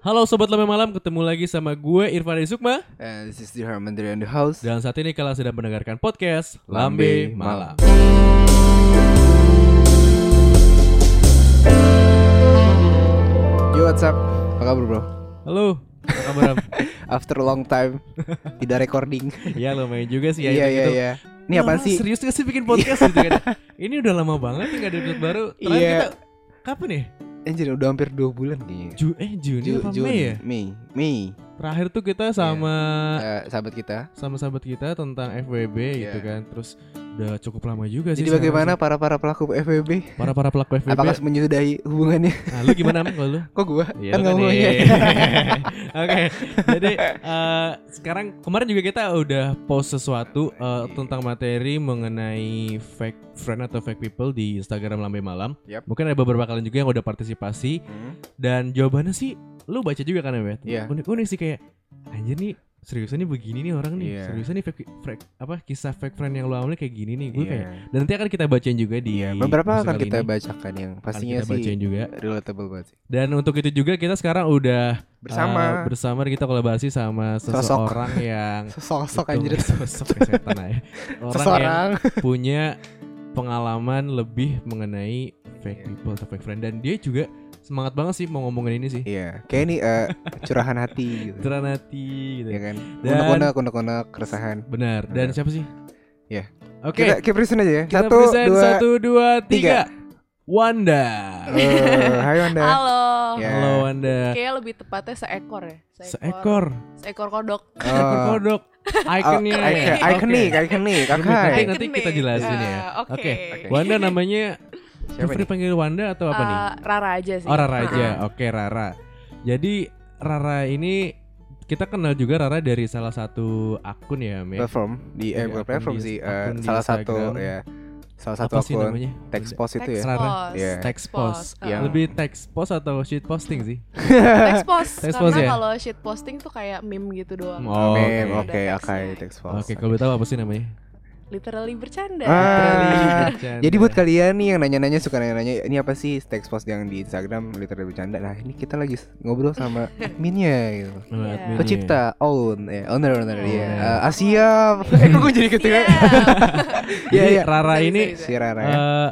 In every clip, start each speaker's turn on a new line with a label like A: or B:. A: Halo Sobat Lame Malam, ketemu lagi sama gue Irfan Rizky Sukma
B: And this is the Harmandry on the house.
A: Dan saat ini kalian sedang mendengarkan podcast
B: Lambe
A: Lambe Malam
B: Malam. Yo what's up? Apa kabar bro?
A: Halo, apa kabar Ram?
B: After long time tidak recording.
A: Ya lumayan juga sih ya
B: Iya iya
A: gitu.
B: iya. Ini apaan
A: Orang
B: sih?
A: Serius gak sih bikin podcast gitu kan Ini udah lama banget nih gak ada episode baru Terakhir
B: Iya.
A: kita, kapan ya?
B: Anjir udah hampir 2 bulan kayaknya.
A: Ju eh Juni
B: Ju-
A: apa
B: Jun,
A: Mei ya?
B: Mei, Mei.
A: Terakhir tuh kita sama
B: Eh, sahabat kita.
A: sama sahabat kita tentang FWB gitu
B: Iya.
A: kan Terus udah cukup lama juga sih
B: Jadi
A: sekarang
B: bagaimana
A: sih.
B: para para pelaku FWB?
A: Para-para pelaku FWB
B: Apakah menyudahi hubungannya?
A: Nah lu gimana Am, kalau lu?
B: Kok gua?
A: Iya,
B: kan
A: lu
B: ngomong
A: tadi.
B: ya.
A: Oke, jadi eh, sekarang kemarin juga kita udah post sesuatu eh, tentang materi mengenai fake friend atau fake people di Instagram Lambe Malam.
B: Yap.
A: Mungkin ada beberapa kalian juga yang udah partisipasi dan jawabannya sih lu baca juga kan ya,
B: Iya.
A: Unik-unik sih kayak anjir nih seriusan nih begini nih orang nih.
B: Iya.
A: Seriusan nih fake, fake- apa kisah fake friend yang lu ambil kayak gini nih. Gue
B: Iya.
A: kayak dan nanti akan kita bacain juga di
B: Iya, beberapa
A: episode
B: akan
A: kali
B: kita
A: ini.
B: bacakan yang
A: Akan
B: pastinya
A: kita bacain
B: sih
A: juga.
B: relatable banget sih. Ah,
A: Dan untuk itu juga kita sekarang udah Uh,
B: Bersama
A: bersama kita kolaborasi sama
B: Sosok.
A: seseorang yang Betul,
B: sosok
A: ya.
B: anjir.
A: sosok kesehatan aja. orang
B: Seseorang.
A: yang punya pengalaman lebih mengenai fake
B: Iya.
A: people atau fake friend dan dia juga semangat banget sih mau ngomongin ini sih
B: Iya, kayak ini eh, curahan hati gitu.
A: teranati gitu
B: ya kan.
A: Dan-
B: Unek-unek, unek-unek keresahan.
A: benar dan
B: Benar.
A: siapa sih
B: Iya.
A: oke
B: Kita, kita present aja ya.
A: kita
B: Satu,
A: present.
B: dua.
A: satu dua tiga
B: tiga.
A: Wanda
B: Eh, hai Wanda.
C: Halo.
B: Ya.
A: halo Wanda
C: Kayaknya lebih tepatnya seekor ya.
A: seekor Eh,
C: Seekor kodok.
A: seekor
B: Oh,
A: kodok ikonnya
B: Eh. oh, icon-
A: Oke.
B: Iconic, iconic. Kakak.
A: Nanti-
C: Iconic.
A: nanti kita jelasin ya.
C: Ah, Oke.
A: Oke.
B: Oke.
A: Wanda namanya
B: Siapa
A: Jeffrey
B: nih?
A: panggil Wanda atau apa nih
C: Eh, Rara aja sih.
A: Oh Rara
B: Iya,
A: aja,
C: Ah,
A: oke Rara. Jadi Rara ini kita kenal juga Rara dari salah satu akun ya, Mir.
B: Platform di
A: Iya,
B: eh bukan
A: akun
B: platform
A: di-
B: sih. eh,
A: akun di
B: salah satu
A: Instagram.
B: ya. Salah satu
A: apa sih
B: akun
A: namanya?
B: text post itu ya.
C: Text
A: Rara.
C: post.
B: Iya.
A: Text post.
C: Ah,
B: Yang-
A: Lebih text post atau shit posting sih?
C: text post.
A: Text post
C: Karena
A: ya?
C: kalau shit posting tuh kayak meme gitu doang.
A: Oh,
B: Mem,
A: oke.
B: oke,
C: Ada
B: oke,
C: text-nya.
B: text post.
A: Oke, kalau tahu apa sih namanya?
C: Literally bercanda.
B: Ah,
A: Bercanda.
B: Jadi buat kalian nih yang nanya-nanya suka nanya-nanya ini apa sih text post yang di Instagram literally bercanda. Nah, ini kita lagi s- ngobrol sama adminnya gitu.
A: Oh,
C: Iya.
A: adminnya.
B: Pecipta, own, ya, owner, owner, ya.
C: Oh.
A: Owner.
B: Eh, Asia, eh kok gue jadi ketika,
C: Iya.
A: Jadi
B: ya, ya.
A: Rara
C: Sorry,
A: ini
B: Si
C: sorry, sorry.
B: Rara ya.
A: eh,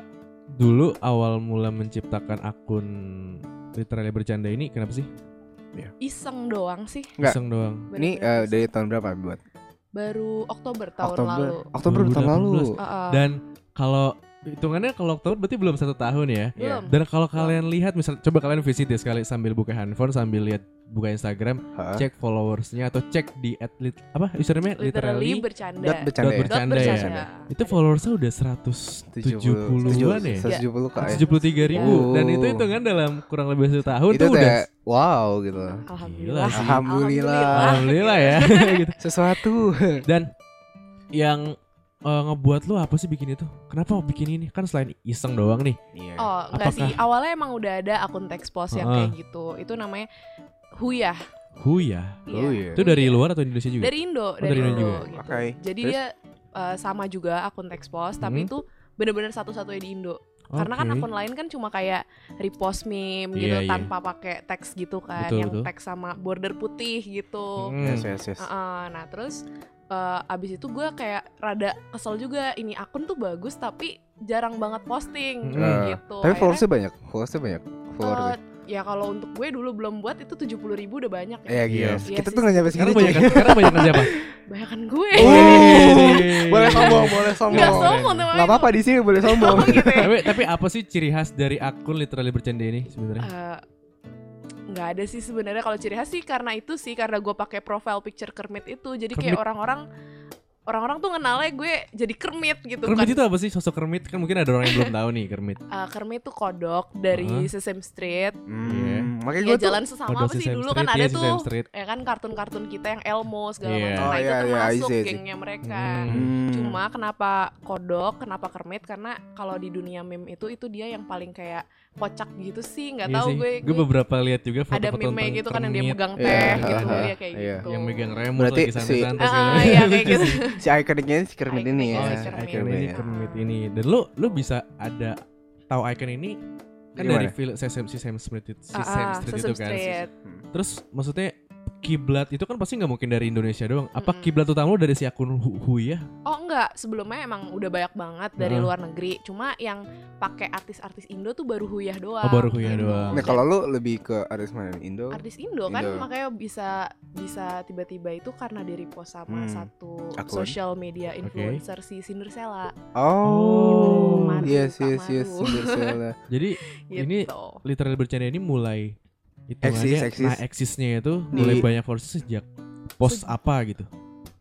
A: dulu awal mula menciptakan akun literally bercanda ini kenapa sih?
C: Iseng doang sih.
B: Nggak.
A: Iseng doang.
B: Ini eh,
C: Bener-bener
B: dari tahun berapa buat?
C: baru Oktober tahun
B: Oktober.
C: lalu.
B: Oktober tahun lalu.
A: 2018.
C: Ah, ah.
A: Dan kalau hitungannya kalau Oktober berarti belum satu tahun ya.
B: Iya.
C: Belum.
A: Dan kalau kalian lihat misal coba kalian visit ya sekali sambil buka handphone sambil lihat buka Instagram,
B: Hah?
A: cek followersnya atau cek di at lit, apa username
C: Literally
A: literally,
C: bercanda.
B: Dot bercanda
A: Dot
B: ya?
A: bercanda.
B: ya?
A: itu followersnya udah 170-an ya.
B: 170 kak.
C: Iya.
A: 73 ribu
B: Oh.
A: dan itu hitungan dalam kurang lebih satu tahun
B: Itu
A: tuh udah
B: kayak wow gitu.
C: Ah, Alhamdulillah.
A: Gila sih.
B: Alhamdulillah.
A: alhamdulillah ya
C: Ah.
A: gitu.
B: Sesuatu.
A: Dan yang eh, ngebuat lu apa sih bikin itu? Kenapa bikin ini? Kan selain iseng doang nih.
B: Iya.
C: Oh, enggak
A: Apakah-
C: sih. Awalnya emang udah ada akun teks post yang
A: Heeh.
C: kayak gitu. Itu namanya Huyah.
A: Huya.
B: Oh, iya.
A: Itu dari
C: Huyah.
A: luar atau Indonesia juga? Oh,
C: Dari Indo, dari,
A: dari Indo
C: Indo.
A: juga.
C: gitu.
B: Oke.
C: Jadi
B: Terus?
C: dia eh, sama juga akun teks post,
A: Hmm.
C: tapi itu bener-bener satu-satunya di Indo. Karena kan
A: Oke.
C: akun lain kan cuma kayak repost meme
A: Iya,
C: gitu
A: iya.
C: tanpa pakai teks gitu kan,
A: Betul,
C: yang
A: betul.
C: teks sama border putih gitu.
A: Hmm.
B: Yes, yes, yes.
C: Heeh, nah terus eh, abis itu gue kayak rada kesel juga ini akun tuh bagus tapi jarang banget posting
A: Hmm.
C: gitu.
B: Eh, Tapi
C: Akhirnya,
B: followersnya banyak. Followersnya banyak. Followersnya.
C: eh, ya kalau untuk gue dulu belum buat itu 70.000 ribu udah banyak ya.
B: Ya gila.
C: Iya
B: Kita
C: sih.
B: tuh nggak nyampe
A: Sekarang
B: segini.
A: banyak kan?
B: cuy.
A: sekarang banyak siapa?
C: Bayakan gue.
B: Oh. Wih. Boleh sombong, boleh
C: Enggak
B: sombong.
C: sombong teman
B: Gak apa-apa di sini boleh sombong.
C: gitu ya.
A: tapi tapi apa sih ciri khas dari akun literally bercanda ini sebenarnya?
C: Eh, nggak ada sih sebenarnya kalau ciri khas sih karena itu sih karena gue pakai profile picture Kermit itu jadi kayak
A: Kermit.
C: orang-orang orang-orang tuh kenalnya gue jadi Kermit gitu
A: Kermit
C: kan
A: itu apa sih sosok Kermit? Kan mungkin ada orang yang belum tahu nih Kermit.
C: Eh, Kermit tuh kodok dari
A: Hah?
C: Sesame Street
A: Iya.
B: Hmm, makanya
C: ya
B: gue tuh
C: jalan sesama apa sih
A: Sesame
C: dulu
A: Street,
C: kan ada
A: iya, Sesame
C: tuh
A: Street.
C: ya kan kartun-kartun kita yang Elmo segala
A: Iya.
C: macam nah
B: Oh,
C: itu
B: iya, iya, I
C: termasuk
B: see, I see.
C: gengnya mereka
A: Hmm.
B: Hmm.
C: Cuma kenapa kodok, kenapa kermit? Karena kalau di dunia meme itu itu dia yang paling kayak kocak gitu sih, nggak
A: Iya
C: tahu
A: sih.
C: gue.
A: Gue beberapa lihat juga
C: ada
A: foto-foto
C: meme
A: tentang
C: gitu kan yang dia
A: Kermit
C: megang
B: Iya,
C: teh gitu
B: iya,
C: ya kayak
B: iya.
C: gitu.
A: yang megang remote
B: Berarti
A: lagi
B: si-
A: santai-santai
C: Ah,
A: gitu.
C: iya, kayak gitu.
B: si ikoniknya si Kermit ini
C: Ikoniknya
B: ya.
C: si Kermit.
A: Icon ini
B: Ikoniknya.
A: Kermit ini. Dan lu lu bisa ada tahu icon ini kan
B: Jadi
A: dari
B: mana?
A: film si Sam, si Sam Smith itu, si
C: Ah,
A: Sam
C: ah,
A: Street
C: Sesame
A: itu kan.
C: Street.
B: Hmm.
A: Terus maksudnya kiblat itu kan pasti nggak mungkin dari Indonesia doang. Apa
C: Mm-mm.
A: kiblat utama lo dari si akun Hu- Huya?
C: Oh enggak, sebelumnya emang udah banyak banget dari
A: Heeh.
C: luar negeri. Cuma yang pakai artis-artis Indo tuh baru Huyah doang.
A: Oh, baru Huyah doang.
B: Nah kalau lu lebih ke artis mana? Indo?
C: artis Indo kan
B: Indo.
C: makanya bisa bisa tiba-tiba itu karena di repost sama
B: Hmm.
C: satu
B: Akun.
C: social media influencer si Cinderella
A: Oh,
B: Oh,
A: Maru,
B: yes
C: Kak
B: yes yes.
C: Maru.
B: Cinderella.
A: Jadi
C: gitu.
A: Ini literally bercanda ini mulai itu
B: Eksis,
A: nah
B: eksis.
A: eksisnya itu mulai
B: Di-
A: banyak forces sejak post
C: Sejak-
A: apa gitu.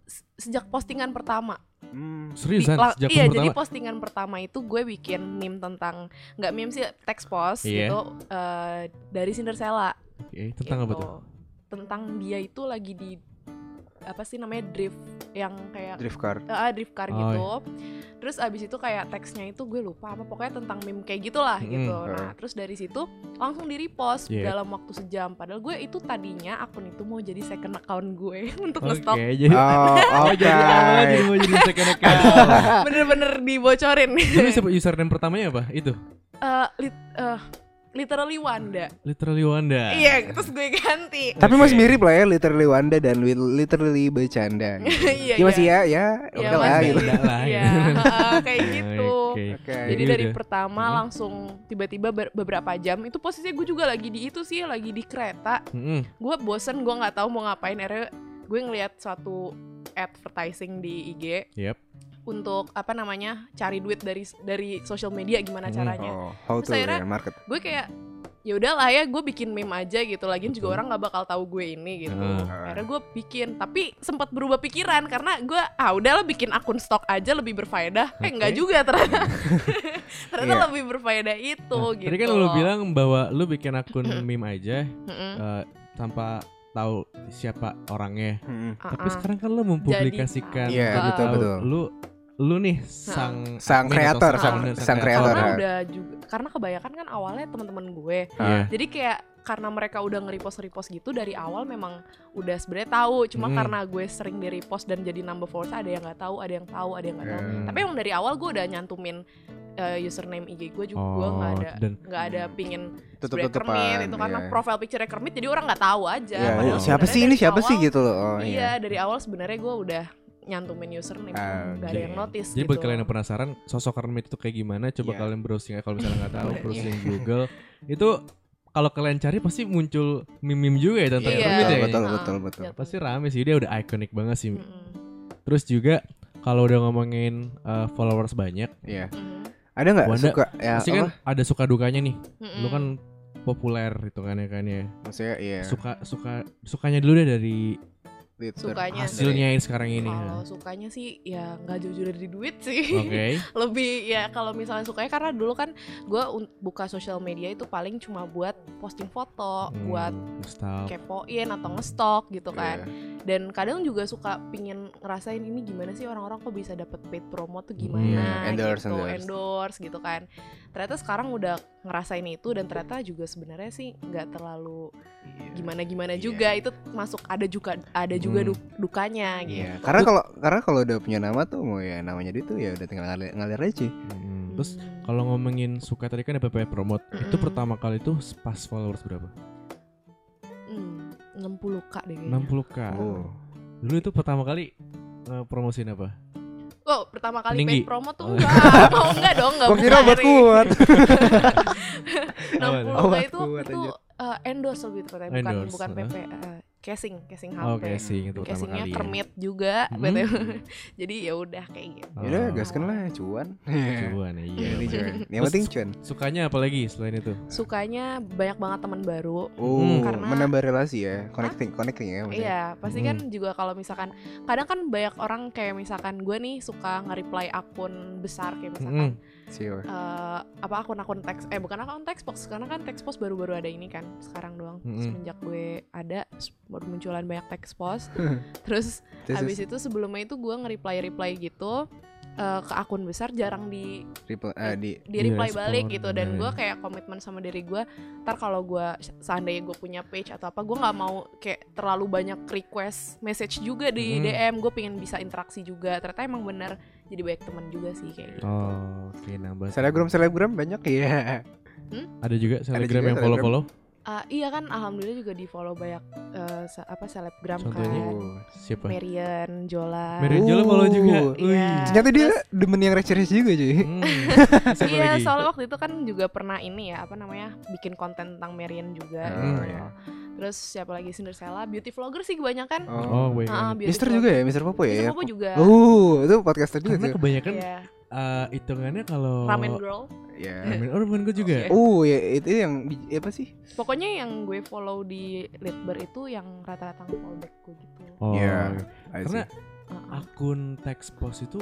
C: Se- Sejak postingan pertama,
B: Hmm.
C: Di-
A: Seriusan
C: la-
A: sejak post
C: iya jadi
A: pertama.
C: postingan pertama itu gue bikin meme tentang nggak meme sih teks post
A: Iya.
C: gitu eh, dari Cinderella.
A: Oke, tentang apa
C: gitu.
A: tuh?
C: Tentang dia itu lagi di apa sih namanya drift yang kayak
B: Drift car.
C: Ah, drift car
A: Oh,
C: gitu. Terus abis itu kayak teksnya itu gue lupa apa pokoknya tentang meme kayak gitulah
A: Mm,
C: gitu.
B: ah.
C: Nah, terus dari situ langsung di repost
A: Yep.
C: dalam waktu sejam. Padahal gue itu tadinya akun itu mau jadi second account gue untuk ngestok.
A: Oke, jadi
B: Oh,
A: Oh,
B: oke.
A: jadi awalnya jadi mau jadi second account.
C: Bener-bener dibocorin.
A: Jadi siapa username pertamanya apa? Itu.
C: Eh, lit- eh, literally Wanda.
A: Literally Wanda.
C: Iya, terus gue ganti.
B: Tapi masih
A: Oke.
B: mirip lah ya literally Wanda dan wi- literally bercanda. gitu.
C: Iya,
B: Ya masih ya ya.
C: Iya,
B: Udah lah
C: masih.
B: gitu.
A: Enggak lah,
C: Iya,
A: gitu.
C: heeh, kayak gitu.
A: Oke.
B: Oke.
C: Jadi
A: Jadi
C: dari
A: udah.
C: pertama
A: Hmm.
C: langsung tiba-tiba ber- beberapa jam itu posisinya gue juga lagi di itu sih lagi di kereta
A: Mm-mm.
C: gue bosen gue nggak tahu mau ngapain akhirnya gue ngeliat suatu advertising di IG
A: Yep.
C: untuk apa namanya cari duit dari dari sosial media gimana
A: Hmm.
C: caranya
B: Oh, how
C: Terus
B: to
C: akhirnya-
B: ya, market.
C: gue kayak ya udahlah ya gue bikin meme aja gitu lagian juga
A: Betul.
C: orang nggak bakal tahu gue ini gitu
B: Hmm.
A: Ah.
C: akhirnya gue bikin tapi sempat berubah pikiran karena gue ah udahlah bikin akun stok aja lebih berfaedah eh enggak
A: Oke.
C: juga ternyata ternyata
B: Iya.
C: lebih berfaedah itu
A: Nah,
C: gitu
A: Tadi kan lu bilang bahwa lu bikin akun meme aja
C: Mm-mm.
A: eh, tanpa tahu siapa orangnya.
B: Hmm.
A: Tapi
C: Ah-ah.
A: sekarang kan lu mempublikasikan
B: Iya,
A: baru
C: betul,
A: tahu.
B: betul.
A: Lu lu nih sang
B: Sang
A: admin atau
B: kreator,
C: sang-
A: owner,
B: sang kreator.
C: karena kan
B: Eleran.
C: udah juga karena kebanyakan kan awalnya teman-teman gue
A: Iya.
C: jadi kayak karena mereka udah nge-repost repost gitu dari awal memang udah sebenarnya tahu cuma
A: Hmm.
C: karena gue sering di repost dan jadi number four ada yang nggak tahu ada yang tahu
A: Eh.
C: ada yang nggak tahu
B: Hmm.
C: tapi emang dari awal gue udah nyantumin eh, username IG gue juga gue
A: Oh,
C: nggak ada
B: gitu.
A: dan
C: nggak ada pingin sebenarnya Kermit
B: Tutup-tutupan.
C: itu karena
B: iya.
C: profile picture Kermit jadi orang nggak tahu aja
B: Iya,
A: padahal
B: siapa
C: sebenarnya
B: sih ini?
C: dari
B: Siapa sih
C: awal-
B: gitu loh. Oh,
C: iya dari awal sebenarnya gue udah nyantumin username
B: Ah,
C: nggak ada
A: Jadi-
C: yang notice
A: Jadi
C: gitu.
A: buat kalian yang penasaran sosok Kermit itu kayak gimana, coba
B: Iya.
A: kalian browsing aja kalau misalnya nggak tahu,
C: Iya.
A: browsing Google. Itu kalau kalian cari pasti muncul meme-meme juga ya tentang
C: Iya.
A: Kermit
B: Betul,
A: ya.
B: betul,
C: Ah,
B: betul, betul.
C: jatuh.
A: Pasti rame sih, dia udah ikonik banget sih.
C: Mm-mm.
A: Terus juga kalau udah ngomongin uh, followers banyak,
B: Iya.
C: Mm-mm.
B: Ada nggak
A: Wanda,
B: suka ya
A: pasti
B: apa?
A: kan ada suka dukanya nih. Lu
C: Mm-mm.
A: kan populer gitu kan ya kan ya.
B: Maksudnya iya.
A: Suka suka sukanya dulu deh dari
B: Twitter.
C: Sukanya. gitu
A: hasilnya ini sekarang ini. ya?
C: Kalau sukanya sih ya nggak jauh-jauh dari duit sih.
A: Oke.
C: Lebih ya kalau misalnya sukanya karena dulu kan gue buka sosial media itu paling cuma buat posting foto,
A: Hmm,
C: Oh, buat
A: stop.
C: kepoin atau ngestok gitu kan.
B: Iya.
C: Dan kadang juga suka pingin ngerasain ini gimana sih orang-orang kok bisa dapet paid promo tuh
A: Iya,
C: gimana
B: Hmm, endorse,
C: gitu,
B: endorse.
C: endorse gitu kan. Ternyata sekarang udah ngerasain itu dan ternyata juga sebenarnya sih nggak terlalu
B: Iya.
C: gimana-gimana
B: Iya.
C: juga itu masuk ada juga ada juga
A: Hmm.
C: du- dukanya gitu.
B: Iya, karena kalau karena kalau udah punya nama tuh mau ya namanya duit tuh ya udah tinggal ngalir, ngalir aja.
A: Mm, Terus
C: Hmm.
A: Kalau ngomongin suka tadi kan ada PPP promote. Itu
C: Mm-mm. Iya.
A: pertama kali itu pas followers berapa?
C: Hmm, 60k deh kayaknya.
A: 60k.
B: Oh.
A: Dulu itu pertama kali eh, promosiin apa?
C: Wow, pertama kali
A: Meninggi.
C: paid promo tuh
A: Oh.
C: enggak. Oh, enggak dong, enggak
B: iya. Gua kira obat kuat.
C: 60
B: Obat
C: itu
B: kuat,
C: itu
B: anjir.
C: eh, endorse lebih tepatnya, bukan
A: Endorse,
C: bukan
A: ah.
C: PP, eh, casing, casing HP.
A: Oke sih itu pertama
C: Casingnya
A: kali. ya.
C: kermit juga,
A: Hmm.
C: BTW. Jadi ya udah kayak gitu.
A: Oh,
B: Ya udah gaskan lah cuan.
A: Cuan ya, iya.
B: Ini
A: bener.
B: cuan. Yang penting cuan.
A: Sukanya apalagi selain itu?
C: Sukanya banyak banget teman baru.
A: Hmm.
B: Oh,
C: Karena-
B: menambah relasi ya, connecting, connecting ya. maksudnya.
C: Iya, pasti kan
A: Hmm.
C: juga kalau misalkan kadang kan banyak orang kayak misalkan gue nih suka nge-reply akun besar kayak misalkan
A: Mm-mm.
B: Siapa?
C: eh apa akun-akun teks eh bukan akun teks box karena kan teks post baru-baru ada ini kan sekarang doang
A: Mm-mm.
C: semenjak gue ada s- baru munculan banyak teks post terus
B: This
C: habis
B: is
C: itu sebelumnya itu gue nge-reply reply gitu eh, ke akun besar jarang di
B: triple ah, di
C: di reply
A: Direspon,
C: balik gitu dan
A: bener.
C: gue kayak komitmen sama diri gue ntar kalau gue seandainya gue punya page atau apa gue nggak mau kayak terlalu banyak request message juga di
A: Mm.
C: DM gue pengen bisa interaksi juga ternyata emang bener jadi banyak temen juga sih kayak gitu
A: Oh, oke nambah.
B: selebgram selebgram banyak ya.
C: Hmm?
A: Ada juga
B: juga
A: selebgram yang
B: selebgram.
A: follow-follow.
C: Ah, iya kan alhamdulillah juga di follow banyak eh, se- apa selebgram
A: Contohnya?
C: kan
A: Siapa?
C: Marian Jola
A: Mary Jola follow juga.
B: Uh,
A: Wih.
C: iya.
B: Ternyata dia demen yang receh-receh juga cuy
A: Hmm. Siapa
C: iya
A: lagi?
C: soalnya waktu itu kan juga pernah ini ya apa namanya bikin konten tentang Marian juga
A: Hmm,
B: Oh,
C: gitu.
B: iya.
C: terus siapa lagi Cinderella beauty vlogger sih kebanyakan
A: Oh, wait.
C: Ah, ah, beauty
B: Mister
C: vlogger.
B: juga ya, Mister Popo
C: Mister
B: ya.
C: Popo juga
B: Oh, itu podcaster juga
A: Karena
B: tuh.
A: kebanyakan
C: Iya.
A: eh, hitungannya kalau
B: kan? Oh.
C: ramen Iya. girl
B: Ya.
A: Ramen. Oh, ramen gue juga.
C: Oke.
B: Oh, ya itu yang bij- apa sih?
C: pokoknya yang gue follow di Litbar itu yang rata-rata follow back gue gitu
A: Oh.
B: Iya. I
A: Karena
B: see.
C: Ah, ah,
A: akun text post itu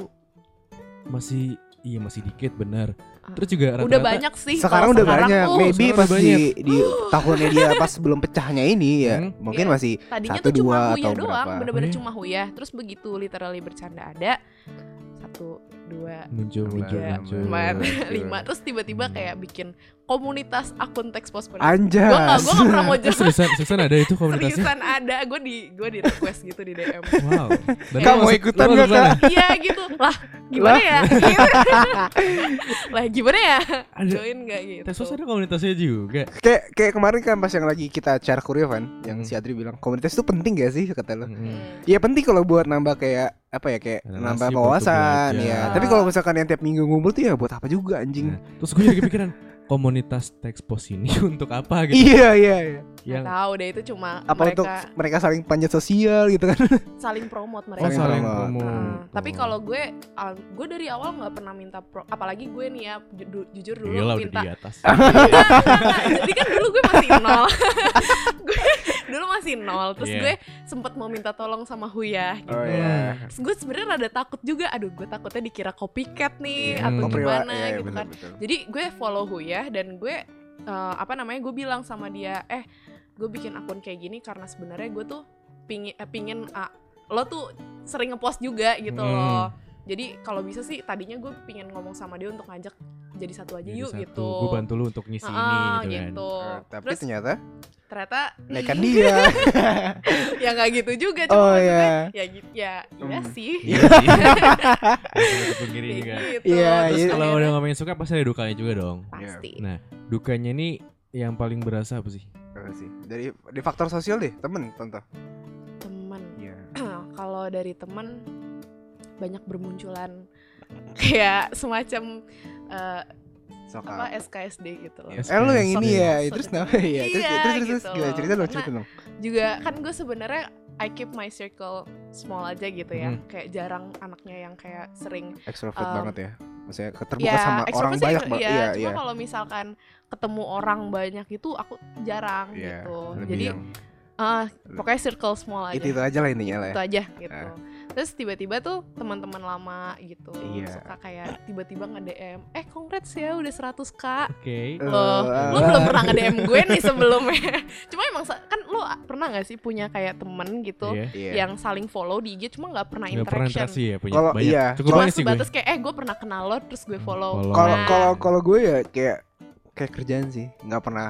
A: masih iya masih dikit benar.
C: ah.
A: Terus juga rata-rata
C: udah banyak sih
B: sekarang
C: kalau
B: udah banyak.
C: tuh,
B: Maybe
A: sekarang
B: pas
A: udah
B: di, di tahunnya dia pas sebelum pecahnya ini ya,
A: Hmm.
B: mungkin
C: Iya.
B: masih
C: tadinya
B: Satu,
C: tuh cuma
B: dua,
C: huyah
B: atau
C: doang
B: berapa? Iya.
C: bener-bener
A: Hmm.
C: cuma huyah terus begitu literally bercanda ada satu dua
A: muncul muncul
C: Iya,
A: muncul.
C: empat
B: Betul.
C: lima terus tiba-tiba kayak bikin komunitas akun teks pos gue
B: Hmm. anjas.
C: gak gue gak pernah mau
A: Eh,
C: join
A: seriusan, seriusan ada itu komunitasnya.
C: seriusan ada gue di gue di request gitu di DM
A: Wow. Dan
B: Kak,
A: lu
B: mau
A: masuk-
B: ikutan
A: lu
B: nggak,
A: masuk sana?
C: iya gitu lah gimana ya Gitu. lah gimana ya
A: Ada
C: join gak gitu
A: Tesos ada komunitasnya juga.
B: Kayak kayak kemarin kan pas yang lagi kita acara Korea kan, yang
A: Hmm.
B: si Adri bilang komunitas itu penting gak sih kata
C: Hmm,
B: lo?
A: Mm-mm.
B: Iya penting kalau buat nambah kayak apa ya kayak
A: Relasi,
B: nambah
A: butuh
B: wawasan
A: belajar.
B: ya. Tapi kalau misalkan yang tiap minggu ngumpul tuh ya buat apa juga anjing?
A: Nah, terus gue jadi kepikiran komunitas teks pos ini untuk apa gitu?
B: Iya iya iya.
C: Gak
A: Yang
C: tahu deh itu cuma
B: Apa
C: mereka
B: untuk mereka saling panjat sosial gitu kan?
C: saling promote
A: oh
C: mereka
B: Saling
A: saling
B: promote.
A: promo.
C: Heeh. tapi
A: Oh.
C: kalau gue al- gue dari awal nggak pernah minta pro apalagi gue nih ya ju- du- jujur dulu
A: Iyalah udah
C: minta
A: di atas.
C: Enggak, enggak, enggak. jadi kan dulu gue masih nol gue dulu masih nol terus
A: Iya.
C: gue sempet mau minta tolong sama Huya gitu
B: Oh
A: iya.
C: Terus gue sebenarnya rada takut juga aduh gue takutnya dikira copycat nih
A: Iya.
C: atau
A: Oh, priwa-
C: gimana gitu kan jadi gue follow Huya dan gue eh, apa namanya gue bilang sama dia eh gue bikin akun kayak gini karena sebenarnya gue tuh pingin eh, pingin ah, lo tuh sering ngepost juga gitu
A: Hmm.
C: loh jadi kalau bisa sih tadinya gue pingin ngomong sama dia untuk ngajak jadi satu aja
A: Jadi
C: yuk
A: satu,
C: gitu
A: Gue bantu lu untuk ngisi
C: Ah,
A: ini gitu kan.
B: Eh, tapi
C: terus
B: ternyata
C: ternyata
B: nekat dia.
C: ya nggak gitu juga cuma
B: oh
C: maksudnya,
B: ya.
C: ya gitu ya iya
B: Hmm.
C: sih
A: Iya sih. Sama tepung kiri
C: Kayak
A: juga.
C: gitu
B: Iya,
C: Terus
B: iya.
A: Kalau udah
C: akhirnya-
A: ngomongin suka pasti ada dukanya juga dong.
C: pasti
A: Nah, Dukanya ini yang paling berasa apa sih?
B: Apa Iya sih? Dari di faktor sosial deh, temen contoh.
C: teman
B: Iya.
C: kalau dari teman banyak bermunculan kayak semacam eh,
B: Sok
C: apa
B: up.
C: SKSD gitu
B: Ah.
C: loh.
B: Iya. Eh lu yang ini
A: Sok-
B: ya,
C: sok-
B: terus
C: sok-
B: namanya ya. Terus
C: Iya,
B: terus terus, terus
C: gitu
B: gimana cerita
C: loh.
B: dong,
C: Karena-
B: cerita dong.
C: Juga kan gue sebenarnya I keep my circle small aja gitu ya.
B: Hmm.
C: Kayak jarang anaknya yang kayak sering
B: Extrovert
C: um,
B: banget ya. Maksudnya keterbuka
C: ya,
B: sama orang
C: extrovert sih,
B: banyak banget.
C: Iya,
B: Iya,
C: cuma
B: iya.
C: kalau misalkan ketemu orang banyak itu aku jarang
B: Iya,
C: gitu.
B: Lebih
C: Jadi
B: yang
C: ah, pokoknya circle small aja.
B: itu itu aja lah intinya lah.
C: itu
B: ya.
C: aja gitu.
B: Ah.
C: Terus tiba-tiba tuh teman-teman lama gitu
B: Iya.
C: suka kayak tiba-tiba nge-DM, "Eh, congrats ya udah 100k."
A: Oke.
B: Eh,
C: Loh,
B: ah.
C: lo belum pernah nge-DM gue nih sebelumnya. Cuma emang sa- kan lo pernah gak sih punya kayak temen gitu
A: Iya.
B: Iya.
C: yang saling follow di IG cuma nggak pernah
A: Nggak pernah
C: Nah, interaction.
A: interaksi ya punya
B: Kalau-
A: banyak.
B: iya.
A: Cukup
C: Cuma
A: banyak sih gue.
C: sebatas kayak eh gue pernah kenal lo terus gue follow.
A: Follow.
B: Kalau
C: Nah,
B: kalau kalau gue ya kayak kayak kerjaan sih, nggak pernah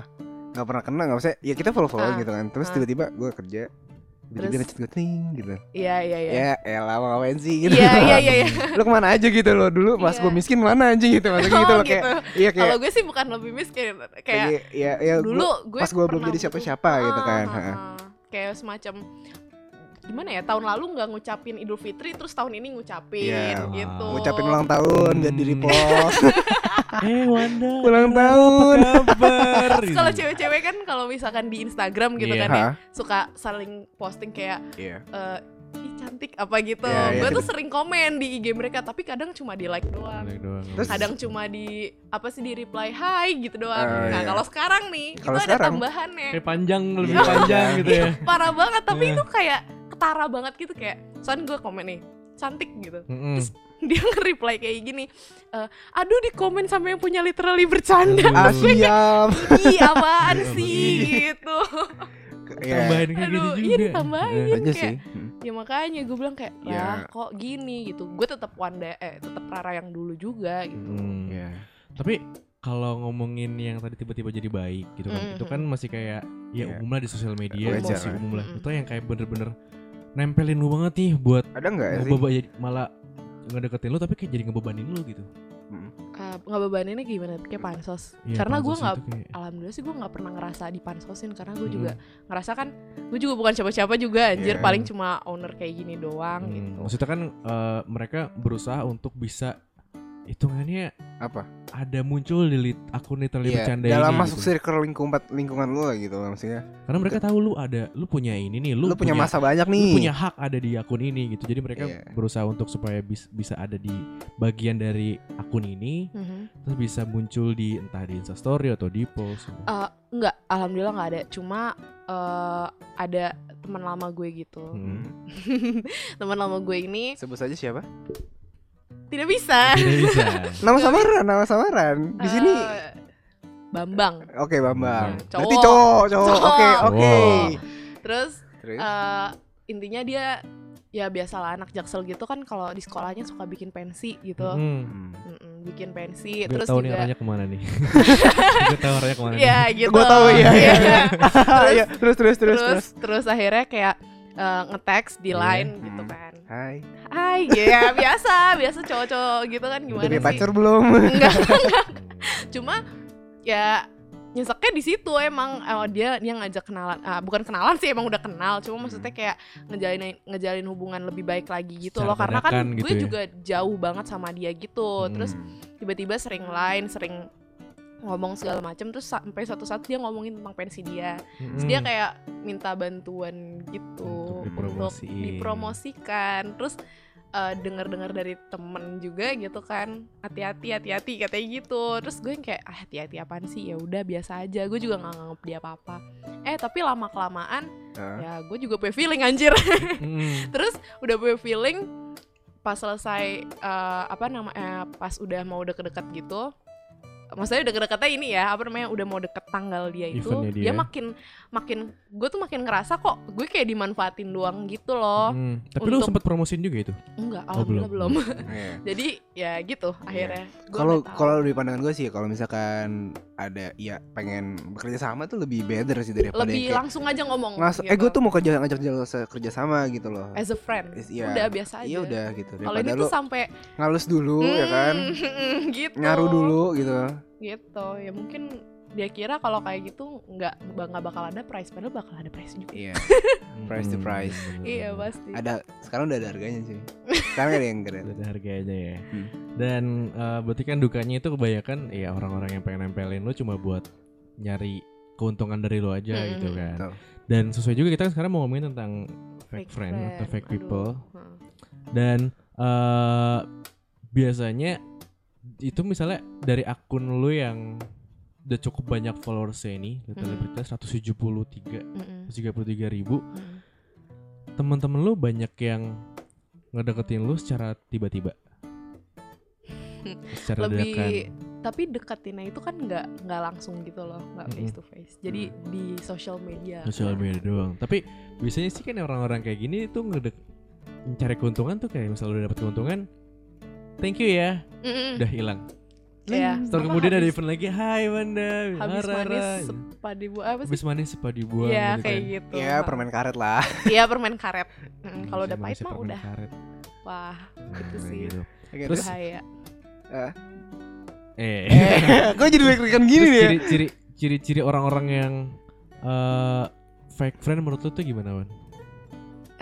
B: nggak pernah kena nggak usah. Ya kita follow followan
C: Ah,
B: gitu kan. Terus
C: ah.
B: tiba-tiba gue kerja, tiba-tiba
C: Terus-
B: ngechat gue ting gitu.
C: Iya iya iya.
B: Ya elah mau ngapain sih gitu.
C: Iya iya iya. iya.
B: Lu kemana aja gitu loh dulu pas
C: Iya.
B: gue miskin mana anjing gitu maksudnya gitu
C: Oh,
B: loh kayak iya
C: Kalau
B: kayak
C: gue sih bukan lebih miskin kayak
B: kayak ya ya gua-
C: dulu gue
B: pas gue belum
C: pernah
B: jadi
C: butuh-
B: siapa-siapa gitu
C: Ah,
B: kan.
C: ah,
B: Heeh.
C: ah. kayak semacam gimana ya tahun lalu nggak ngucapin Idul Fitri terus tahun ini ngucapin
B: Iya,
C: gitu
B: Ngucapin ulang tahun biar di
A: Hmm.
B: repost
A: Eh Wanda.
B: ulang tahun.
C: Iya,
A: Apa kabar?
C: Terus kalau cewek-cewek kan kalau misalkan di Instagram gitu
A: Iya.
C: kan ya
B: Hah?
C: suka saling posting kayak
B: Iya.
C: eh, ih cantik apa gitu
B: Iya, iya.
C: gue tuh sering komen di IG mereka tapi kadang cuma di like doang
A: Like doang.
B: Terus-
C: kadang cuma di apa sih di reply hai gitu doang
B: Eh,
C: nah
B: iya.
C: kalau sekarang nih
B: Kalau
C: itu ada
B: sekarang?
C: tambahannya
A: kayak panjang lebih
B: Iya.
A: panjang gitu ya.
C: parah banget tapi
A: Iya.
C: itu kayak ketara banget gitu kayak soalnya gue komen nih cantik gitu
A: Mm-mm.
C: dia nge-reply kayak gini eh, aduh di komen sama yang punya literally bercanda
B: Ah,
A: Aduh,
C: Iya.
B: siap.
A: Iya,
C: ih apaan
A: Aduh,
C: sih gitu
B: Iya.
A: Tambahin kayak gitu
C: Aduh,
A: juga.
C: iya
A: Eh,
C: ditambahin.
B: Aja
C: kayak-
B: sih. Hmm.
C: ya makanya gue bilang kayak
A: Iya.
C: lah kok gini gitu gue tetap wanda eh tetap rara yang dulu juga gitu
A: mm.
B: Iya.
A: Tapi kalau ngomongin yang tadi tiba-tiba jadi baik gitu kan,
C: Mhm.
A: itu kan masih kayak ya
B: Iya.
A: umum lah di sosial media,
B: Wajar
A: masih
B: lah.
A: umum lah.
C: Mhm.
A: Itu yang kayak bener-bener nempelin lu banget nih buat
B: Ada nggak sih?
A: ngebeban malah ngedeketin lu tapi kayak jadi ngebebanin lu gitu.
B: Hmm.
C: eh, ngebebaninnya gimana kayak pansos
A: Iya,
C: karena gue
A: pansos
C: nggak
A: itu Hmm. kayak-
C: alhamdulillah sih gue nggak pernah ngerasa dipansosin karena gue
A: Mm-mm.
C: juga ngerasa kan gue juga bukan siapa-siapa juga anjir
B: Iya.
C: paling cuma owner kayak gini doang
A: Hmm,
C: gitu
A: Maksudnya kan eh, mereka berusaha untuk bisa hitungannya
B: apa
A: ada muncul di lit, akun literally
B: Iya,
A: bercanda
B: dalam
A: ini
B: masuk
A: gitu.
B: circle lingkungan lingkungan lu lah gitu maksudnya
A: Karena mereka tahu lu ada, lu punya ini nih,
B: lu,
A: lu,
B: punya masa banyak
A: lu
B: nih
A: punya hak ada di akun ini gitu. Jadi mereka
B: Iya.
A: berusaha untuk supaya bis- bisa ada di bagian dari akun ini
C: Mhm.
A: terus bisa muncul di entah di Instastory atau di post.
C: Eh, nggak alhamdulillah nggak ada cuma eh, ada teman lama gue gitu
A: Hmm.
B: Hmm.
C: teman lama gue ini
B: sebut saja siapa
C: tidak bisa
A: Tidak bisa.
B: nama samaran nama samaran di sini
C: Eh, Bambang
B: oke bambang
A: Hmm.
C: Cowok.
B: berarti cowok cowok
C: Cowok.
B: oke oke
A: Wow.
C: terus
B: Terus?
C: eh intinya dia ya biasalah anak jaksel gitu kan kalau di sekolahnya suka bikin pensi gitu
A: Hmm.
B: Hmm.
C: Mm-mm, bikin
A: Gue
C: pensi Iya, terus
A: tahu nih
C: juga
A: arahnya kemana nih. Gue tahu arahnya kemana. nih.
C: ya gitu
B: Gua tahu, iya, iya.
C: Iya.
B: Iya, terus terus terus
C: terus,
B: terus
C: terus akhirnya kayak eh, ngeteks di
A: Iya.
C: line gitu
B: Hmm.
C: kan
B: hai
C: Hai ya biasa biasa cowok-cowok gitu kan
B: udah
C: gimana
B: punya
C: sih
B: pacar belum
C: enggak
A: Hmm.
C: cuma ya nyeseknya di situ emang eh, dia dia ngajak kenalan ah, bukan kenalan sih emang udah kenal
A: Hmm.
C: cuma maksudnya kayak ngejalin ngejalin hubungan lebih baik lagi gitu
A: Secara
C: loh karena kan
A: dadakan
C: gue
A: gitu ya.
C: juga jauh banget sama dia gitu
A: Hmm.
C: terus tiba-tiba sering line sering ngomong segala macem terus sampai suatu saat dia ngomongin tentang pensi dia Terus dia
A: Hmm.
C: kayak minta bantuan gitu
A: Untuk dipromosiin.
C: dipromosikan. Terus eh, dengar-dengar dari temen juga gitu kan, hati-hati hati-hati katanya gitu. Terus gue yang kayak ah, hati-hati apaan sih? Ya udah biasa aja. Gue juga nggak nganggep dia apa-apa. Eh, tapi lama kelamaan
B: Ah.
C: ya gue juga punya feeling anjir.
A: Hmm.
C: Terus udah punya feeling pas selesai eh, apa namanya pas udah mau deket-deket gitu maksudnya udah deket-deketnya ini ya apa namanya udah mau deket tanggal dia itu
A: Eventnya
C: dia.
A: dia. ya?
C: makin makin gue tuh makin ngerasa kok gue kayak dimanfaatin doang gitu loh
A: Hmm. Tapi lu
C: untuk-
A: sempat promosiin juga itu?
C: enggak
A: Oh, belum.
C: alhamdulillah belum,
B: Iya.
C: jadi ya gitu akhirnya Gua
B: Kalau
C: nggak tahu.
B: kalau dari pandangan gue sih kalau misalkan ada ya pengen bekerja sama tuh lebih better sih daripada
C: lebih
B: yang kayak
C: langsung aja ngomong
B: langsung eh
C: gitu.
B: gue tuh mau kerja ngajak jel- kerja sama gitu loh.
C: as a friend
B: Is- iya.
C: udah biasa aja
B: Iya udah gitu
C: kalau ini
B: daripada lu
C: tuh sampai
B: ngalus dulu ya kan
C: "Hmm, gitu
B: nyaru dulu gitu.
C: gitu ya mungkin dia kira kalau kayak gitu nggak nggak bakal ada price padahal bakal ada price juga
B: Iya. Price to
A: Hmm,
B: price.
A: bener-bener.
C: iya pasti
B: Ada sekarang udah ada harganya sih. Sekarang ada yang keren.
A: Udah ada harganya ya.
B: Iya. Hmm.
A: Dan eh, berarti kan dukanya itu kebanyakan ya orang-orang yang pengen nempelin lu cuma buat nyari keuntungan dari lu aja
C: Mm-mm.
A: gitu kan.
B: Hmm, Betul.
A: Dan sesuai juga kita kan sekarang mau ngomongin tentang fake, friend, atau fake
C: Aduh.
A: people
C: Heeh.
A: dan eh, biasanya itu misalnya dari akun lu yang udah cukup banyak followersnya ini, literally
C: Mm.
A: berita 173
C: Mm-mm.
A: 133 ribu
C: Mm-mm.
A: teman-teman lu banyak yang ngedeketin lu secara tiba-tiba secara
C: lebih eh,
A: dadakan
C: tapi deketinnya itu kan nggak nggak langsung gitu loh nggak
A: Mm-mm.
C: face to face jadi di social media
A: sosial media doang tapi biasanya sih kan orang-orang kayak gini tuh ngedek mencari keuntungan tuh kayak misalnya udah dapet keuntungan thank you ya
C: Mm-mm.
A: udah hilang Nah,
C: Hmm. Iya.
A: Setelah
C: Apa
A: kemudian ada
C: habis-
A: event lagi hai Wanda
C: habis
A: Rara."
C: manis sepadi bu apa sih
A: habis manis sepadi buah
C: Iya
A: gitu
C: kayak
A: kan.
C: gitu
B: Ya permen karet lah.
C: Iya, permen karet Mm,
A: Hmm,
C: kalau udah
A: saya
C: pahit
A: manusia
C: mah
A: permen
C: udah
A: karet.
C: wah
A: Nah,
C: gitu
A: kayak
C: sih.
A: gitu.
B: Oke,
A: Terus-
C: bahaya
A: eh
B: eh, gue jadi deg-degan gini
A: Terus
B: deh.
A: ciri-ciri ciri-ciri orang-orang yang eh, fake friend menurut lu tuh gimana Wan?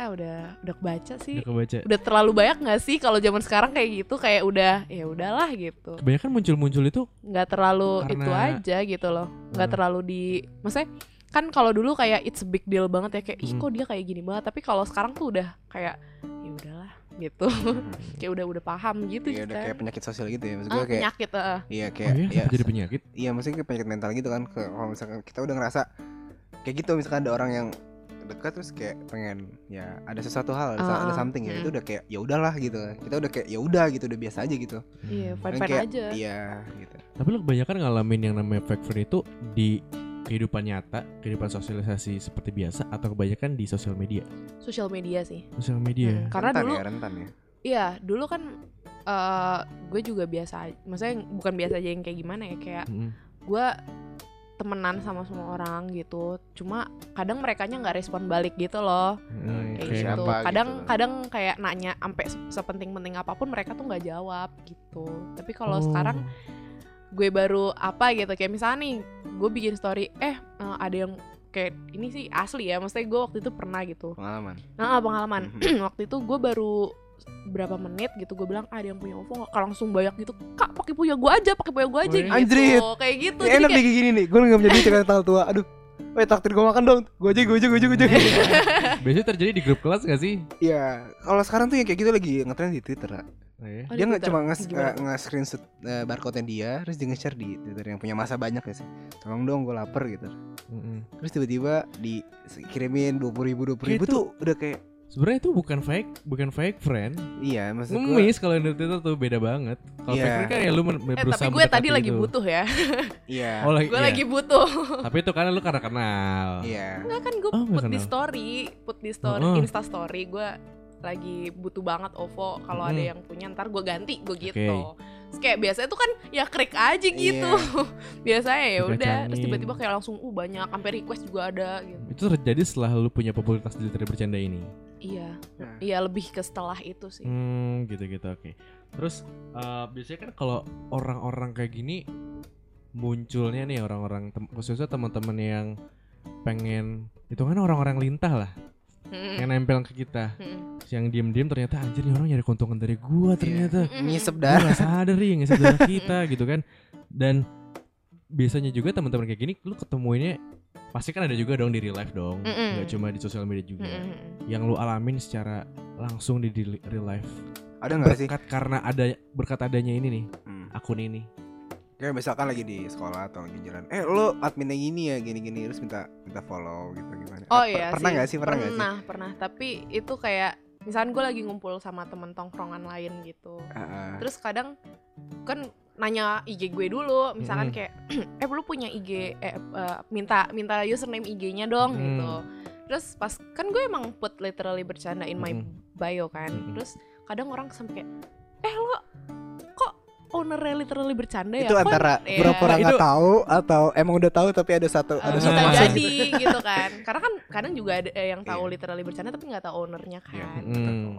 C: ah udah udah kebaca
A: Udah
C: sih
A: kebaca.
C: udah terlalu banyak nggak sih kalau zaman sekarang kayak gitu kayak udah ya udahlah gitu
A: Kebanyakan muncul-muncul itu
C: nggak terlalu
A: Karena-
C: itu aja gitu loh nggak
A: Hmm.
C: terlalu di maksudnya kan kalau dulu kayak it's a big deal banget ya kayak ih
A: Hmm.
C: kok dia kayak gini banget tapi kalau sekarang tuh udah kayak ya udahlah gitu kayak udah udah paham gitu
B: Hmm, Iya
C: kita
B: udah kayak penyakit sosial gitu ya. Maksud
C: ah,
B: gue kayak
C: penyakit eh.
B: iya
A: oh ya,
B: kayak ya
A: sampai jadi penyakit.
B: iya maksudnya kayak penyakit mental gitu kan Ke- kalau misalkan kita udah ngerasa kayak gitu misalkan ada orang yang dekat terus kayak pengen ya ada sesuatu hal ada,
C: Ah,
B: ada something ya
C: mm.
B: itu udah kayak ya udahlah gitu kita udah kayak ya udah gitu udah biasa aja gitu
C: iya
A: Hmm.
C: fan
B: Dan
C: fan
B: kayak,
C: aja
B: iya gitu
A: Tapi lu kebanyakan ngalamin yang namanya fake friend itu di kehidupan nyata, kehidupan sosialisasi seperti biasa atau kebanyakan di sosial media.
C: sosial media sih
A: Sosial media.
C: Hmm, karena
B: rentan
C: dulu
B: ya rentan ya
C: iya dulu kan
A: Hmm,
C: eh gue juga biasa maksudnya bukan biasa aja yang kayak gimana ya kayak
A: Mm-mm.
C: gue temenan sama semua orang gitu cuma kadang mereka nya nggak respon balik gitu loh
B: Hmm,
C: kayak
A: Oke.
C: gitu
D: Siapa gitu
C: kadang
D: loh.
C: kadang kayak nanya sampai se- sepenting-penting apapun mereka tuh nggak jawab gitu tapi kalau
A: Oh.
C: sekarang gue baru apa gitu kayak misalnya nih gue bikin story eh eh, ada yang kayak ini sih asli ya maksudnya gue waktu itu pernah gitu
B: Pengalaman.
C: nah pengalaman
B: Mhm.
C: waktu itu gue baru berapa menit gitu gue bilang "Ah, ada yang punya OVO nggak?" langsung banyak gitu kak pakai punya gue aja pakai punya gue aja
A: Wih.
C: gitu
B: Anjrit.
C: kayak gitu
B: Ini
C: Jadi
B: Ya, enak
C: kayak-
B: nih kayak gini nih. Gue nggak punya duit karena tanggal tua. Aduh. Weh takdir gue makan dong. Gue aja, gue aja, gue aja, gue aja.
C: iya.
A: Biasanya terjadi di grup kelas gak sih?
B: Iya. Kalau sekarang tuh yang kayak gitu lagi ngetren di Twitter. Ra.
A: Oh, iya.
C: Oh, di
B: Dia nggak
C: Twitter.
B: cuma eh, nge,
C: Gimana tuh?
B: screenshot barcode-nya dia, terus dia nge-share di Twitter yang punya masa banyak ya sih. Tolong dong, gue lapar gitu.
A: Mm-mm.
B: Terus tiba-tiba dikirimin dua puluh ribu, dua puluh ribu
A: Kayak
B: tuh udah kayak
A: Sebenarnya itu bukan fake, bukan fake friend.
B: iya maksud gue.
A: Ngemis kalau di Twitter tuh beda banget. Kalau
B: Iya.
A: fake friend kan ya lu men-
C: eh
A: berusaha
C: tapi gue
A: mendekati
C: tadi lagi
A: gitu.
C: butuh ya
B: Iya.
A: Oh, lagi,
C: gue
A: iya.
C: lagi butuh
A: Tapi itu karena lu karena kenal.
B: Iya.
C: Enggak kan gue
A: Oh, nggak
C: put di
A: kenal.
C: story, put di story,
A: Heeh.
C: insta story gue lagi butuh banget OVO kalau ada
A: Mm.
C: yang punya ntar gue ganti gue gitu.
A: Oke.
C: Terus kayak biasanya tuh kan ya krik aja
B: Iya.
C: gitu. biasanya ya udah
A: Dikacangin.
C: terus tiba-tiba kayak langsung uh banyak sampai request juga ada gitu.
A: Itu terjadi setelah lu punya popularitas di Twitter bercanda ini.
C: Iya.
B: Nah.
C: Iya lebih ke setelah itu sih.
A: Hmm, gitu-gitu oke. Terus eh, biasanya kan kalau orang-orang kayak gini munculnya nih orang-orang tem- khususnya teman-teman yang pengen itu kan orang-orang lintah lah
C: Mm-mm.
A: yang nempel ke kita
C: Mm-mm.
A: Terus yang diem-diem ternyata anjir nih orang nyari keuntungan dari gua
B: Iya.
A: ternyata
C: Mm-mm.
B: Ngisep
A: Gua
C: Iya.
B: darah.
A: nggak sadar ya nggak sadar kita gitu kan dan biasanya juga teman-teman kayak gini lu ketemuinnya pasti kan ada juga dong di real life dong
C: Mm-mm.
A: nggak cuma di sosial media juga
C: Mm-mm.
A: yang lu alamin secara langsung di di real life
B: Ada nggak sih?
A: berkat karena ada berkat adanya ini nih
B: Hmm.
A: akun ini
B: Kayak misalkan lagi di sekolah atau lagi jalan. Eh lo adminnya gini ya, gini-gini terus minta minta follow gitu gimana?
C: Oh
B: Eh, per-
C: iya
B: Pernah
C: sih.
B: nggak sih? Pernah nggak sih?
C: Pernah, pernah. Tapi itu kayak misalnya gue lagi ngumpul sama temen tongkrongan lain gitu.
B: Heeh.
C: terus kadang kan nanya IG gue dulu misalkan
A: Mm-mm.
C: kayak eh lu punya IG eh eh, minta minta username IG-nya
A: Mm.
C: dong gitu terus pas kan gue emang put literally bercanda in my
A: Mm-mm.
C: bio kan
A: Mm-mm.
C: terus kadang orang sampai kayak eh lo kok ownernya literally bercanda ya
B: itu
C: Kok-
B: antara
C: Iya.
B: pura-pura
A: Nah,
B: nggak
A: itu-
B: tahu atau emang udah tahu tapi ada satu
C: Eh,
B: ada
A: Ah.
B: satu
C: bisa
B: masa gitu.
C: jadi gitu kan karena kan kadang juga ada eh, yang tahu
B: Iya.
C: literally bercanda tapi nggak tahu ownernya kan
B: Iya.
C: gitu.
A: Mm.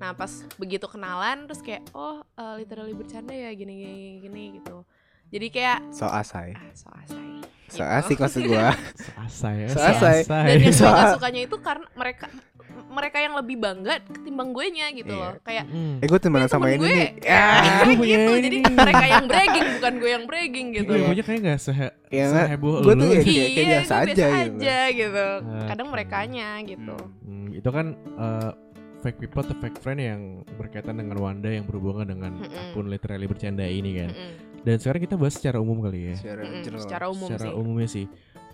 C: nah pas begitu kenalan terus kayak oh eh, literally bercanda ya gini gini gini gitu jadi kayak
B: So asai.
C: ah, so asai
B: So
C: Gitu.
B: asik maksud gua.
A: seasai ya,
B: Seasai.
A: seasai.
C: dan yang gue
B: Soal-
C: gak sukanya itu karena mereka m- mereka yang lebih bangga ketimbang gue nya gitu
B: Iya.
C: loh kayak
A: Mm.
B: eh gue temenan
C: "Ini
B: sama
C: temen
B: ini
C: gue."
B: nih. Ya.
A: Ah,
C: Kayak
A: gue punya
C: gitu
A: ini
C: jadi
A: nih.
C: mereka yang bragging bukan gue yang bragging gitu
A: Iya,
C: loh.
A: punya kayak nggak sehe
B: Iya, nggak?
A: seheboh
B: Gue tuh
A: lu.
B: ya kayak,
C: iya
B: kayak biasa
C: gue
B: aja
C: biasa
B: gitu.
C: aja gitu
B: Ah.
A: Oke.
C: kadang merekanya gitu
B: Hmm.
A: Hmm, itu kan eh, fake people atau fake friend yang berkaitan dengan Wanda yang berhubungan dengan
C: Mm-mm.
A: akun literally bercanda ini
B: Iya.
A: kan.
C: Mm-mm,
A: Dan sekarang kita bahas secara umum kali ya.
B: Secara
C: Gitu. mm-mm,
B: general.
C: secara umum
A: secara
C: sih
A: umumnya sih.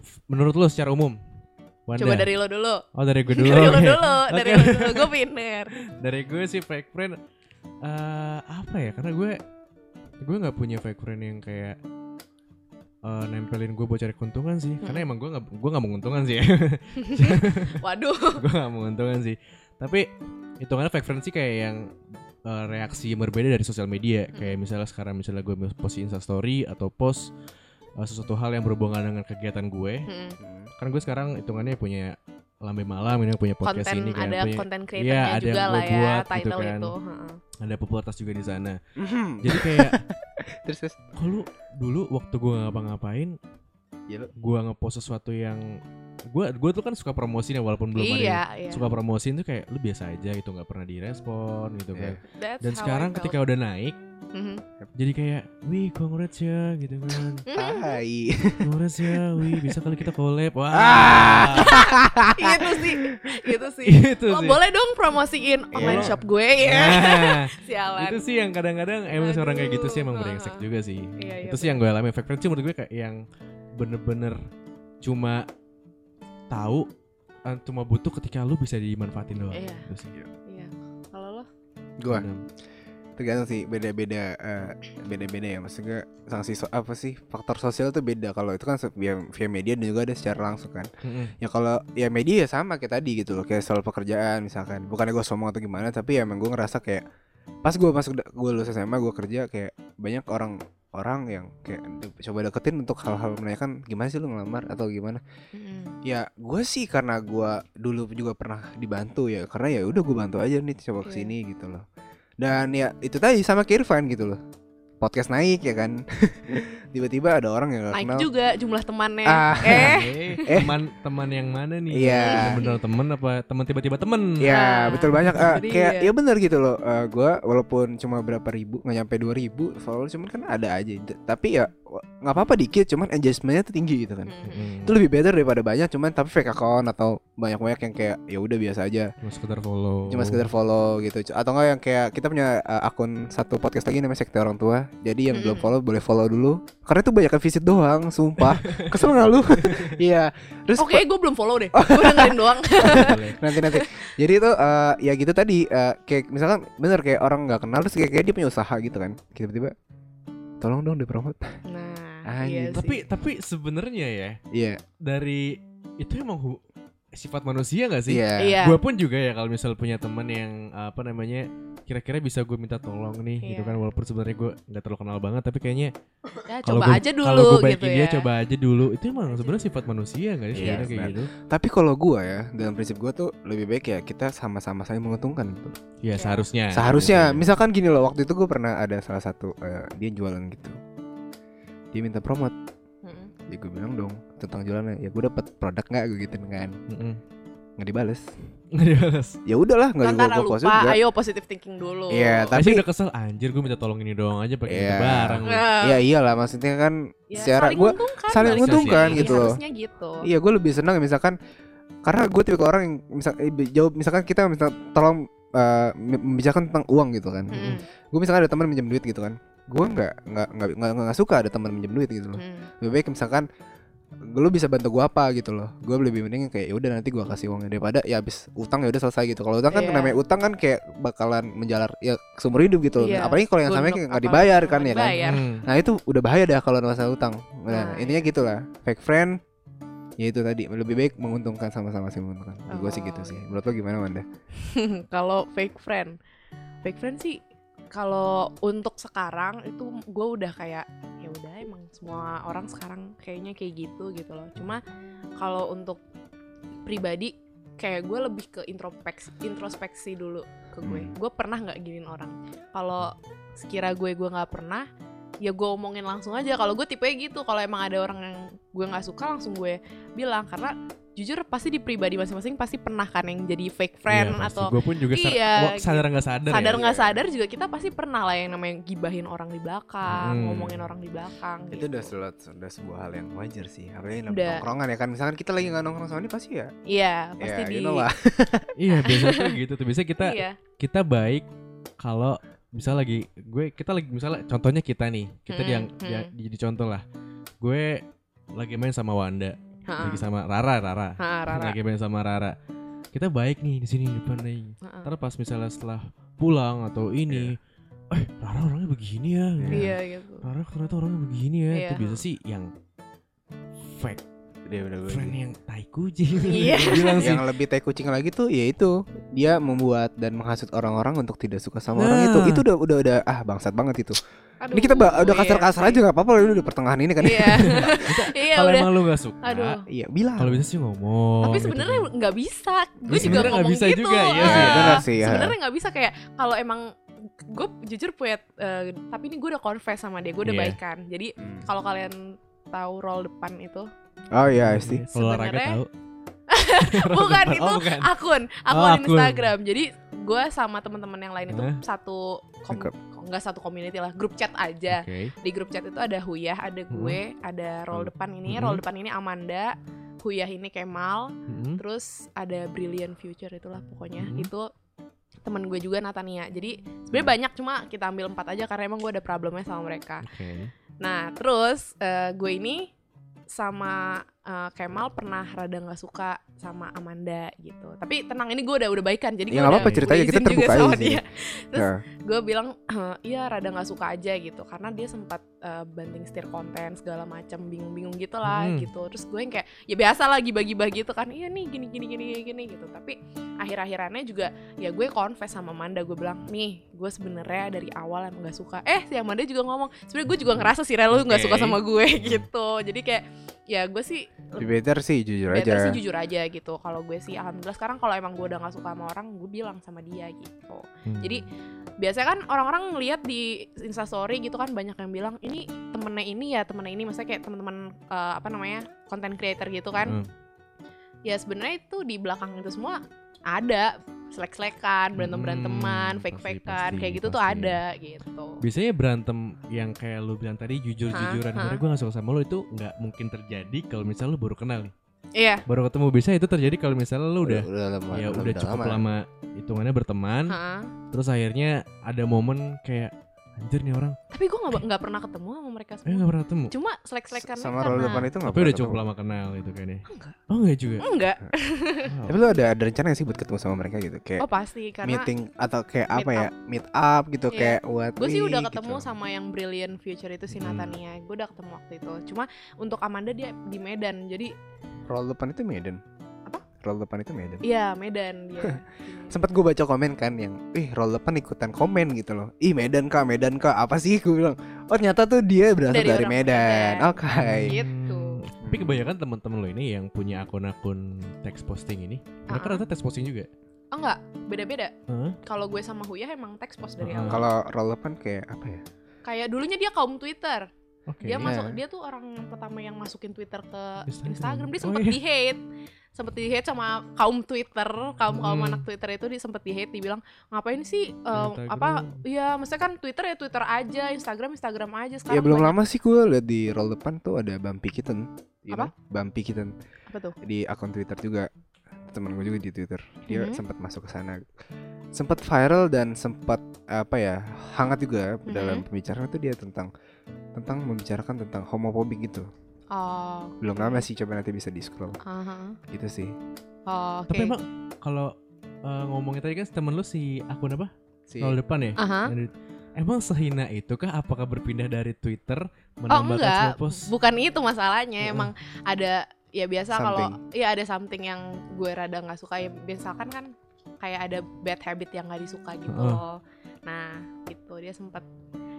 A: F- Menurut lo secara umum? Wanda.
C: coba dari lo dulu
A: Oh, dari gue dulu.
C: dari lo
A: oke.
C: dulu dari
A: Oke.
C: lo dulu gue pinter
A: dari gue sih fake friend eh apa ya karena gue gue nggak punya fake friend yang kayak eh, nempelin gue buat cari keuntungan sih karena emang gue nggak gue nggak menguntungkan sih ya.
C: waduh
A: gue nggak menguntungkan sih tapi hitungannya fake friend sih kayak yang eh, reaksi yang berbeda dari sosial media kayak misalnya sekarang misalnya gue post insta story atau post eh, sesuatu hal yang berhubungan dengan kegiatan gue
C: Mm-mm.
B: Hmm.
A: kan gue sekarang hitungannya punya lambe malam ini punya podcast
C: konten
A: ini kan
C: ada
A: punya,
C: konten
A: Iya,
C: creatornya
A: ada yang gue
C: juga lah ya
A: buat gitu
C: title
A: kan.
C: itu heeh.
A: ada popularitas juga di sana
B: Mhm.
A: jadi kayak
B: Terus terus.
A: kok lu dulu waktu gua nggak ngapa-ngapain
B: Iya, lu.
A: gua ngepost sesuatu yang gua gua tuh kan suka promosiin ya walaupun belum
C: iya
A: ada
C: iya
A: yang suka promosiin tuh kayak lu biasa aja gitu nggak pernah direspon gitu kan
C: That's
A: dan
C: how I
A: sekarang
C: felt.
A: ketika udah naik
C: Mhm.
A: jadi kayak wih congrats ya gitu kan
C: Mm-hmm.
B: Hai.
A: congrats ya wih bisa kali kita collab wah
C: Ah! gitu sih gitu sih
A: itu
C: Oh,
A: sih
C: boleh dong promosiin online
A: Iya.
C: shop gue ya.
A: Nah,
C: Sialan.
A: itu sih yang kadang-kadang emang
C: Aduh,
A: seorang kayak gitu sih emang
C: heeh.
A: brengsek juga sih
C: Iya, iya,
A: itu sih yang gue alami fake friend sih menurut gue kayak yang bener-bener cuma tahu eh, cuma butuh ketika lu bisa dimanfaatin doang
C: Iya.
A: Itu sih. gitu.
C: Iya. Kalau lo?
B: Gua
A: Bener.
B: tergantung sih beda-beda eh, beda-beda ya maksudnya sanksi so- apa sih faktor sosial tuh beda kalau itu kan se- via, via media dan juga ada secara langsung kan
A: Mm-mm.
B: ya kalau ya media ya sama kayak tadi gitu loh kayak soal pekerjaan misalkan bukannya gue sombong atau gimana tapi ya emang gue ngerasa kayak pas gue masuk gue lulus SMA gue kerja kayak banyak orang orang yang kayak de- coba deketin untuk hal-hal menanyakan gimana sih lu ngelamar atau gimana ya gue sih karena gue dulu juga pernah dibantu ya karena ya udah gue bantu aja nih coba
C: Oke.
B: kesini gitu loh dan ya itu tadi sama kayak Irfan gitu loh podcast naik ya kan tiba-tiba ada orang yang gak
C: Naik
B: kenal
C: juga jumlah temannya.
B: Ah.
C: Eh,
A: Eh, teman teman yang mana nih?
B: Iya.
A: Bener teman apa teman tiba-tiba teman?
C: Nah,
B: Ya betul banyak Eh,
C: jadi
B: kayak ya
C: ya.
B: benar gitu loh Eh, gua walaupun cuma berapa ribu nggak nyampe dua ribu follower cuman kan ada aja D- tapi ya w- nggak apa-apa dikit cuman engagementnya tuh tinggi gitu kan
C: Mm-mm.
B: itu lebih better daripada banyak cuman tapi fake account atau banyak-banyak yang kayak ya udah biasa aja
A: Cuma sekedar follow.
B: cuma sekedar follow gitu C- atau enggak yang kayak kita punya eh, akun satu podcast lagi namanya sekte orang tua jadi yang belum
C: Mm-mm.
B: follow boleh follow dulu karena itu banyak yang visit doang sumpah kesel nggak lu iya terus
C: Oke, gue belum follow deh. Gue dengerin doang.
A: Iya, Boleh.
B: nanti nanti jadi itu eh, ya gitu tadi eh, kayak misalkan bener kayak orang nggak kenal terus kayak, kayak dia punya usaha gitu kan tiba-tiba tolong dong dipromot
C: Nah,
B: Anjing.
C: iya sih.
A: tapi tapi sebenarnya ya
B: iya
A: dari itu emang hu- sifat manusia gak sih?
B: iya
C: iya.
A: Gue pun juga ya kalau misal punya teman yang apa namanya kira-kira bisa gue minta tolong nih gitu
C: Iya.
A: kan walaupun sebenarnya gue nggak terlalu kenal banget tapi kayaknya
C: Ya,
A: kalau
C: coba
A: gua-
C: aja dulu
A: kalau gue
C: gitu
A: baikin
C: ya.
A: dia coba aja dulu itu emang sebenarnya sifat manusia gak sih
B: Iya,
A: sebenarnya kayak
B: benar.
A: gitu
B: tapi kalau gua ya dalam prinsip gua tuh lebih baik ya kita sama-sama saling menguntungkan gitu.
A: ya
C: Iya.
A: seharusnya
B: seharusnya
A: Gitu.
B: misalkan gini loh waktu itu gua pernah ada salah satu eh, dia jualan gitu dia minta promote
C: Mm-mm.
B: ya gue bilang dong tentang jualannya ya gue dapat produk nggak gue gitu kan
A: Mm-mm.
B: nggak dibales
A: nggak dibales
B: ya udahlah nggak gue
C: Nonton Kan lupa,
B: gue post juga
C: ayo positive thinking dulu.
B: Iya,
A: tapi
B: tapi
A: udah kesel anjir gue minta tolong ini doang aja pakai
B: Iya.
A: itu barang lu.
C: Nah,
B: ya iyalah maksudnya kan
C: ya,
B: secara
C: saling
B: gue
C: menguntungkan,
B: saling
A: Iya,
C: balik
B: menguntungkan
C: lagi.
B: gitu loh.
C: Harusnya gitu.
B: Iya gue lebih senang misalkan karena gue tipe orang yang misal eh, jawab misalkan kita misal tolong eh, mem- membicarakan tentang uang gitu kan.
C: Mm-mm.
B: Gue misalkan ada teman minjem duit gitu kan. Gue nggak nggak nggak nggak- nggak suka ada teman minjem duit gitu loh.
C: Mm.
B: Lebih baik misalkan lu bisa bantu gue apa gitu loh gue lebih mending kayak "Ya udah nanti gue kasih uangnya daripada ya habis utang ya udah selesai gitu kalau utang kan
C: Iya.
B: namanya utang kan kayak bakalan menjalar ya seumur hidup gitu loh
C: Iya.
B: apalagi kalau yang sampai
C: Gondok
B: nggak
C: apa,
B: dibayar kan
C: nggak
B: ya kan
C: dibayar.
A: Hmm.
B: Nah itu udah bahaya dah kalau ada masalah utang. Nah,
C: Nah,
B: intinya gitulah. Fake friend ya itu tadi lebih baik menguntungkan sama-sama sih menguntungkan. Gue sih
C: Oh,
B: gitu sih.
C: iya.
B: Menurut lo gimana Wanda?
C: kalau fake friend fake friend sih kalau untuk sekarang itu gue udah kayak ya udah emang semua orang sekarang kayaknya kayak gitu gitu loh cuma kalau untuk pribadi kayak gue lebih ke introspeksi introspeksi dulu ke gue
B: Hmm.
C: gue pernah nggak giniin orang kalau sekira gue gue nggak pernah ya gue omongin langsung aja kalau gue tipenya gitu kalau emang ada orang yang gue nggak suka langsung gue bilang karena jujur pasti di pribadi masing-masing pasti pernah kan yang jadi fake friend atau
A: gue Iya, pun juga sar-
C: Iya,
A: wa- sadar nggak sadar,
C: sadar
A: ya?
C: nggak sadar juga kita pasti pernah lah yang namanya gibahin orang di belakang
A: Hmm.
C: ngomongin orang di
B: Itu
C: belakang gitu.
B: udah sudah, sudah sebuah hal yang wajar sih. Apalagi dalam
C: Udah.
B: nongkrongan ya kan. Misalkan kita lagi nggak nongkrong sama ini pasti ya.
C: iya pasti
B: ya,
C: di
B: you know lah.
A: iya biasanya tuh gitu tuh biasanya kita
C: iya
A: kita baik kalau misal lagi gue kita lagi misalnya contohnya kita nih kita
C: Hmm,
A: yang
C: hmm.
A: ya, jadi contoh lah gue lagi main sama Wanda
C: Ha-ha.
A: lagi sama Rara Rara,
C: Ha, Rara.
A: lagi main sama Rara kita baik nih di sini di depan nih
C: Ha-ha.
A: Ntar pas misalnya setelah pulang atau ini eh Rara orangnya begini ya
C: iya gitu
A: Rara ternyata orangnya begini ya
C: Iya.
A: itu biasa sih yang fake
B: Dia bener -bener
A: friend yang tai kucing
C: Iya.
A: bilang sih
B: yang lebih tai kucing lagi tuh ya itu dia membuat dan menghasut orang-orang untuk tidak suka sama
A: Nah.
B: orang itu itu udah udah udah ah bangsat banget itu
C: Aduh,
B: ini kita ba- udah
C: iya
B: kasar-kasar
C: sih.
B: aja nggak apa-apa udah, udah pertengahan ini kan
C: iya iya
A: kalau
C: udah
A: emang lu gak suka
C: aduh
B: iya bilang
A: kalau bisa sih ngomong
C: tapi
A: gitu
C: sebenarnya
A: kan.
C: nggak bisa
A: Iya,
C: gue juga
A: sebenarnya nggak
C: ngomong
A: bisa
C: gitu
A: juga, iya
B: sih,
C: Ah,
B: benar sih, ya.
C: sebenarnya nggak bisa kayak kalau emang gue jujur punya eh, tapi ini gue udah confess sama dia gue udah
A: Iya.
C: baikan jadi
B: Hmm.
C: kalau kalian tahu roll depan itu
B: oh iya pasti
A: Kalau olahraga
C: Sebenarnya-
A: tahu.
C: bukan
A: Oh,
C: itu
A: bukan.
C: akun
A: Oh,
C: akun
A: akun.
C: Instagram jadi gue sama teman-teman yang lain itu
A: Hah?
C: satu kom-
B: Lengkap.
C: kok nggak satu community lah grup chat aja
A: Oke.
C: di grup chat itu ada Huyah ada
A: Hmm.
C: gue ada roll depan ini
A: Mhm.
C: roll depan ini Amanda Huyah ini Kemal
A: Mm-mm.
C: terus ada Brilliant Future itulah pokoknya
A: Mhm.
C: itu teman gue juga Natania jadi sebenarnya banyak cuma kita ambil empat aja karena emang gue ada problemnya sama mereka
A: Oke.
C: Nah,
B: Hmm.
C: terus eh, gue ini sama eh, Kemal pernah rada nggak suka sama Amanda gitu. Tapi tenang ini gue udah udah baikan jadi gue
B: ya nggak apa-apa
A: udah-
B: ceritanya
C: udah
B: kita
C: izin juga
B: terbuka
C: sama
B: aja sih
C: dia. Terus-
B: Nah.
C: gue bilang "Eh, iya rada nggak suka aja gitu karena dia sempat eh, banting setir konten segala macam bingung-bingung gitu lah
A: Hmm.
C: gitu terus gue yang kayak ya biasa lagi bagi-bagi gitu kan iya nih gini gini gini gini, gini gitu tapi akhir-akhirannya juga ya gue confess sama Manda gue bilang nih gue sebenarnya dari awal emang gak suka eh si Amanda juga ngomong sebenarnya gue juga ngerasa sih Rel lu nggak suka
A: Oke.
C: sama gue gitu jadi kayak ya gue sih
B: Lebih better sih jujur
C: better
B: aja
C: sih jujur aja gitu kalau gue sih alhamdulillah sekarang kalau emang gue udah nggak suka sama orang gue bilang sama dia gitu
A: Hmm.
C: jadi biasanya kan orang-orang ngelihat di instastory gitu kan banyak yang bilang ini temennya ini ya temennya ini maksudnya kayak teman-teman eh, apa namanya content creator gitu
A: Hmm.
C: kan ya sebenarnya itu di belakang itu semua ada selek-selekan berantem-beranteman
A: Hmm,
C: fake-fakean
A: pasti,
C: kayak gitu
A: pasti,
C: tuh
A: pasti.
C: ada gitu
A: Biasanya berantem yang kayak lu bilang tadi jujur-jujuran
C: Hah?
A: karena gue gak suka sama lu itu nggak mungkin terjadi kalau misalnya lu baru kenal nih.
C: iya
A: Baru ketemu bisa itu terjadi kalau misalnya lu udah
B: udah lama
A: ya udah cukup lama hitungannya berteman
C: ha.
A: terus akhirnya ada momen kayak anjir nih orang
C: tapi gue nggak nggak pernah ketemu sama mereka
A: eh
C: semua
A: nggak pernah ketemu
C: cuma selek-selekan
B: sama
C: karena-
B: roll depan itu nggak
A: tapi udah
B: pernah
A: cukup
B: ketemu.
A: lama kenal gitu kayaknya
C: Enggak.
A: oh enggak juga Oh,
C: enggak
A: Wow.
B: tapi lu ada ada rencana nggak sih buat ketemu sama mereka gitu kayak
C: oh pasti karena
B: meeting atau kayak
C: Meet
B: apa ya meet up gitu
C: Iya.
B: kayak what
C: Gue sih
B: we
C: udah
B: gitu.
C: ketemu sama yang Brilliant Future itu si
A: Hmm.
C: Natania. Gue udah ketemu waktu itu. Cuma untuk Amanda dia di Medan. Jadi
B: roll depan itu Medan
C: Apa?
B: roll depan itu Medan
C: iya Medan dia.
B: sempet gue baca komen kan yang ih roll depan ikutan komen gitu loh ih Medan kak Medan kak apa sih gue bilang oh ternyata tuh dia berasal
C: Dari
B: dari,
C: orang
B: Medan
C: Medan.
B: oke
C: Gitu.
A: Hmm. tapi kebanyakan teman-teman lo ini yang punya akun-akun text posting ini mereka
C: Ah-ah.
A: rata text posting juga
C: Oh enggak, beda-beda.
A: Hah?
C: Kalau gue sama Huya emang teks post dari
A: Hmm.
C: awal.
B: kalau roll depan kayak apa ya
C: Kayak dulunya dia kaum Twitter.
A: oke
B: Iya.
C: Dia masuk dia tuh orang yang pertama yang masukin Twitter ke
A: Instagram.
C: Instagram. Dia
A: Oh,
C: sempet
A: iya.
C: di hate. Sempet di hate sama kaum Twitter, kaum-kaum
A: Hmm.
C: anak Twitter itu dia sempet di hate dibilang ngapain sih eh,
A: Instagram."
C: apa Iya, maksudnya kan Twitter ya Twitter aja, Instagram Instagram
A: Iya,
C: aja sekarang.
B: ya belum
C: banyak-
B: lama sih gue liat di roll depan tuh ada Bumpy Kitten you
C: Apa?
B: know? Bumpy Kitten
C: Apa tuh?
B: di akun Twitter juga temen gue juga di Twitter dia
C: Mhm.
B: sempat masuk ke sana sempat viral dan sempat apa ya hangat juga dalam
C: Mhm.
B: pembicaraan tuh dia tentang tentang membicarakan tentang homofobik gitu
C: Oh.
B: belum lama sih coba nanti bisa di scroll
C: Aha.
B: gitu sih
C: Oh, oke.
A: tapi emang kalau eh, ngomongin tadi kan temen lo si akun apa
B: si
A: nol depan ya
C: Aha.
A: Yang di- Emang sehina itu kah? Apakah berpindah dari Twitter
C: Oh
A: menambah
C: enggak,
A: post?
C: bukan itu masalahnya.
A: Heeh.
C: Emang ada ya biasa kalau ya ada something yang gue rada nggak suka ya misalkan kan kayak ada bad habit yang nggak disuka gitu
A: Heeh.
C: loh. Nah, gitu dia sempat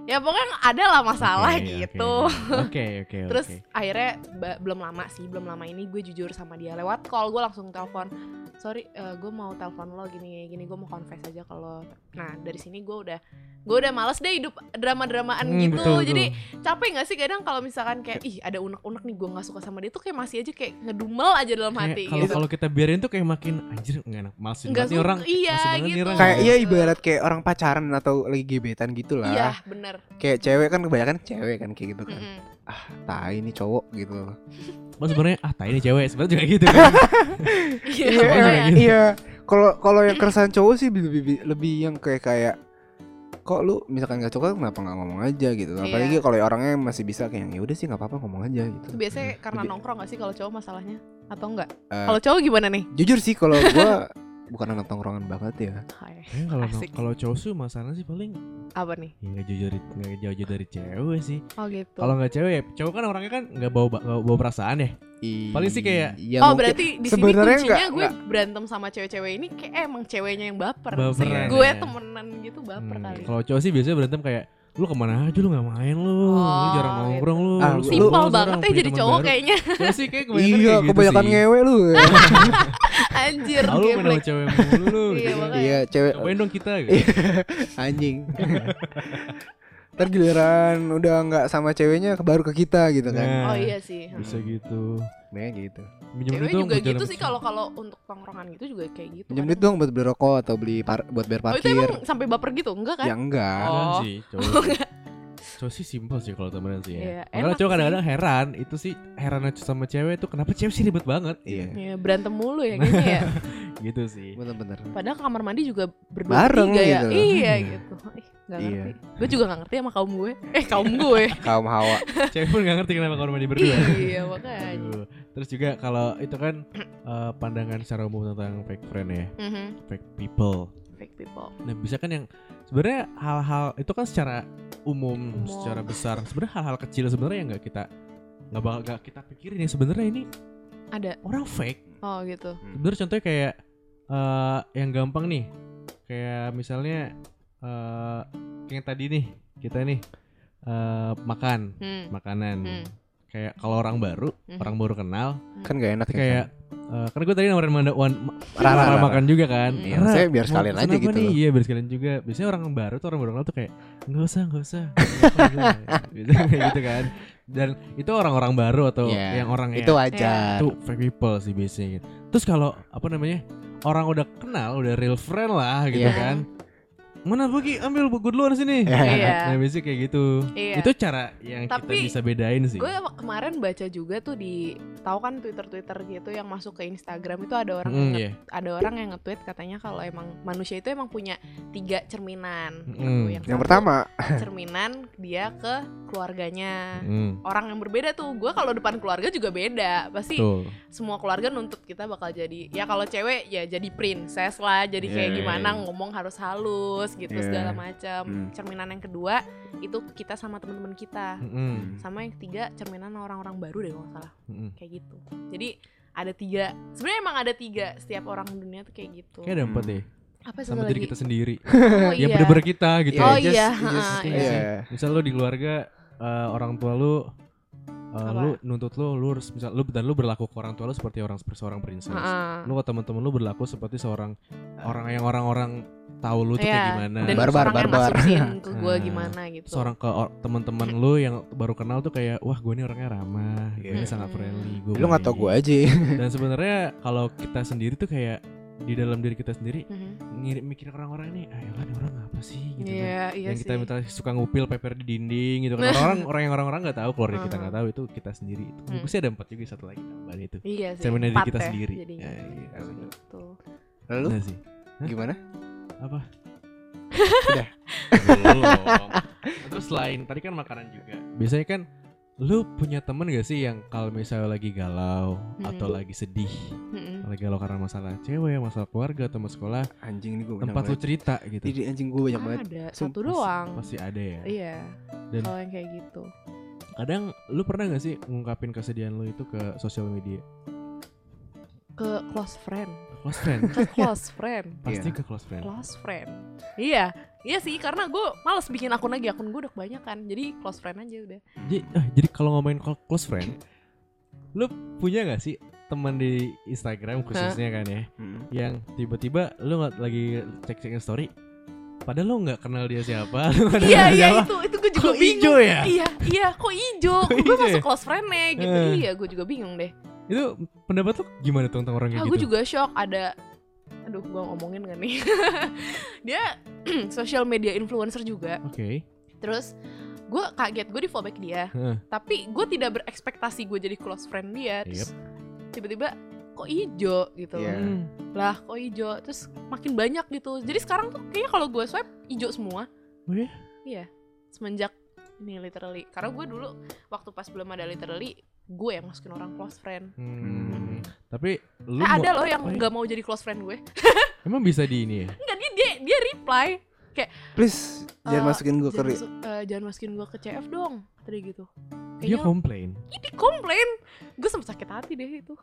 C: ya pokoknya ada lah masalah
A: Oke, oke,
C: gitu.
A: oke. Oke oke.
C: Terus
A: oke.
C: akhirnya ba- belum lama sih, belum lama ini gue jujur sama dia lewat call gue langsung telepon. Sorry, eh, gue mau telepon lo gini gini gue mau confess aja kalau. Nah dari sini gue udah gue udah males deh hidup drama-dramaan
A: Hmm,
C: gitu.
A: betul,
C: Jadi
A: betul.
C: capek nggak sih kadang kalau misalkan kayak ih ada unek-unek nih gue nggak suka sama dia tuh kayak masih aja kayak ngedumel aja dalam
A: Kayak
C: hati.
A: kalau kalau kita biarin tuh kayak makin anjir nggak enak males banget
C: gitu. Nggak
A: nih
C: suka,
A: orang
C: iya,
A: males banget nih
C: gitu.
A: orang.
B: kayak
C: Oh.
B: iya ibarat kayak orang pacaran atau lagi gebetan gitu lah
C: Iya bener.
B: kayak cewek kan kebanyakan cewek kan kayak gitu kan
C: Mm-mm.
B: tai ini cowok gitu loh
A: Mas sebenarnya ah tai ini cewek sebenarnya juga gitu kan.
C: Iya.
B: iya
A: Sebenarnya
B: emang
C: makanya.
A: gitu.
B: iya kalau kalau yang keresahan cowok sih lebih lebih, lebih yang kayak kayak kok lu misalkan gak suka kenapa nggak ngomong aja gitu
C: Iya.
B: apalagi kalau orangnya masih bisa kayak ya udah sih nggak apa-apa ngomong aja gitu
C: Itu biasanya karena
B: Lebih-
C: nongkrong gak sih kalau cowok masalahnya atau enggak?
B: Eh.
C: Kalau cowok gimana nih?
B: jujur sih kalau gua bukan anak tongkrongan banget ya
C: Hai,
A: Kayaknya kalau
C: Asik.
A: kalau cowok sih masalahnya sih paling
C: Apa nih?
A: ya nggak jujur nggak jauh-jauh dari cewek sih.
C: Oh gitu.
A: Kalau nggak cewek ya cowok kan orangnya kan nggak bawa nggak bawa perasaan ya. Paling sih kayak-
B: Iya,
C: oh
B: mungkin.
C: berarti di sini
B: sebenarnya
C: kuncinya
B: nggak-
C: gue
B: nggak.
C: berantem sama cewek-cewek ini kayak eh, emang ceweknya yang baper.
A: Baperan,
C: Maksudnya gue
A: ya.
C: temenan gitu baper
A: Hmm,
C: kali.
A: Kalau cowok sih biasanya berantem kayak lu kemana aja lu nggak main lu, lu
C: Oh,
A: jarang
C: gitu.
A: nongkrong lu,
B: Ah,
A: lu
B: lu-
C: Simpel
A: sekarang
C: banget ya
A: punya
C: jadi
A: teman
C: cowok
A: baru."
C: kayaknya
A: Cowok sih kayak kebanyakan
B: iya
A: kayak gitu
B: kebanyakan
A: sih.
B: ngewe lu
C: Anjir
A: Tahu main sama
C: geblek.
A: cewek mulu lu.
C: Iya,
A: gitu.
C: makanya.
B: iya cewek
A: Cobain dong kita gitu.
B: Iya. anjing ntar giliran udah nggak sama ceweknya baru ke kita gitu kan
A: Nah,
C: Oh iya sih.
A: Bisa gitu.
B: Nah gitu
A: Minjem
C: Cewek
A: duit dong,
C: juga
A: buat
C: gitu
A: jalan
C: sih
A: kecil.
C: kalau kalau untuk tongkrongan gitu juga kayak gitu.
B: Pinjam
C: kadang.
B: duit dong buat beli rokok atau beli par- buat bayar
C: Oh itu
B: parkir.
C: emang sampai baper gitu enggak kan?
B: ya enggak.
A: Jangan
C: Oh.
A: sih, cowok. cowok sih simpel sih kalau temenan sih
C: Iya,
A: ya.
C: enak
A: Makanya cowok
C: sih.
A: kadang-kadang heran, itu sih heran aja sama cewek tuh kenapa cewek sih ribet banget
B: Iya.
C: Ya, berantem mulu ya kayaknya ya.
A: gitu sih.
B: Bener-bener.
C: Padahal ke kamar mandi juga berdua
B: Bareng
C: bertiga ya.
B: gitu.
C: Iya
A: Iya.
C: gitu. Ih, gak
B: Iya.
C: ngerti. Gue juga gak ngerti sama kaum gue. Eh kaum gue.
B: Kaum hawa.
A: cewek pun gak ngerti kenapa kalau mandi berdua.
C: iya makanya.
A: Aduh. Terus juga kalau itu kan eh, pandangan secara umum tentang fake friend ya,
C: Mhm.
A: fake people.
C: Fake people.
A: Nah bisa kan yang sebenarnya hal-hal itu kan secara umum,
C: Umum.
A: secara besar. Sebenarnya hal-hal kecil sebenarnya yang nggak kita nggak bakal nggak kita pikirin ya sebenarnya ini
C: Ada.
A: orang fake.
C: Oh gitu.
B: Hmm.
A: Sebenarnya contohnya kayak eh, yang gampang nih kayak misalnya eh kayak yang tadi nih kita nih eh makan
C: Hmm.
A: makanan
C: Hmm.
A: kayak kalau orang baru
C: Mhm.
A: orang baru kenal
B: kan gak enak
A: tapi
B: ya,
A: kayak eh, karena gue tadi nawarin manda wan
B: Rara,
A: rara,
B: Rara.
A: makan juga kan
C: Iya,
A: Rara,
B: saya biar
A: mau
B: sekalian
A: pesan
B: aja
A: apa
B: gitu
A: nih?
B: loh.
A: iya biar sekalian juga biasanya orang baru tuh orang baru kenal tuh kayak nggak usah nggak usah nggak apa-apa, nggak apa-apa." gitu, kayak gitu kan dan itu orang-orang baru atau
B: Iya.
A: yang orang
B: kan
A: yang
B: itu wajar
A: itu fake people sih biasanya gitu. Terus kalau apa namanya orang udah kenal udah real friend lah gitu
B: Iya.
A: kan mana pergi ambil buku duluan sini
C: Iya.
A: nah biasanya kayak gitu
C: Iya.
A: itu cara yang kita
C: Tapi,
A: bisa bedain sih
C: Gue kemarin baca juga tuh di tahu kan Twitter-Twitter gitu yang masuk ke Instagram itu ada orang yang
A: Mm,
C: nge-
A: iya.
C: ada orang yang nge-tweet katanya kalau emang manusia itu emang punya tiga cerminan. gitu.
A: Mm.
B: yang
C: satu,
B: pertama
C: cerminan dia ke keluarganya.
A: Mm,
C: Orang yang berbeda tuh, gue kalau depan keluarga juga beda. Pasti
A: betul
C: semua keluarga nuntut kita bakal jadi ya kalau cewek ya jadi princess lah jadi kayak
B: Yeah.
C: gimana ngomong harus halus gitu
B: Yeah.
C: segala macam
B: iya. Hmm.
C: cerminan yang kedua itu kita sama teman-teman kita
A: Mm,
C: sama yang ketiga cerminan orang-orang baru deh kalau nggak salah
A: mm.
C: kayak gitu jadi ada tiga sebenarnya emang ada tiga setiap orang di dunia tuh kayak gitu
A: Kayak ada empat deh
C: apa satu
A: sama diri kita sendiri.
C: oh,
A: Ya bener-bener kita gitu.
C: Oh,
A: ya.
C: iya,
A: Iya
B: iya.
A: sih. Misal lu di keluarga eh, orang tua lu eh,
C: Apa?
A: lu nuntut lu lu harus misal lu dan lu berlaku ke orang tua lu seperti orang seperti seorang princess.
C: Heeh.
A: Lu ke teman-teman lu berlaku seperti seorang orang yang orang-orang tahu lu tuh kayak
C: Iya,
A: gimana.
C: dan
B: Barbar,
C: orang yang
B: barbar.
C: masukin ke gue
A: Nah,
C: gimana gitu
A: seorang ke or- teman-teman lu yang baru kenal tuh kayak wah gue ini orangnya ramah, gue ini
C: Hmm.
B: Iya.
A: sangat friendly, gue.
B: lu nggak tau gue
A: baik."
B: aja
A: Dan sebenarnya kalau kita sendiri tuh kayak di dalam diri kita sendiri
C: Mhm.
A: ngirim mikir orang-orang ini, ayo lah orang apa sih gitu kan.
C: Iya, iya
A: yang kita
C: sih.
A: minta suka ngupil paper di dinding gitu kan orang orang yang orang-orang nggak tahu keluarga kita nggak tahu itu kita sendiri itu
C: Hmm.
A: gue sih ada empat juga satu lagi tambahan itu
C: Iya sih.
A: cerminan diri
C: empat
A: kita
C: ya
A: sendiri
C: jadinya.
A: ya, iya.
C: Gitu.
B: lalu
A: Bener sih Hah?
B: gimana
A: apa
B: Udah.
A: belum terus selain tadi kan makanan juga biasanya kan lu punya temen gak sih yang kalau misalnya lagi galau
C: Hmm.
A: atau lagi sedih
C: Mm-mm.
A: lagi galau karena masalah cewek masalah keluarga atau masalah sekolah
B: anjing ini gue
A: tempat lu cerita gitu
B: jadi anjing gue banyak banget
C: Kan Ada satu
B: Sumpah
C: doang.
A: pasti ada ya
C: Iya.
A: Dan-
C: Kalau yang kayak gitu.
A: kadang lu pernah gak sih ngungkapin kesedihan lu itu ke sosial media
C: Ke close friend.
A: close friend
C: Ke close friend.
A: pasti ke close friend
C: Close friend. Iya. Iya sih karena gue males bikin akun lagi. Akun gue udah kebanyakan. Jadi close friend aja udah.
A: jadi, ah, jadi kalau ngomongin clo- close friend lu punya gak sih teman di Instagram khususnya kan ya
B: Hmm.
A: yang tiba-tiba lu nggak lagi cek cekin story padahal lu nggak kenal dia siapa lu nggak
C: iya
A: kenal
C: iya
A: siapa.
C: itu itu gue juga
A: kok
C: bingung.
A: hijau ya
C: Iya iya kok ijo.
A: Kok
C: gue
A: ijo
C: masuk
A: ya?
C: close friendnya gitu.
A: Eh.
C: Iya gue juga bingung deh.
A: itu pendapat lu gimana tuh tentang orang kayak
C: Ah, gue
A: gitu
C: juga shock ada aduh gue ngomongin gak nih dia social media influencer juga
A: oke
C: terus gue kaget gue di follow back dia
A: Heeh.
C: tapi gue tidak berekspektasi gue jadi close friend dia terus tiba-tiba kok ijo gitu
B: Iya.
A: Hmm.
C: lah kok ijo terus makin banyak gitu jadi sekarang tuh kayaknya kalau gue swipe ijo semua
A: Oh iya?
C: iya semenjak ini literally karena gue dulu waktu pas belum ada literally gue yang masukin orang close friend
A: Hmm. tapi lu
C: Eh,
A: mau-
C: ada loh
B: ya?
C: yang
A: Oh iya.
C: nggak mau jadi close friend gue
A: emang bisa di ini ya
C: Enggak dia dia dia reply
B: please jangan
C: Eh,
B: masukin gue ke
C: jangan, masuk- eh, jangan masukin gue ke CF dong tadi gitu
A: dia
B: Iya,
C: kayaknya
A: komplain
C: ini dia komplain gue sempat sakit hati deh itu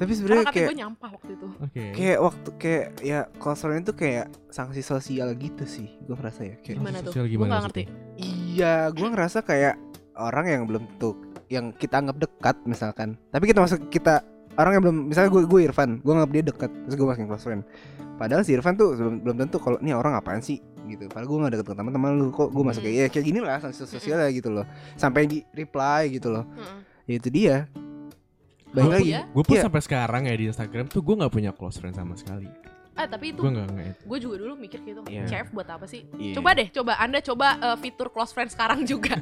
B: tapi
C: karena
B: sebenarnya
C: kata
B: kayak
C: gue nyampah waktu itu
A: oke
B: kayak waktu kayak ya concern itu kayak sanksi sosial gitu sih gue ngerasa ya kayak
C: gimana tuh
A: sosial
C: gue
A: gimana
C: nggak ngerti
A: maksudnya?
B: iya gue ngerasa kayak orang yang belum tentu yang kita anggap dekat misalkan tapi kita masuk kita orang yang belum misalnya gue gue Irfan gue anggap dia dekat terus gue masukin close friend padahal si Irfan tuh belum, belum tentu kalau ini orang apaan sih gitu padahal gue gak deket ke teman-teman lu kok gue masuk kayak ya kayak gini lah sanksi sosial ya gitu loh sampai di reply gitu loh
C: Heeh.
B: ya itu dia
A: Gue
B: baik
C: Oh,
B: lagi
C: iya?
A: gue pun
B: Iya.
A: sampai sekarang ya di Instagram tuh gue nggak punya close friend sama sekali.
C: ah tapi itu
A: Gue nggak nggak.
C: gue juga dulu mikir gitu
B: Iya.
C: CF buat apa sih
B: Iya.
C: coba deh coba anda coba eh, fitur close friend sekarang juga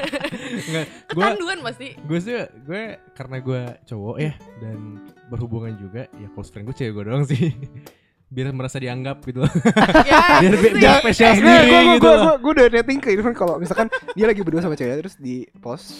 A: Gue
C: kecanduan pasti
A: gue sih gue karena gue cowok ya dan berhubungan juga ya close friend gue cewek gue doang sih biar merasa dianggap gitu loh
C: ya
A: biar bi-
C: pasti.
A: biar spesial
B: Eh,
A: sendiri
B: gua- gua-
A: gitu
B: gua-
A: loh
B: gua- gua udah netting ke Irfan kalau misalkan dia lagi berdua sama cewek terus di post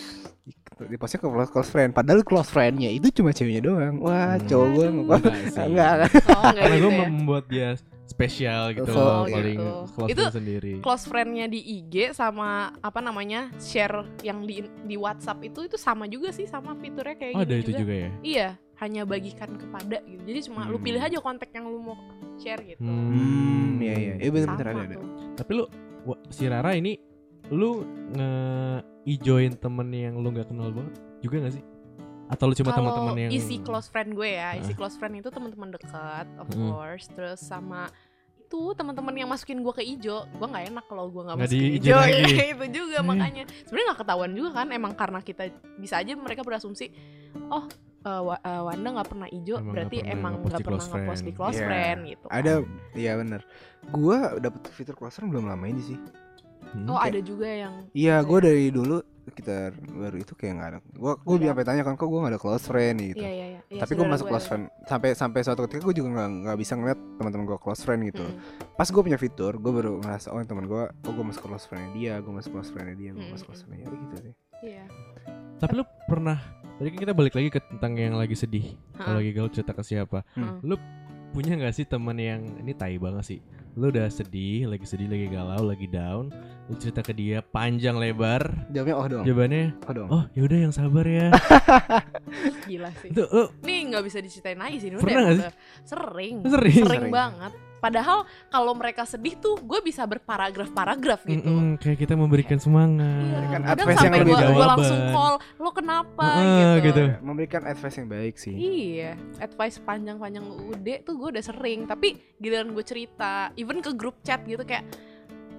B: di postnya ke close- close friend padahal close friendnya itu cuma ceweknya doang
A: Hmm.
B: wah cowok gue
C: Aduh.
B: enggak enggak enggak.
C: oh enggak
A: karena
C: gitu
A: gue
C: ya
A: membuat dia spesial gitu
B: Oh,
A: loh
B: gitu.
A: paling close
C: Itu-
A: friend sendiri
C: close friendnya di IG sama apa namanya share yang di di WhatsApp itu itu sama juga sih sama fiturnya kayak
A: oh ada
C: gitu
A: itu juga ya
C: Iya, hanya bagikan kepada gitu jadi cuma lu
A: Hmm.
C: pilih aja kontak yang lu mau share gitu
B: Hmm, iya iya. Eh
C: Sama
B: bener-bener ada ada.
C: tuh.
A: Tapi lu wa- si Rara ini lu nge ijoin temen yang lu nggak kenal banget juga nggak sih? Atau lu cuma
C: Kalau
A: teman-teman yang
C: isi close friend gue ya isi
A: Ah.
C: close friend itu teman-teman dekat of
A: Mm.
C: course terus sama itu teman-teman yang masukin gue ke ijo gue nggak enak kalau gue nggak
A: Nggak
C: masukin
A: diizin
C: ijo Iya,
A: lagi.
C: itu juga
A: Hmm.
C: makanya sebenarnya nggak ketahuan juga kan emang karena kita bisa aja mereka berasumsi oh eh, Wa- eh, Wanda nggak pernah ijo
A: Emang nggak
C: berarti
A: pernah
C: emang
A: ngepost
C: nggak
A: di
C: pernah
A: close
C: ngepost di
A: friend.
C: close
B: Iya.
C: friend gitu kan.
B: Ada, iya bener. Gua dapet fitur close friend belum lama ini sih.
A: Hmm,
C: oh
B: kayak-
C: ada juga yang
B: Iya, gua dari dulu sekitar baru itu kayak nggak ada. Gua gua
C: Iya.
B: sampai tanya kan kok gua nggak ada close friend gitu.
C: iya iya iya Iya,
B: Tapi gua
C: saudara
B: masuk
C: gue
B: close
C: ada.
B: friend sampai sampai suatu ketika gua juga nggak nggak bisa ngeliat teman-teman gua close friend gitu.
C: Mm-mm.
B: Pas gua punya fitur, gua baru ngerasa oh teman gua, oh gua masuk close friendnya dia, gua masuk close friendnya dia, gua
C: Mm-mm.
B: masuk close friendnya dia gitu sih.
C: Iya.
A: Tapi lu pernah tadi kan kita balik lagi ke tentang yang lagi sedih. Kalau lagi galau cerita ke siapa?
C: Hmm.
A: Lu punya nggak sih teman yang ini tai banget sih? Lu udah sedih, lagi sedih, lagi galau, lagi down, lu cerita ke dia panjang lebar.
B: Jawabnya oh dong,
A: Jawabannya,
B: oh dong.
A: "Oh, ya udah yang sabar ya."
C: gila sih
A: Itu "Oh, lu
C: nih nggak bisa diceritain lagi sih ini
A: Pernah nggak
C: udah- sering
A: sering.
C: sering
B: Sering.
C: banget. Padahal kalau mereka sedih tuh gue bisa berparagraf-paragraf gitu.
A: Mm-mm, kayak kita memberikan semangat.
C: Iya,
B: Kan
C: kadang
B: advice yang
C: sampai
B: lebih
C: gua,
A: jawaban.
C: gua langsung call, lo kenapa
A: Heeh,
C: gitu.
A: gitu.
B: Memberikan advice yang baik sih.
C: Iya, advice panjang-panjang UUD tuh gue udah sering. Tapi giliran gue cerita, even ke grup chat gitu kayak